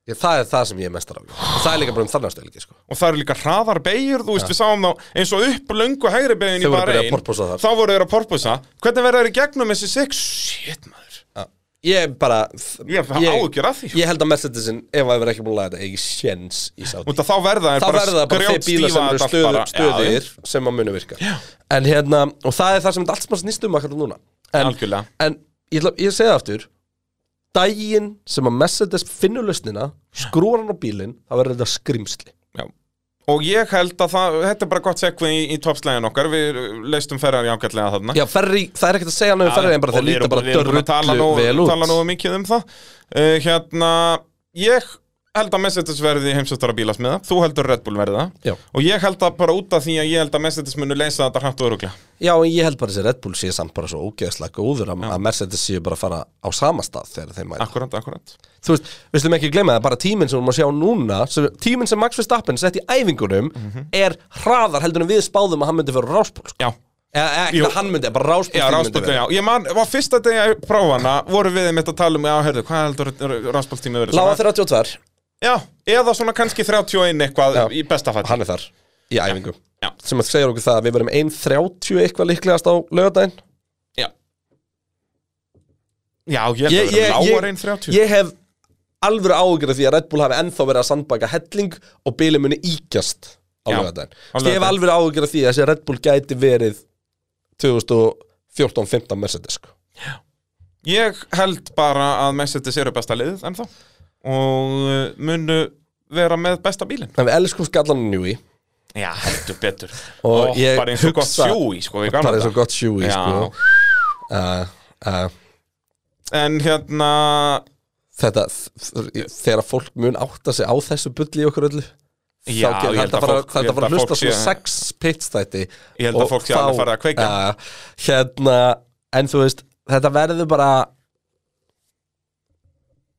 A: ég, það er það sem ég er mestar af og það er líka bara um þarnastelgi sko.
B: Og það eru líka hraðar beigur, þú veist, við sáum þá eins og upp löngu hægri beigin
A: Þau
B: í
A: voru að
B: bara
A: byrja að
B: einn
A: porpoisa þar.
B: Þá voru þeir að porpoisa Hvernig verður þeir í gegnum þessi 6? Shit, maður
A: ég er bara
B: Ég hef áhugjur að því sko.
A: ég held að Mercedesin, ef að það verður ekki búin að laga þetta ekki séns í sátt
B: Út að þá verða þeir
A: þá verða það bara þeir bílar sem
B: grjótstífa
A: eru
B: þetta
A: stöðu,
B: bara. Já, já.
A: stöðir sem að munu virka en hérna, og það er það sem þetta allt sem að snýst um akkur núna en,
B: Algjörlega.
A: en ég, ætla- ég segi það aftur daginn sem að Mercedes finnur lausnina skrúar hann á bílinn, þá verður þetta skrimsli
B: Já. Og ég held að það, þetta er bara gott sekvið í, í toppslæðin okkar, við leistum ferrar í ágætlega þarna.
A: já, ferri, það er ekkert að segja hann um ferri en bara
B: Og
A: þeir
B: við erum-
A: líta bara
B: við erum búin að tala um-
A: dörrullu
B: nógu-
A: vel
B: Tala
A: út
B: nógu mikið um það. Uh, hérna, Eh, ég held að Mercedes verði heimsustara bílasmiða Þú heldur Red Bull verði það
A: Já.
B: Og ég held að bara út af því að ég held að Mercedes munu leysa þetta hrætt og öruglega
A: Já, en ég held bara að þessi Red Bull sé samt bara svo ógeðslega góður að, að Mercedes séu bara að fara á sama stað þegar þeim mæta.
B: Akkurat, akkurat
A: Þú veist, við slum ekki gleyma það, bara tíminn sem við erum að sjá núna, sem, tíminn sem Max Verstappen sett í æfingunum er hraðar heldur en við spáðum að hann myndi fyrir ráspól. Sko.
B: Já,
A: Eða eða ekki
B: Jú.
A: að hann myndi, bara ráspól.
B: já ráspoltin, já Ég man, var fyrsta degi að prófa hana voru við mitt að tala um, já, heyrðu, hvað heldur ráspoltími verið?
A: Lága 32,
B: Já, eða svona kannski 31 eitthvað
A: Já.
B: í besta fall
A: hann er þar í æfingu.
B: Já.
A: Sem að segja okkur það að við verum 1.30 eitthvað líklegast á lögadaginn.
B: Já Já, ég held að vera lágar einn 30
A: ég hef alvöru áhugur því að Red Bull hafi ennþá verið að sandbaka helling og bíli muni íkjast á
B: Já,
A: lögadaginn.
B: á
A: Ég hef
B: laugardaginn.
A: alvöru áhugur því að þessi Red Bull gæti verið 2014-15 Mercedes sko.
B: Ég held bara að Mercedes eru besta liðið ennþá og uh, munu vera með besta bílinn
A: En við elskum skallanum Njúi
B: Já, heldur betur
A: Og
B: Ó,
A: ég
B: Bara eins og gott
A: hugsa-
B: sjúi, sko, við
A: bara
B: gamla
A: eins og
B: þetta
A: gott sjúi
B: Já.
A: sko. uh, uh,
B: En hérna,
A: Þetta þegar fólk mun átta sig á þessu bulli í okkur öllu
B: Já,
A: þá
B: ég
A: gerir
B: held
A: þetta
B: að
A: bara,
B: fólk-
A: það
B: ég
A: er
B: held
A: bara að
B: að
A: hlusta
B: fólk
A: svona
B: sé-
A: sex pitstætti
B: Ég held að fólk sé alveg farið að kveikja.
A: Hérna, en þú veist, þetta verður bara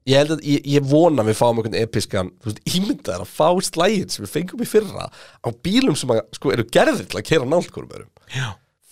A: Ég held að, ég, ég vona að við fáum einhvern episkan, þú veist, ímyndaðar að fá slægin sem við fengum í fyrra á bílum sem að, sko, eru gerðir til að kera nálkurum erum
B: já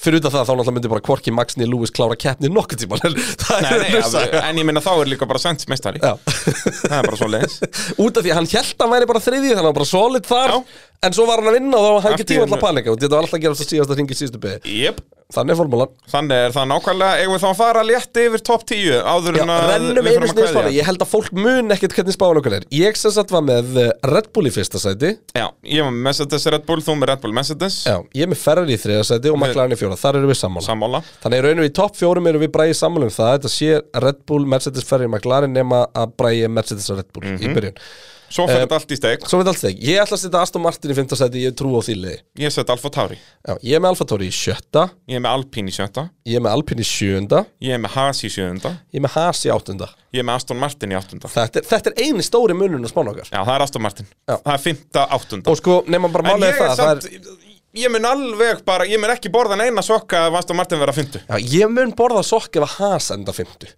A: Fyrir utan það þá náttúrulega myndi bara Korki, Max, Neil Lewis klára keppni nokkuð tíma Það
B: Nei,
A: er
B: nei,
A: hlusta
B: ja, en ég minna þá er líka bara sent meistari Það er bara svo leiðis
A: Út af því að hann held að hann væri bara þriðið þannig að hann var bara solid þar
B: Já.
A: En svo var hann að vinna og þá var hann
B: Allt
A: ekki
B: í
A: tíma
B: einu.
A: alltaf panika og Þetta var alltaf að gera þess að síðast að ringi síðustu beði
B: Jep,
A: Þannig er formúlan
B: þannig er það nákvæmlega eigum við þá að fara létt yfir top 10 áður
A: Já,
B: en að
A: Rennum
B: Hérna,
A: einu
B: við fyrir að
A: snið spána,
B: kveðja
A: ég held að fólk mun ekkert hvernig spáin okkur er Ég sem sagt var með eh, Red Bull í fyrsta sæti
B: Já, ég var með Mercedes Red Bull, þú með Red Bull Mercedes
A: Já, ég er með Ferrari í þriða sæti og McLaren í fjóra, þar eru við sammála
B: Sammála
A: Þannig í raunum í topp fjórum eru við bræði sammála um það Þetta sé Red Bull, Mercedes, Ferrari, McLaren nema að bræði Mercedes og Red Bull
B: Mhm.
A: í byrjun
B: Svo
A: Eh,
B: fyrir þetta allt í steg
A: Svo veit allt þig, ég ætla að setja Aston Martin í fymta sæti, ég trú á því liði
B: Ég set Alfa Tauri
A: Já, ég er með Alfa Tauri í sjötta,
B: Ég er með Alpine í sjötta
A: ég er með Alpine í sjöunda
B: Ég er með Haas í sjöunda
A: Ég er með Haas í áttunda
B: Ég er með Aston Martin í áttunda
A: Þetta er, þetta er eini stóri munun að spána okkar
B: Já, það er Aston Martin
A: Já.
B: Það er fymta áttunda
A: Og sko, nema bara
B: En
A: málega
B: ég er
A: það, það er,
B: samt Ég mun alveg bara Ég mun ekki borðan eina sokka ef Aston Martin vera fymtu
A: Já, ég mun borða sokk ef að Haas enda 50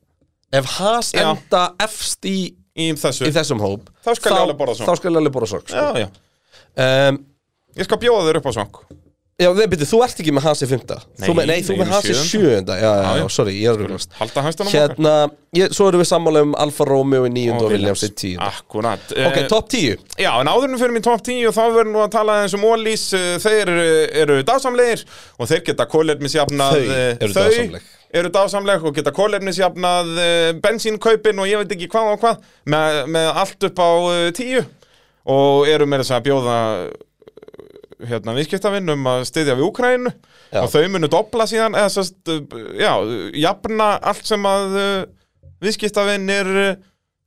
A: Ef Haas
B: Já.
A: enda efst í,
B: Í þessu
A: í þessum hóp
B: Þá skal ég alveg borða sokk.
A: Þá skal ég alveg borða sokk sko.
B: Já, já
A: um,
B: Ég skal bjóða þér upp á sokk
A: Já, nei, byrju, þú ert ekki með Haas í 50
B: Nei,
A: Þú með, nei, þú
B: ég er
A: með Haas í
B: sjöunda.
A: 7 Já, já,
B: Já,
A: já,
B: já.
A: sorry, ég er rúlast
B: Halda hæstunum
A: Hérna, ég, svo erum við sammála um Alfa Romeo í 9 og Williams í 10
B: Akkurat Eh,
A: Ok, top 10
B: Já, en áðurinnum fyrir minn top 10 og þá verður nú að tala eins um Ólís þeir eh, eru dásamlegir og þeir geta kólefnisjafnað
A: Þau
B: eh,
A: eru dásamleg.
B: eru dásamleg og geta kólefnisjafnað eh, bensínkaupin og ég veit ekki hvað og hvað með, með allt upp á eh, 10 og eru meira þess að bjóða eh, hérna viðskiptavinn um að styðja við Úkrænu
A: Já.
B: og þau munu dobla síðan eða sest, já, jafna allt sem að eh, viðskiptavinn er eh,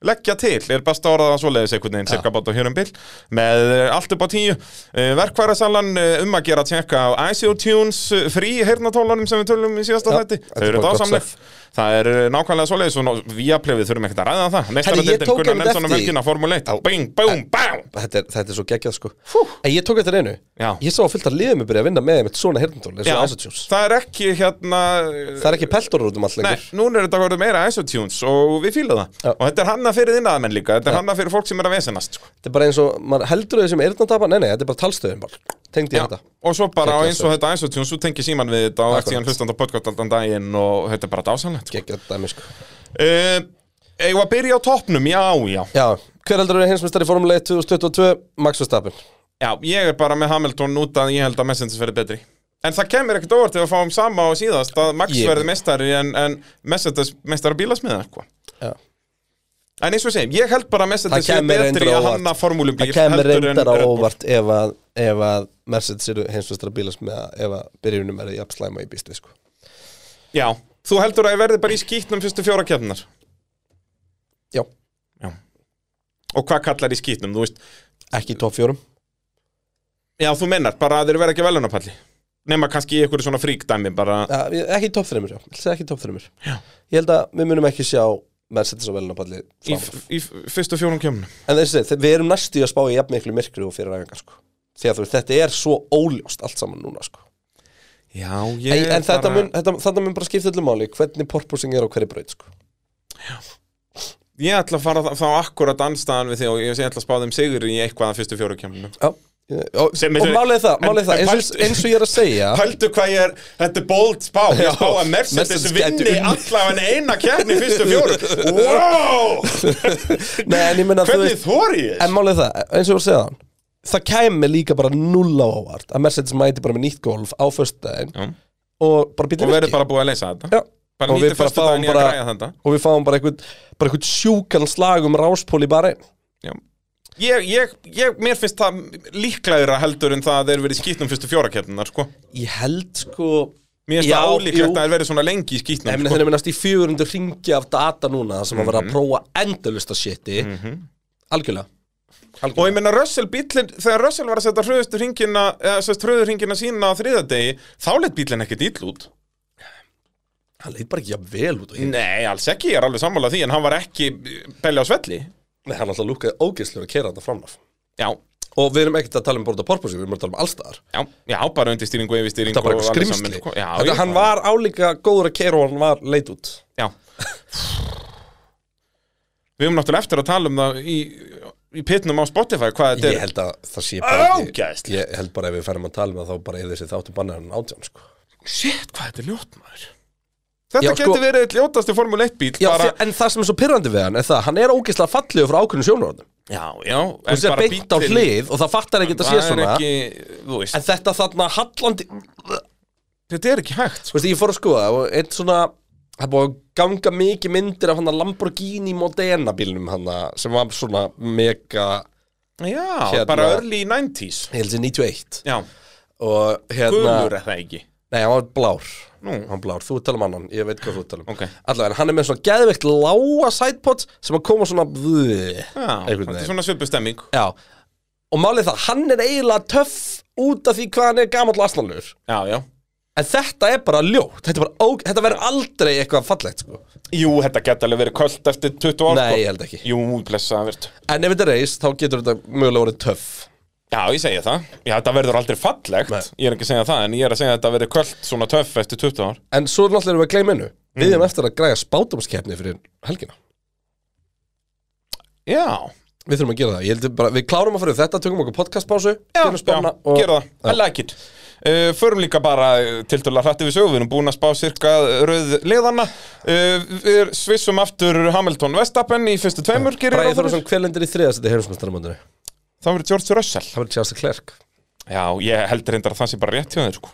B: leggja til, er besta orðaða svoleiðis einhvern veginn, cirka bátt á hér um bil með eh, allt upp á tíu Eh, verkfærasalan eh, um að gera tjekka á ICO Tunes eh, frí heyrnatólunum sem við tölum um í síðasta
A: Já,
B: þætti
A: þetta
B: þau
A: er
B: eru
A: bara gott
B: dásamleg,
A: stuff.
B: það er eh, nákvæmlega svoleiðis og viaplefið þurfum ekkert að ræða um það
A: Herri, ég
B: meistaradeildin
A: tók
B: Gunnar
A: einmitt
B: Nelson um
A: eftir-
B: helgina Formule 1,
A: Já.
B: bing, búm, bám
A: þetta er, þetta er svo geggjað sko
B: Hú.
A: En ég tók þetta reynu
B: Já.
A: Ég sá að fylgta liðum að byrja að vinna með einmitt svona hirntól eins og Isotúnes
B: það er ekki hérna
A: Það er ekki peltor út um allt
B: Nei,
A: lengur
B: núna er þetta verið meira isotunes og við fýlum það
A: Já.
B: og þetta er hanna fyrir þinnaðamenn líka, þetta er hanna fyrir fólk sem er að vesenast sko.
A: Þetta er bara eins og, maður heldur þau sem eyrnatapa Nei, nei, þetta er bara talstöðum bara Tengd í
B: Já,
A: þetta
B: og svo bara
A: Gekkja
B: eins og þetta isotunes, þú tengir síman við þetta og ert
A: Akkurat.
B: síðan hlustandi á podcast allan daginn og þetta er bara dásanlegt sko.
A: Geggjað dæmi sko
B: uh, Eigum við að byrja á toppnum, já, já
A: Já, hver heldur eru hinsmestari í Formule 1 2022? Max Verstappen
B: Já, ég er bara með Hamilton út að ég held að Messendis verði betri En það kemur ekkert óvart ef við fáum sama á síðast að Max
A: Ég-
B: verði meistari en, en Messendis meistari bílasmiða eitthvað
A: Já.
B: sko. En eins og segjum, ég held bara
A: Það
B: að Mercedes sé
A: kemur
B: betri
A: reyndar á
B: að
A: óvart.
B: hanna formúlubíl
A: Það kemur
B: heldur en
A: reyndar á
B: Red Bull.
A: óvart ef að, ef að Mercedes eru hinsmestari bílas með að ef að byrjunum eru jafn slæma í bísli sko
B: Já, þú heldur að ég verði bara í skýtnum fyrstu fjóra kefnar
A: Já,
B: Og hvað kallar í skýtnum, þú veist
A: ekki í top fjórum
B: Já, þú mennar, bara að þeir verða ekki velunapalli Nefna kannski í einhverju svona fríkdæmi bara
A: Ja, við- Ekki í top þreymur, já, Ég ætla að segja ekki í top þreymur
B: Já.
A: Ég held að við munum ekki sjá Mercedes og velunapalli
B: í, f- í f- fyrstu fjórum kemnum
A: En þessi, þe- við erum næstu í að spá í jafn miklu myrkri og fyrir æfingar sko. Því að þú veist, þetta er svo óljóst allt saman núna sko.
B: Já,
A: En,
B: ég
A: en þetta, mun, þetta, þetta mun bara skipta öllu máli Hvernig porpoising er á hverju braut sko.
B: Ég ætla að fara þá- þá akkurat anstæðan við því og ég, ég ætla að spá þeim sigur í eitthvað af fyrstu fjórum kemnum
A: Já Ég- Og,
B: Sem er-
A: og málið er það, málið er
B: en-
A: það
B: en
A: eins, og,
B: pælt-
A: eins og ég er að segja
B: Haldu hvað ég er, þetta er bold spá Ég spá að Mercedes
A: Mercedes gæti
B: vinni
A: unnið.
B: allavega eina kjarni í fyrstu fjórum Wow!
A: Nei, en ég menna
B: Hvernig þóri ég?
A: En málið er það, eins og ég var að segja hann Það kæmi líka bara null á ávart að Mercedes mæti bara með nýtt golf á föstudaginn
B: Já.
A: og bara býta
B: Og verður bara búið að leysa þetta
A: Já.
B: Bara
A: Og við
B: nýttu
A: bara
B: fyrstu
A: fáum
B: daginn í að
A: bara-
B: græja þetta
A: og við fáum bara einhvern, bara einhvern sjúkan slag um ráspól í bara einn
B: Já. Ég, ég, ég, mér finnst það líklegra heldur en það að þeir verið í skýtnum fyrstu fjórakeppnunar, sko.
A: Ég held sko
B: Mér finnst
A: Já,
B: það álíklegt
A: jú.
B: að þeir verið svona lengi í
A: Nei,
B: skýtnum,
A: meni,
B: sko.
A: Þannig minnast í 400 ringi af data núna sem að vera
B: Mhm.
A: að prófa endalust að shiti Algjörlega
B: Og ég meina Russell bíllinn, þegar Russell var að setja hröðustu hringina, eða sérst hröður hringina sína á þriðadegi, þá leitt bíllinn ekkert ill út.
A: Hann leit bara ekki jafn vel út og ég
B: Nei, alls ekki, ég er alveg sammála því, en hann var ekki eh, belli á svelli.
A: Nei, hann alltaf lúkaði ógeðslega að kera þetta framnaf
B: Já,
A: Og við erum ekkert að tala um borða porpoising, við erum að tala um allstaðar
B: já, já, bara undirstýring og yfirstýring
A: Þetta var bara
B: og
A: eitthvað
B: alveg saman,
A: skrimsli
B: sko. Já,
A: Þetta-
B: ég-
A: Hann var álíka góður að kera og hann var leit út
B: Já Við höfum náttúrulega eftir að tala um það í, í pitnum á Spotify hvað
A: Ég
B: þetta er
A: held að það sé bara ekki-
B: Ógeðslegt.
A: Ég held bara ef við ferum að tala um það þá bara eða þessi þáttu bannaðan átján sko
B: Shit, hvað þetta er ljótt maður Þetta
A: Já,
B: já,
A: sko-
B: getur verið eitt ljótasti Formule 1 bíl
A: Já,
B: bara,
A: því- en það sem er svo pyrrandi við hann er það að Hann er ógeðslega fallegur frá ákveðinu sjónurhóðum
B: já, já
A: Þú sé beint á
B: bíllinn,
A: hlið og það fattar ekki að þetta sé
B: það er
A: svona
B: ekki, þú veist
A: En þetta þarna hallandi
B: Þetta er ekki hægt
A: Þú veist, ég fór að skoða og einn svona Það er búið að ganga mikið myndir af hann að Lamborghini Modena bílnum hann sem var svona mega,
B: Já,
A: Hérna-
B: bara early 90s
A: ég held sér 91
B: Já,
A: og hérna,
B: gulur er það ekki
A: nei hann var blár
B: Nú.
A: hann var blár, þú tala um annan, ég veit hvað þú tala um
B: Ok.
A: allavega, hann er með svona geðveikt lága sidepods sem að koma svona blöð,
B: Já, þetta er svona svipustemming
A: Já, og málið það, hann er eiginlega töff út af því hvað hann er gamall asnalur
B: Já, já
A: En þetta er bara ljótt, þetta, er bara ó... þetta verður aldrei eitthvað fallegt sko.
B: Jú, þetta getur alveg verið kvöld eftir 20 ár
A: Nei,
B: sko.
A: ég held ekki
B: Jú, blessa það verður
A: En ef þetta er reis, þá getur þetta mögulega orðið töff
B: Já, ég segja það. Já, þetta verður aldrei fallegt.
A: Nei.
B: Ég er ekki að segja það, en ég er að segja að þetta verður kvöld svona töff eftir 20 ár.
A: En svo er náttúrulega erum við að gleyma innu
B: Mm.
A: Við erum eftir að græja spátumskeppni fyrir helgina
B: Já,
A: Við þurfum að gera það, ég heldur bara, við klárum að fyrir þetta Tökum okkur podcastpásu,
B: já,
A: gerum spána
B: já, gera það. I like it. Uh, förum líka bara eh, til dæla hrætti við sögum, við erum búin að spá cirka rauð liðana. Uh, við svissum aftur Hamilton Vestapen í fyrstu tveimur, gerir
A: Bræði
B: ég ráð fyrir.
A: Þorðarsson, hver lendir í þriða seti heimsmyndstarumöndinu?
B: Það verður George Russell.
A: Það verður Charles Leclerc
B: Já, ég heldur reyndar að það sé bara rétt hjá þeir, sko.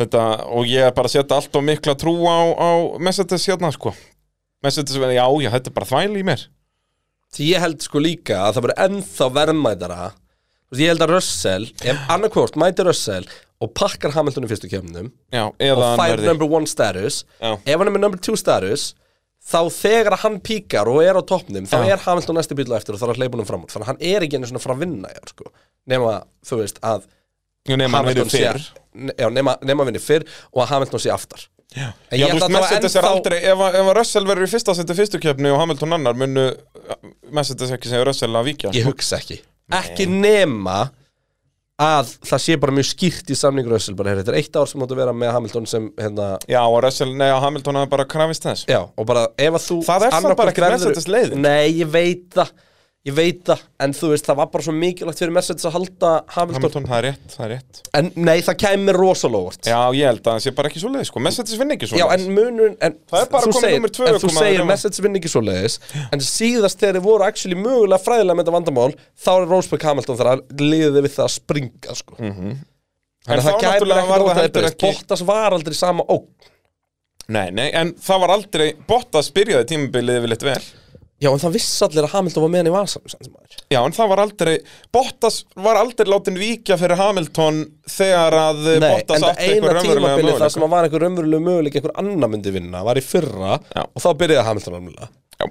B: Þetta, og ég er bara að setja allt og mikla trú á, á Mercedes hérna, sko. Mercedes, já, já, þetta er bara þvæl í mér.
A: Því ég held sko líka að það verður ennþá verðmætara Þú veist, Ég held að Russell, ef annarkvort mæti Russell og pakkar Hamilton í fyrstu kemnum
B: Já, eða
A: og
B: hann
A: fær
B: verði
A: number one status
B: Já.
A: ef hann er með number two status þá þegar hann píkar og er á toppnum þá
B: Já.
A: er Hamilton næsti bíl á eftir og þá er að hleypa honum fram út þannig að hann er ekki einu svona frá að vinna já, sko. nema þú veist að
B: Jú, nema hann verið
A: Hamilton sé
B: fyrr
A: ne- já, nema, nema vinni fyrr og að Hamilton sé aftar
B: Já,
A: En
B: já
A: ég
B: þú
A: held að það
B: veist,
A: var
B: Mercedes er
A: ennþá-
B: aldrei Ef, að- ef að Russell verður í fyrsta seti fyrstu kefni og Hamilton annar munu uh, Mercedes ekki segja Russell að víkja
A: ég hugsa ekki ekki nema að það sé bara mjög skýrt í samningur Össel bara heyrðu, þetta er eitt ár sem máttu vera með Hamilton sem hérna
B: Já, og Russell, nei, og Hamilton hafði bara krafist þess
A: Já, og bara ef að þú
B: Það er það
A: annaðhvort
B: bara ekkert Mercedes leiðin.
A: Nei, ég veit það Ég veit það, en þú veist, það var bara svo mikilvægt fyrir Mercedes að halda Hamilton,
B: Hamilton, það er rétt, það er rétt
A: En nei, það kæmi rosalóvart
B: Já, ég held að hann sé bara ekki svo leið, sko Mercedes vinn ekki svo
A: Já, en munur en
B: Það er bara
A: þú
B: komið
A: segir,
B: númer tvö
A: En þú
B: ökumaður
A: segir
B: nema.
A: Mercedes vinn ekki svo leiðis En síðast þegar þið voru actually mögulega fræðilega með þetta vandamál Þá er Rósberg Hamilton þar að liðið við það að springa sko. mm -hmm.
B: En
A: Þannig að
B: þá
A: það kæmi
B: náttúrulega
A: ekki
B: var það
A: rótaði
B: heldur
A: breyst
B: ekki-
A: Bottas var aldrei í sama ógn
B: Nei, nei, en það var aldrei Bottas byrjaði tímabilið yfirleitt vel
A: Já, en það viss allir að Hamilton var með hann í vasanum sem maður.
B: Já, en það var aldrei Bottas var aldrei látin víkja fyrir Hamilton þegar að eh,
A: Nei, en
B: Bottas
A: það
B: átti
A: eina
B: einhver raunverulega
A: tímabilið það sem
B: möguleika
A: að var einhver raunverulegu möguleik einhver annar myndi vinna, var í fyrra
B: Já.
A: og þá byrjaði Hamilton alveg
B: Já.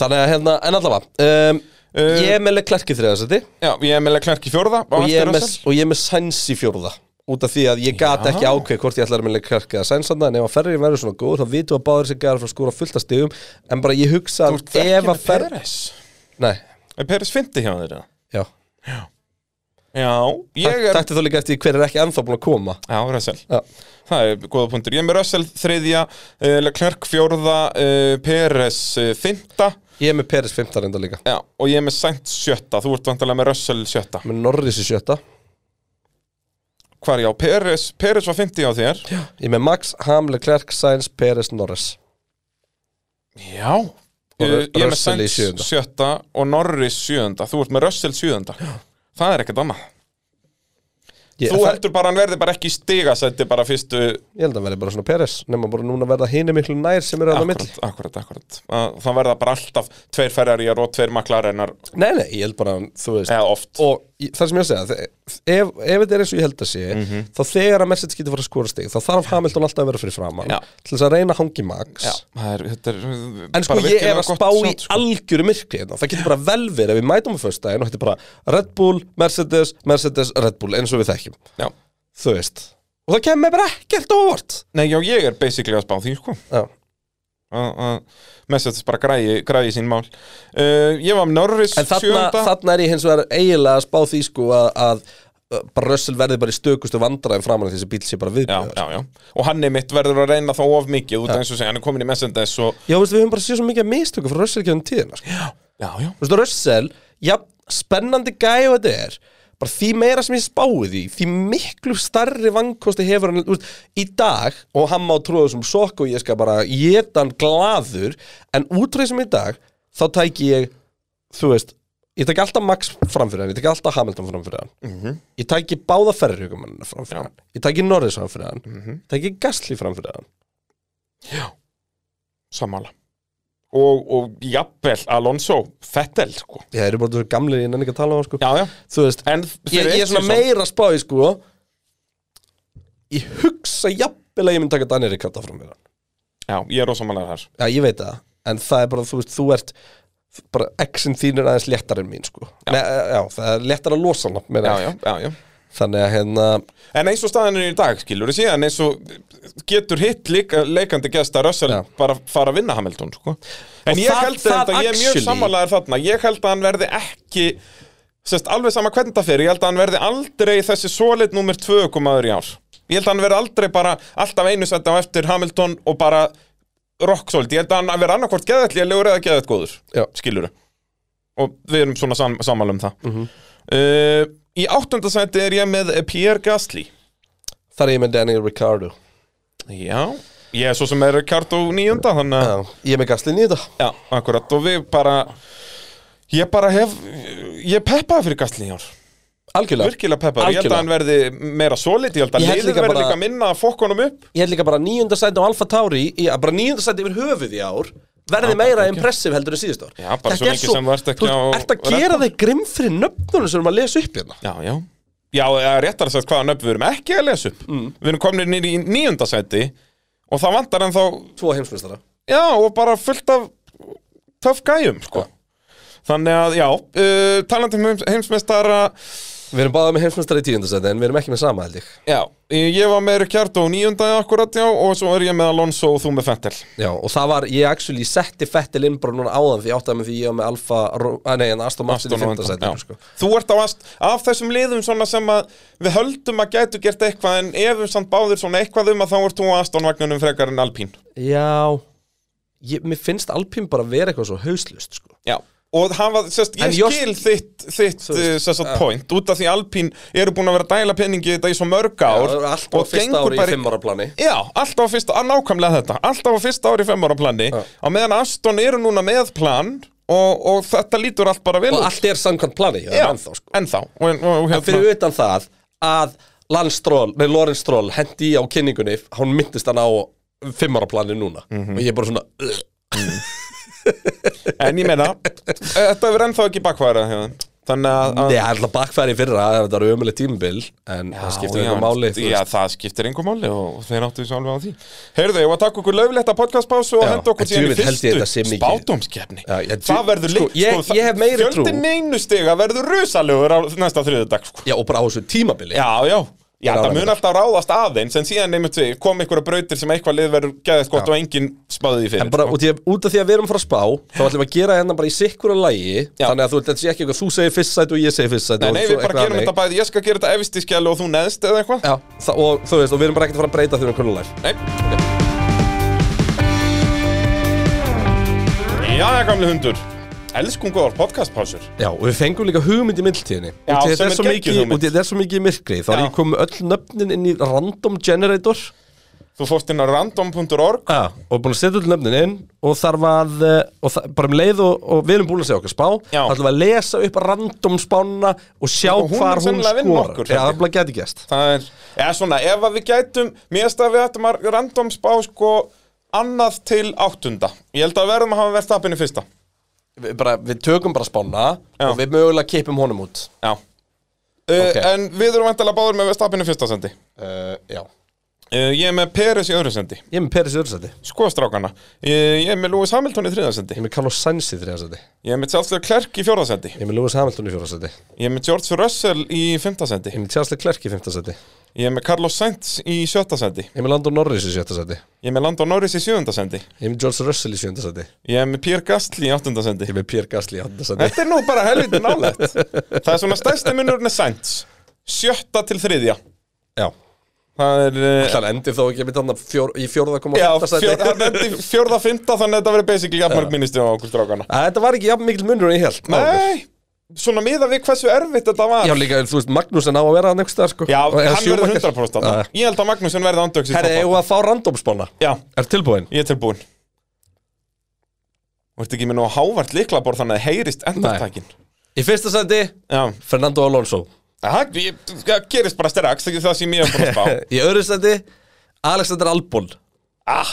A: Þannig að hérna, en allavega um,
B: Uh,
A: Ég er með Leclerc í þriðarsæti
B: Já, ég er með Leclerc í fjórða á
A: og, ég
B: eftir
A: er með-
B: Russell.
A: og ég er með Sainz í fjórða út af því að ég gat
B: Já.
A: ekki ákveð hvort ég ætlaði að minna kjarka að sænsanna en ef að ferri verður svona góð þá vitum við að báður sér gæðar frá skóra fullt af stigum en bara ég hugsa
B: Þú
A: að
B: ert ekki
A: ef
B: með
A: að fer
B: Peres
A: Nei,
B: Er Peres fyndi hjá þeirra?
A: já
B: Já, ég er
A: Tækti þó líka eftir því hver er ekki ennþá búin að koma
B: Já, Russell
A: Já.
B: Það er góða punktur Ég er með Russell þriðja uh, Leclerc fjórða uh, Peres uh, fynda
A: Ég er með Peris 15 enda líka
B: Já, og ég er með Sainz sjötta Þú ert vantarlega með Russell sjötta
A: Með Norris í sjötta
B: Hvar já, Peres, Peres var fyndi hjá þér
A: Ég er með Max, Hamle, Klerk, Sainz, Peris, Norris
B: Já uh, Ég er með
A: Russell í
B: Sainz
A: sjöunda.
B: sjötta og Norris sjöunda Þú ert með Russell sjöunda já. Það er ekkert annað
A: ég,
B: Þú
A: það-
B: heldur bara hann verði bara ekki í stigasætti bara fyrstu
A: ég held að hann verði bara svona Peris Nefna bara núna verða hinu miklu nær sem eru að það mill
B: Akkurat, akkurat, akkurat Að- Það verða bara alltaf tveir ferjarjar og tveir maklarennar
A: Nei, nei, ég held bara, þú veist
B: eða oft
A: og í- það sem ég að segja þe- ef, ef þetta er eins og ég held að sé
B: Mhm.
A: þá þegar að Mercedes getur fara að skora stig þá þarf Hamilton alltaf að vera fyrir framann
B: Já.
A: til þess að reyna að hangi Max
B: Já, það er, þetta er
A: En sko ég er að spá í
B: sko.
A: algjöru myrkri hérna. Það getur bara vel verið ef við mætum á föstudaginn og þetta er bara Red Bull, Mercedes, Mercedes, Red Bull eins og við þekkjum,
B: Já,
A: þú veist og það kemur bara ekkert óvart
B: nei, já, ég er basically að spá því, sko
A: Já,
B: Að- að Mercedes bara græði, græði sín mál uh, Ég var með Norris
A: En þarna,
B: sjöunda
A: þarna er ég hins vegar eiginlega að spá því sko að, að uh, bara Russell verði bara í stökustu vandræðin framan af því þessi bíl sé bara
B: Já,
A: viðbjöður
B: já, já Og hann er mitt verður að reyna þá of mikið út af eins og segja, hann er komin í Mercedes og
A: Já, veist, við höfum bara séð svo mikið að mistöku frá Russell geðum tíðina sko.
B: Já, já
A: Þú veist, Russell, já, spennandi gæði og þetta er bara því meira sem ég spáði því því miklu starri vankosti hefur hann úst, í dag og hann má tróða sem sokk og ég skal bara geta hann glaður en útrúið sem í dag þá tæki ég, þú veist ég tæki alltaf Max framfyrir hann, ég tæki alltaf Hamilton framfyrir hann ég tæki báða ferriugumannina framfyrir
B: Mhm. Já. Mhm.
A: hann ég tæki Norris framfyrir hann ég tæki Gasly framfyrir hann
B: Sammála Og, og jafnvel Alonso Fettel, sko
A: ég er bara þessu gamli, ég nenni ekki að tala um hann sko.
B: Já, já
A: þú veist,
B: En
A: ég,
B: fyrir
A: ég er svona
B: Edison-
A: meira að spá í sko Ég hugsa jafnvel að ég myndi taka Daniel Ricciardo fram mér
B: Já, ég er ósamanlega þar
A: Já, ég veit það, en það er bara, þú veist, þú ert bara exin þín er aðeins léttar en mín sko já, Nei, eh, já það er léttar að losa hana meina
B: Já,
A: ég.
B: já, já, já
A: Þannig að hérna,
B: En eins og staðan er í dag, skilur við síðan eins og getur hitt líka, leikandi gesta Russell
A: Já.
B: bara fara að vinna Hamilton sko. En
A: Og
B: ég
A: það-
B: held
A: það
B: þetta, ég er mjög
A: actually-
B: sammálaður þarna Ég held að hann verði ekki sest, alveg sama hvernig það fyrir, ég held að hann verði aldrei þessi solid nummer 2 komaður í ár Ég held að hann verði aldrei bara alltaf einu sett á eftir Hamilton og bara rock solid, ég held að hann verði annarkvort geðallélegur eða geðallt góður,
A: Já.
B: skilur og við erum svona sam sammála um það
A: Mhm.
B: uh, Í áttundasæti er ég með Pierre Gasly
A: þar er ég með Daniel Ricciardo
B: Já, ég er svo sem er Ricardo nýjunda þannig að,
A: Já, ég er með Gaslin í þetta
B: já, akkurat og við bara ég bara hef ég peppaði fyrir Gastlin í ár,
A: Algjörlega,
B: virkilega peppaði ég held
A: Algjörlega.
B: að hann verði meira solid, ég held að
A: Ég held
B: liðið
A: líka
B: verði
A: bara-
B: líka minna að fokk honum upp
A: ég held líka bara nýjunda sæti á Alfa Tauri í, að bara nýjunda sæti yfir höfuð í ár verði meira
B: bara ekki.
A: impressive heldur en síðust ár
B: Já, bara
A: Þetta
B: svo
A: er
B: lengi sem þú ert ekki á-
A: ert að gera þig grimm fyrir nöfnunum sem við erum að lesa upp hérna
B: Já, já Já, eða réttar að sagt hvaðan upp við erum ekki að lesa upp Við erum komin nýri í nýjunda sæti og það vantar ennþá
A: Tvo heimsmyndstara
B: já, og bara fullt af töff gæjum, sko Þannig að, já, uh, talandi um heims, heimsmeistara
A: Við erum báða með heimsmyndstara í tíundasæti en við erum ekki með sama held ég
B: Já, ég var með Ricciardo nýjunda akkurat já og svo er ég með Alonso og þú með Fettel
A: Já, og það var, ég actually setti Fettil inn bara núna áðan því ég áttaði með því ég var með Alfa, Ro- að nei, en Aston Martin í
B: já.
A: fimmtasæti sko.
B: Þú ert á ast, af þessum liðum svona sem að við höldum að gætu gert eitthvað en ef við samt báðir svona eitthvað um að þá ert þú á Aston vagnunum frekar en Alpín
A: Já, ég, mér finnst Alpín bara vera eitthvað svo hauslust sko.
B: Já Og hafa, sérst,
A: En
B: ég
A: Jost-
B: skil þitt, þitt
A: Þú veist,
B: sérst, uh, point út af því Alpín eru búin að vera að dæla peningi í þetta í svo mörg ár
A: Allt á fyrsta ári í fimm ára plani
B: Já, alltaf á fyrsta, að nákvæmlega þetta Alltaf á fyrsta ári í fimm ára plani
A: Já.
B: Á meðan Aston eru núna með plan Og, og þetta lítur allt bara vel
A: Og
B: út.
A: allt er samkvæmt plani, já,
B: Já,
A: ennþá sko.
B: ennþá og, og, og, hérna,
A: En fyrir utan það að Lance Stroll, nei, Lawrence Stroll hendi í á kynningunni, hún myndist hann á fimm ára plani núna og ég er bara svona, "Ugh."
B: En ég meina, þetta verður ennþá ekki bakværa Þannig að, að
A: Nei, það er alltaf bakfæri í fyrra, þetta var ömuleg tímabil en það skiptir
B: Ah. Já,
A: einhver máli þú
B: Já,
A: veist.
B: það skiptir einhver máli og, og þeir áttu þessu alveg á því Heyrðu, ég var að taka okkur löfletta podcastpásu og
A: Já,
B: henda okkur
A: en
B: síðan í
A: djöfull held ég þetta sé
B: fyrstu
A: mikið.
B: spátumskeppni
A: Já, ég-
B: Það verður
A: sko,
B: líkt
A: ég-
B: það-
A: ég hef meiri trú.
B: Fjöldin neinu stiga verður rusalegur á næsta þriðudag sko.
A: Já, og bara á þessu tímabili
B: Já, já Já,
A: Er
B: það
A: ánægður.
B: mun alltaf ráðast aðeins en síðan nefnum við kom einhverja brautir sem eitthvað lið verður geðið skott og enginn spáði því
A: En
B: fyrir
A: bara út, í, út af því að við erum frá spá Þá ætlum við að gera hérna bara í sikkur að lægi
B: Já.
A: Þannig að þú, þetta sé ekki eitthvað Þú segir fyrst sæti og ég segir fyrst sæti
B: Nei,
A: og
B: nei,
A: svo
B: við bara
A: eitthvað
B: gerum
A: þannig.
B: þetta bæði, ég skal gera þetta efist í skjælu og þú neðst eða eitthvað
A: Já, það, og þú veist, og við erum bara ekkert að fara að breyta því um kunnulæg
B: Nei Já, já, gamli hundur Elskum góðar podcastpásur
A: Já, og við fengum líka hugmynd í milltíðinni
B: Já,
A: Útið
B: sem
A: þetta er
B: er
A: svo mikið,
B: geggjuð hugmynd.
A: útið þetta er svo mikið í myrkri Þá er
B: Já.
A: ég komið öll nöfnin inn í random generator
B: Þú fórst inn á random.org
A: Já, og búin að setja öll nöfnin inn Og þarf að, eh, og það, bara um leið og, og við erum búin að segja okkar spá Þá
B: Já.
A: ætlum við að lesa upp random spána Og sjá
B: Og hún
A: hvar
B: mun
A: hún
B: sennilega vinna
A: skorar
B: okkur,
A: Já,
B: held
A: það
B: ég.
A: er bara gæti gæst
B: Það er, eða svona, ef að við gætum Mér erst að við ættum að random spá sko Annað til áttunda Ég held að við verðum að hafa verðst appinni fyrsta
A: við, bara, við tökum bara spána
B: Já.
A: og við mögulega kippum honum út
B: Já
A: Ok.
B: uh, En við erum vantilega báður með verðst appinni fyrsta sendi
A: uh, Já
B: uh, Ég er með Peres í öðru sendi
A: Ég er með Peris Örsæti,
B: Sko strákana uh, Ég er með Lewis Hamilton í þriða sendi
A: ég er með Carlos Sainz í þriðarsæti Ég
B: Ég er með Charles Leclerc í fjórða sendi
A: er með Lewis Hamilton í fjórarsæti Ég
B: Ég er með George Russell í fymta sendi
A: er með Charles Leclerc í fymtasæti Ég
B: Ég er með Carlos Sainz í sjötta sendi
A: er með Landon Norris í sjöttasæti Ég
B: Ég er með Landon Norris í sjöunda sendi
A: er með George Russell í sjöndasæti Ég
B: Ég er með Pierre Gasly í áttunda sendi
A: er með Pierre Gasly í handasæti
B: Þetta er nú bara helviti nálægt Það er svona stærsti munurinn er Sainz Sjötta til þriðja
A: Já,
B: Það er uh,
A: þannig endi þó ekki með þarna fjór, í fjórða koma
B: Já,
A: fymtasæti
B: fjör, hann endi fjórða fymta þannig að þetta verið basically jafnmark minnistu á okkur strákana
A: Þetta var ekki jafn mikil munur en ég held áður.
B: Nei, svona miða við hversu erfitt þetta var
A: Já líka, þú veist, Magnúsin á að vera hann einhvers staðar sko
B: Já,
A: Og- eða
B: hann verður
A: Schumacher.
B: 100% þarna.
A: Já.
B: Ég held að Magnúsin verði ándöks í
A: Herri,
B: topp
A: eigum við að fá randomspána?
B: Já,
A: Er tilbúin?
B: ég er tilbúinn Þú ert ekki með nú hávart líklaborð þannig að heyrist endartakin
A: Í fyrsta sæti,
B: Já,
A: Fernando Alonso
B: það ég- það gerist bara strax þegar það sem ég hef búin að spá
A: Í öðru sæti Alexander Albon
B: ah,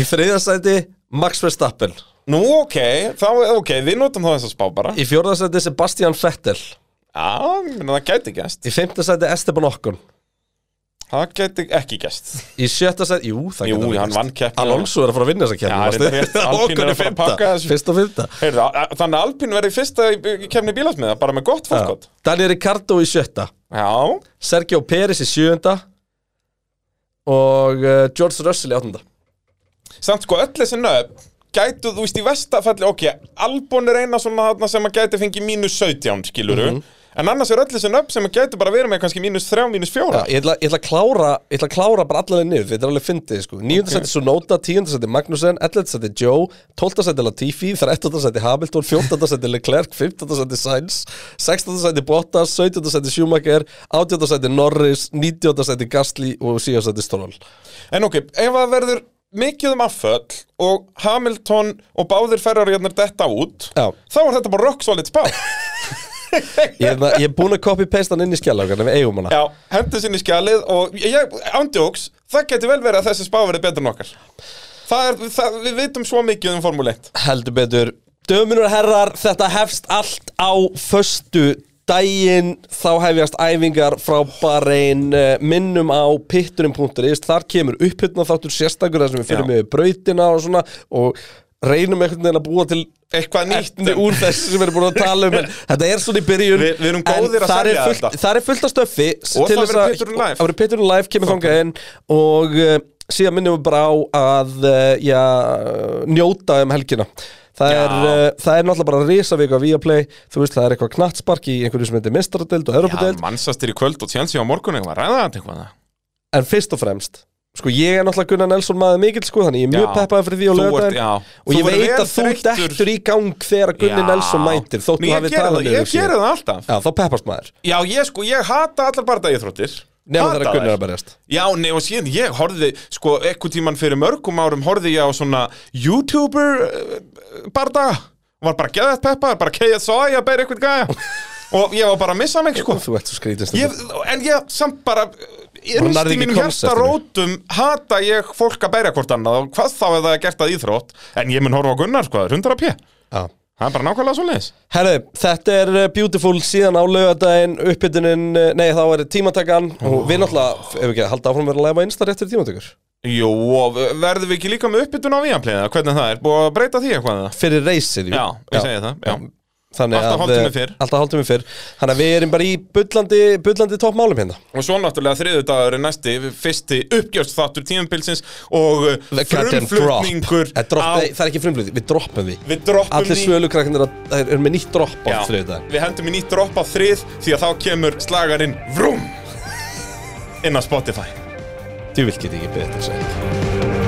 A: Í þriðja sæti Max Verstappen
B: Nú, ok, þá, ok, við notum þá þess að spá bara Já,
A: Í fjórða sæti Sebastian Vettel
B: ég meina, það gæti gæst
A: Í fimmta sæti Esteban Okkon
B: Það gæti ekki gæst
A: Í sjötta sæti, jú, það
B: Jú,
A: getur verið
B: hann
A: gæst.
B: vann keppni.
A: Alonso er að fara að vinna þessa
B: Já, reyndar rétt.
A: keppni
B: Alpine
A: Okkon
B: er
A: er
B: að pakka
A: fymta
B: þessu.
A: Fyrst og fymta
B: Heyrðu, a- a- Þannig að Alpín verði fyrsta í- í kemni bílasmiða, bara með gott fólkot
A: Daniel Ricardo í sjötta
B: Já,
A: Sergio Pérez í sjöunda Og uh, George Russell í áttunda
B: samt sko öll þessi nöfn Gætu, þú veist, í vestafalli, ok, Albon er eina svona þarna sem að gæti fengið mínus 17, skiluru
A: Mhm.
B: En annars er öll þessi nöfn sem að gæti bara verið með kannski mínus 3, mínus 4
A: Já, ég ætla, ég ætla að klára Ég ætla að klára bara allaveg niður Þetta er alveg fyndið sko 9. Okay. seti Sunota, 10. seti Magnussen 11. seti Joe, 12. seti Latifi 13. seti Hamilton, 14. seti Leclerc 15. seti Sainz, 16. seti Bottas 17. seti Schumacher 18. seti Norris, 19. seti Gasly og 7. seti Stroll
B: En ok, ef það verður mikið um afföll og Hamilton og báðir ferrarjarnar detta út
A: Já.
B: þá er þetta bara rock solid spá
A: Ég, er það- ég er búin að copy-paste hann inn í skjálaugan við eigum hana
B: Já, hendur sinni skjalið og ég, ándjóks, það getur vel verið að þessi spá verið betur en okkar það er, það, Við vitum svo mikið um Formule 1
A: Heldur betur Döminur herrar, þetta hefst allt á föstu daginn þá hefjast æfingar frá Bahrein eh, minnum á pitturinn.is þar kemur upphutna þáttur sérstakur þar sem við fyrir
B: Já.
A: með brautina og svona og reynum einhvern veginn að búa til
B: Eitthvað nýtt um
A: efni úr þessu sem við erum búin að tala um en þetta er svona í byrjun
B: Við- við
A: en
B: erum góðir að
A: þar er
B: selja
A: fullt-
B: þetta.
A: þar er fullt af stöffi s-
B: Og
A: til þess
B: það verður
A: að-
B: Pitturinn Live.
A: það verður Pitturinn live kemur þangað inn og uh, síðan minnum við bara á að uh, já, njóta um helgina Það
B: Já.
A: er, uh, það er náttúrulega bara risavika via play, þú veist það er eitthvað knattspark í einhverju sem heitir mestaradeild og europadeild
B: mannsastir í kvöld og tjensi á morgun eitthvað, ræða þetta eitthvað
A: en fyrst og fremst, sko ég er náttúrulega Gunnar Nelson maður mikill sko, þannig ég er mjög
B: Já.
A: peppaði fyrir því á
B: Þú ert-
A: lögadaginn
B: já.
A: og
B: Þú
A: ég
B: verður
A: veit
B: vel
A: að þú
B: þreyttur.
A: dettur í gang þegar Gunnar Nelson mætir, þóttu
B: Ég
A: hafið
B: geri
A: talað um
B: það,
A: niður
B: ég
A: sig.
B: geri það alltaf
A: Já, þá peppast maður
B: Já, ég sko, ég hata allar barndagíþróttir
A: Nefnum
B: Hata
A: þeirra
B: þær.
A: Gunnar að berjast
B: Já, nei og síðan ég horfði, sko, ekkur tíman fyrir mörgum árum horfði ég á svona YouTuber uh, barða og var bara geðað peppa, bara keið svo að ég að bæra eitthvað gæja og ég var bara að missa mig, sko
A: Þú ert svo skrítið
B: ég, en ég samt bara
A: nærði
B: innst í
A: ekki
B: mínum hjarta
A: konceptinu.
B: rótum hata ég fólk að bæra hvort annað og hvað þá ef það er gert að íþrótt en ég mun horfa á Gunnar, sko, það er 100 p
A: Já
B: það er bara nákvæmlega svo leiðis
A: Herðu, þetta er uh, beautiful síðan á laugardaginn, uppbytunin, uh, nei þá er tímatakan og við náttúrulega, ef ekki að halda áfram verið að læfa einsta rétt fyrir tímatökur
B: Jú, og verðum við ekki líka með uppbytun á Víampleiða, hvernig það er, búið að breyta því eitthvað eða?
A: Fyrir reysið, jú
B: Já, ég segi það, já
A: Þannig
B: Alltaf
A: að- eh,
B: hálftími fyrr.
A: Alltaf hálftími fyrr Þannig að við erum bara í bullandi, bullandi toppmálum hérna
B: Og svo náttúrulega þriðudagur er næsti fyrsti uppgjörst þáttur tímabilsins og uh,
A: The goddamn
B: frumflutningur
A: drop. Eh, drop,
B: á-
A: nei, Það er ekki frumflutning, við droppum því
B: Við droppum
A: Allir
B: því.
A: svölukrakkarnir að- þeir eru með nýtt dropp á
B: Já,
A: þriðdag
B: Við hendum í nýtt drop á þrið því að þá kemur slagarinn Vroom inn á Spotify
A: Þú vil geta ekki betur segja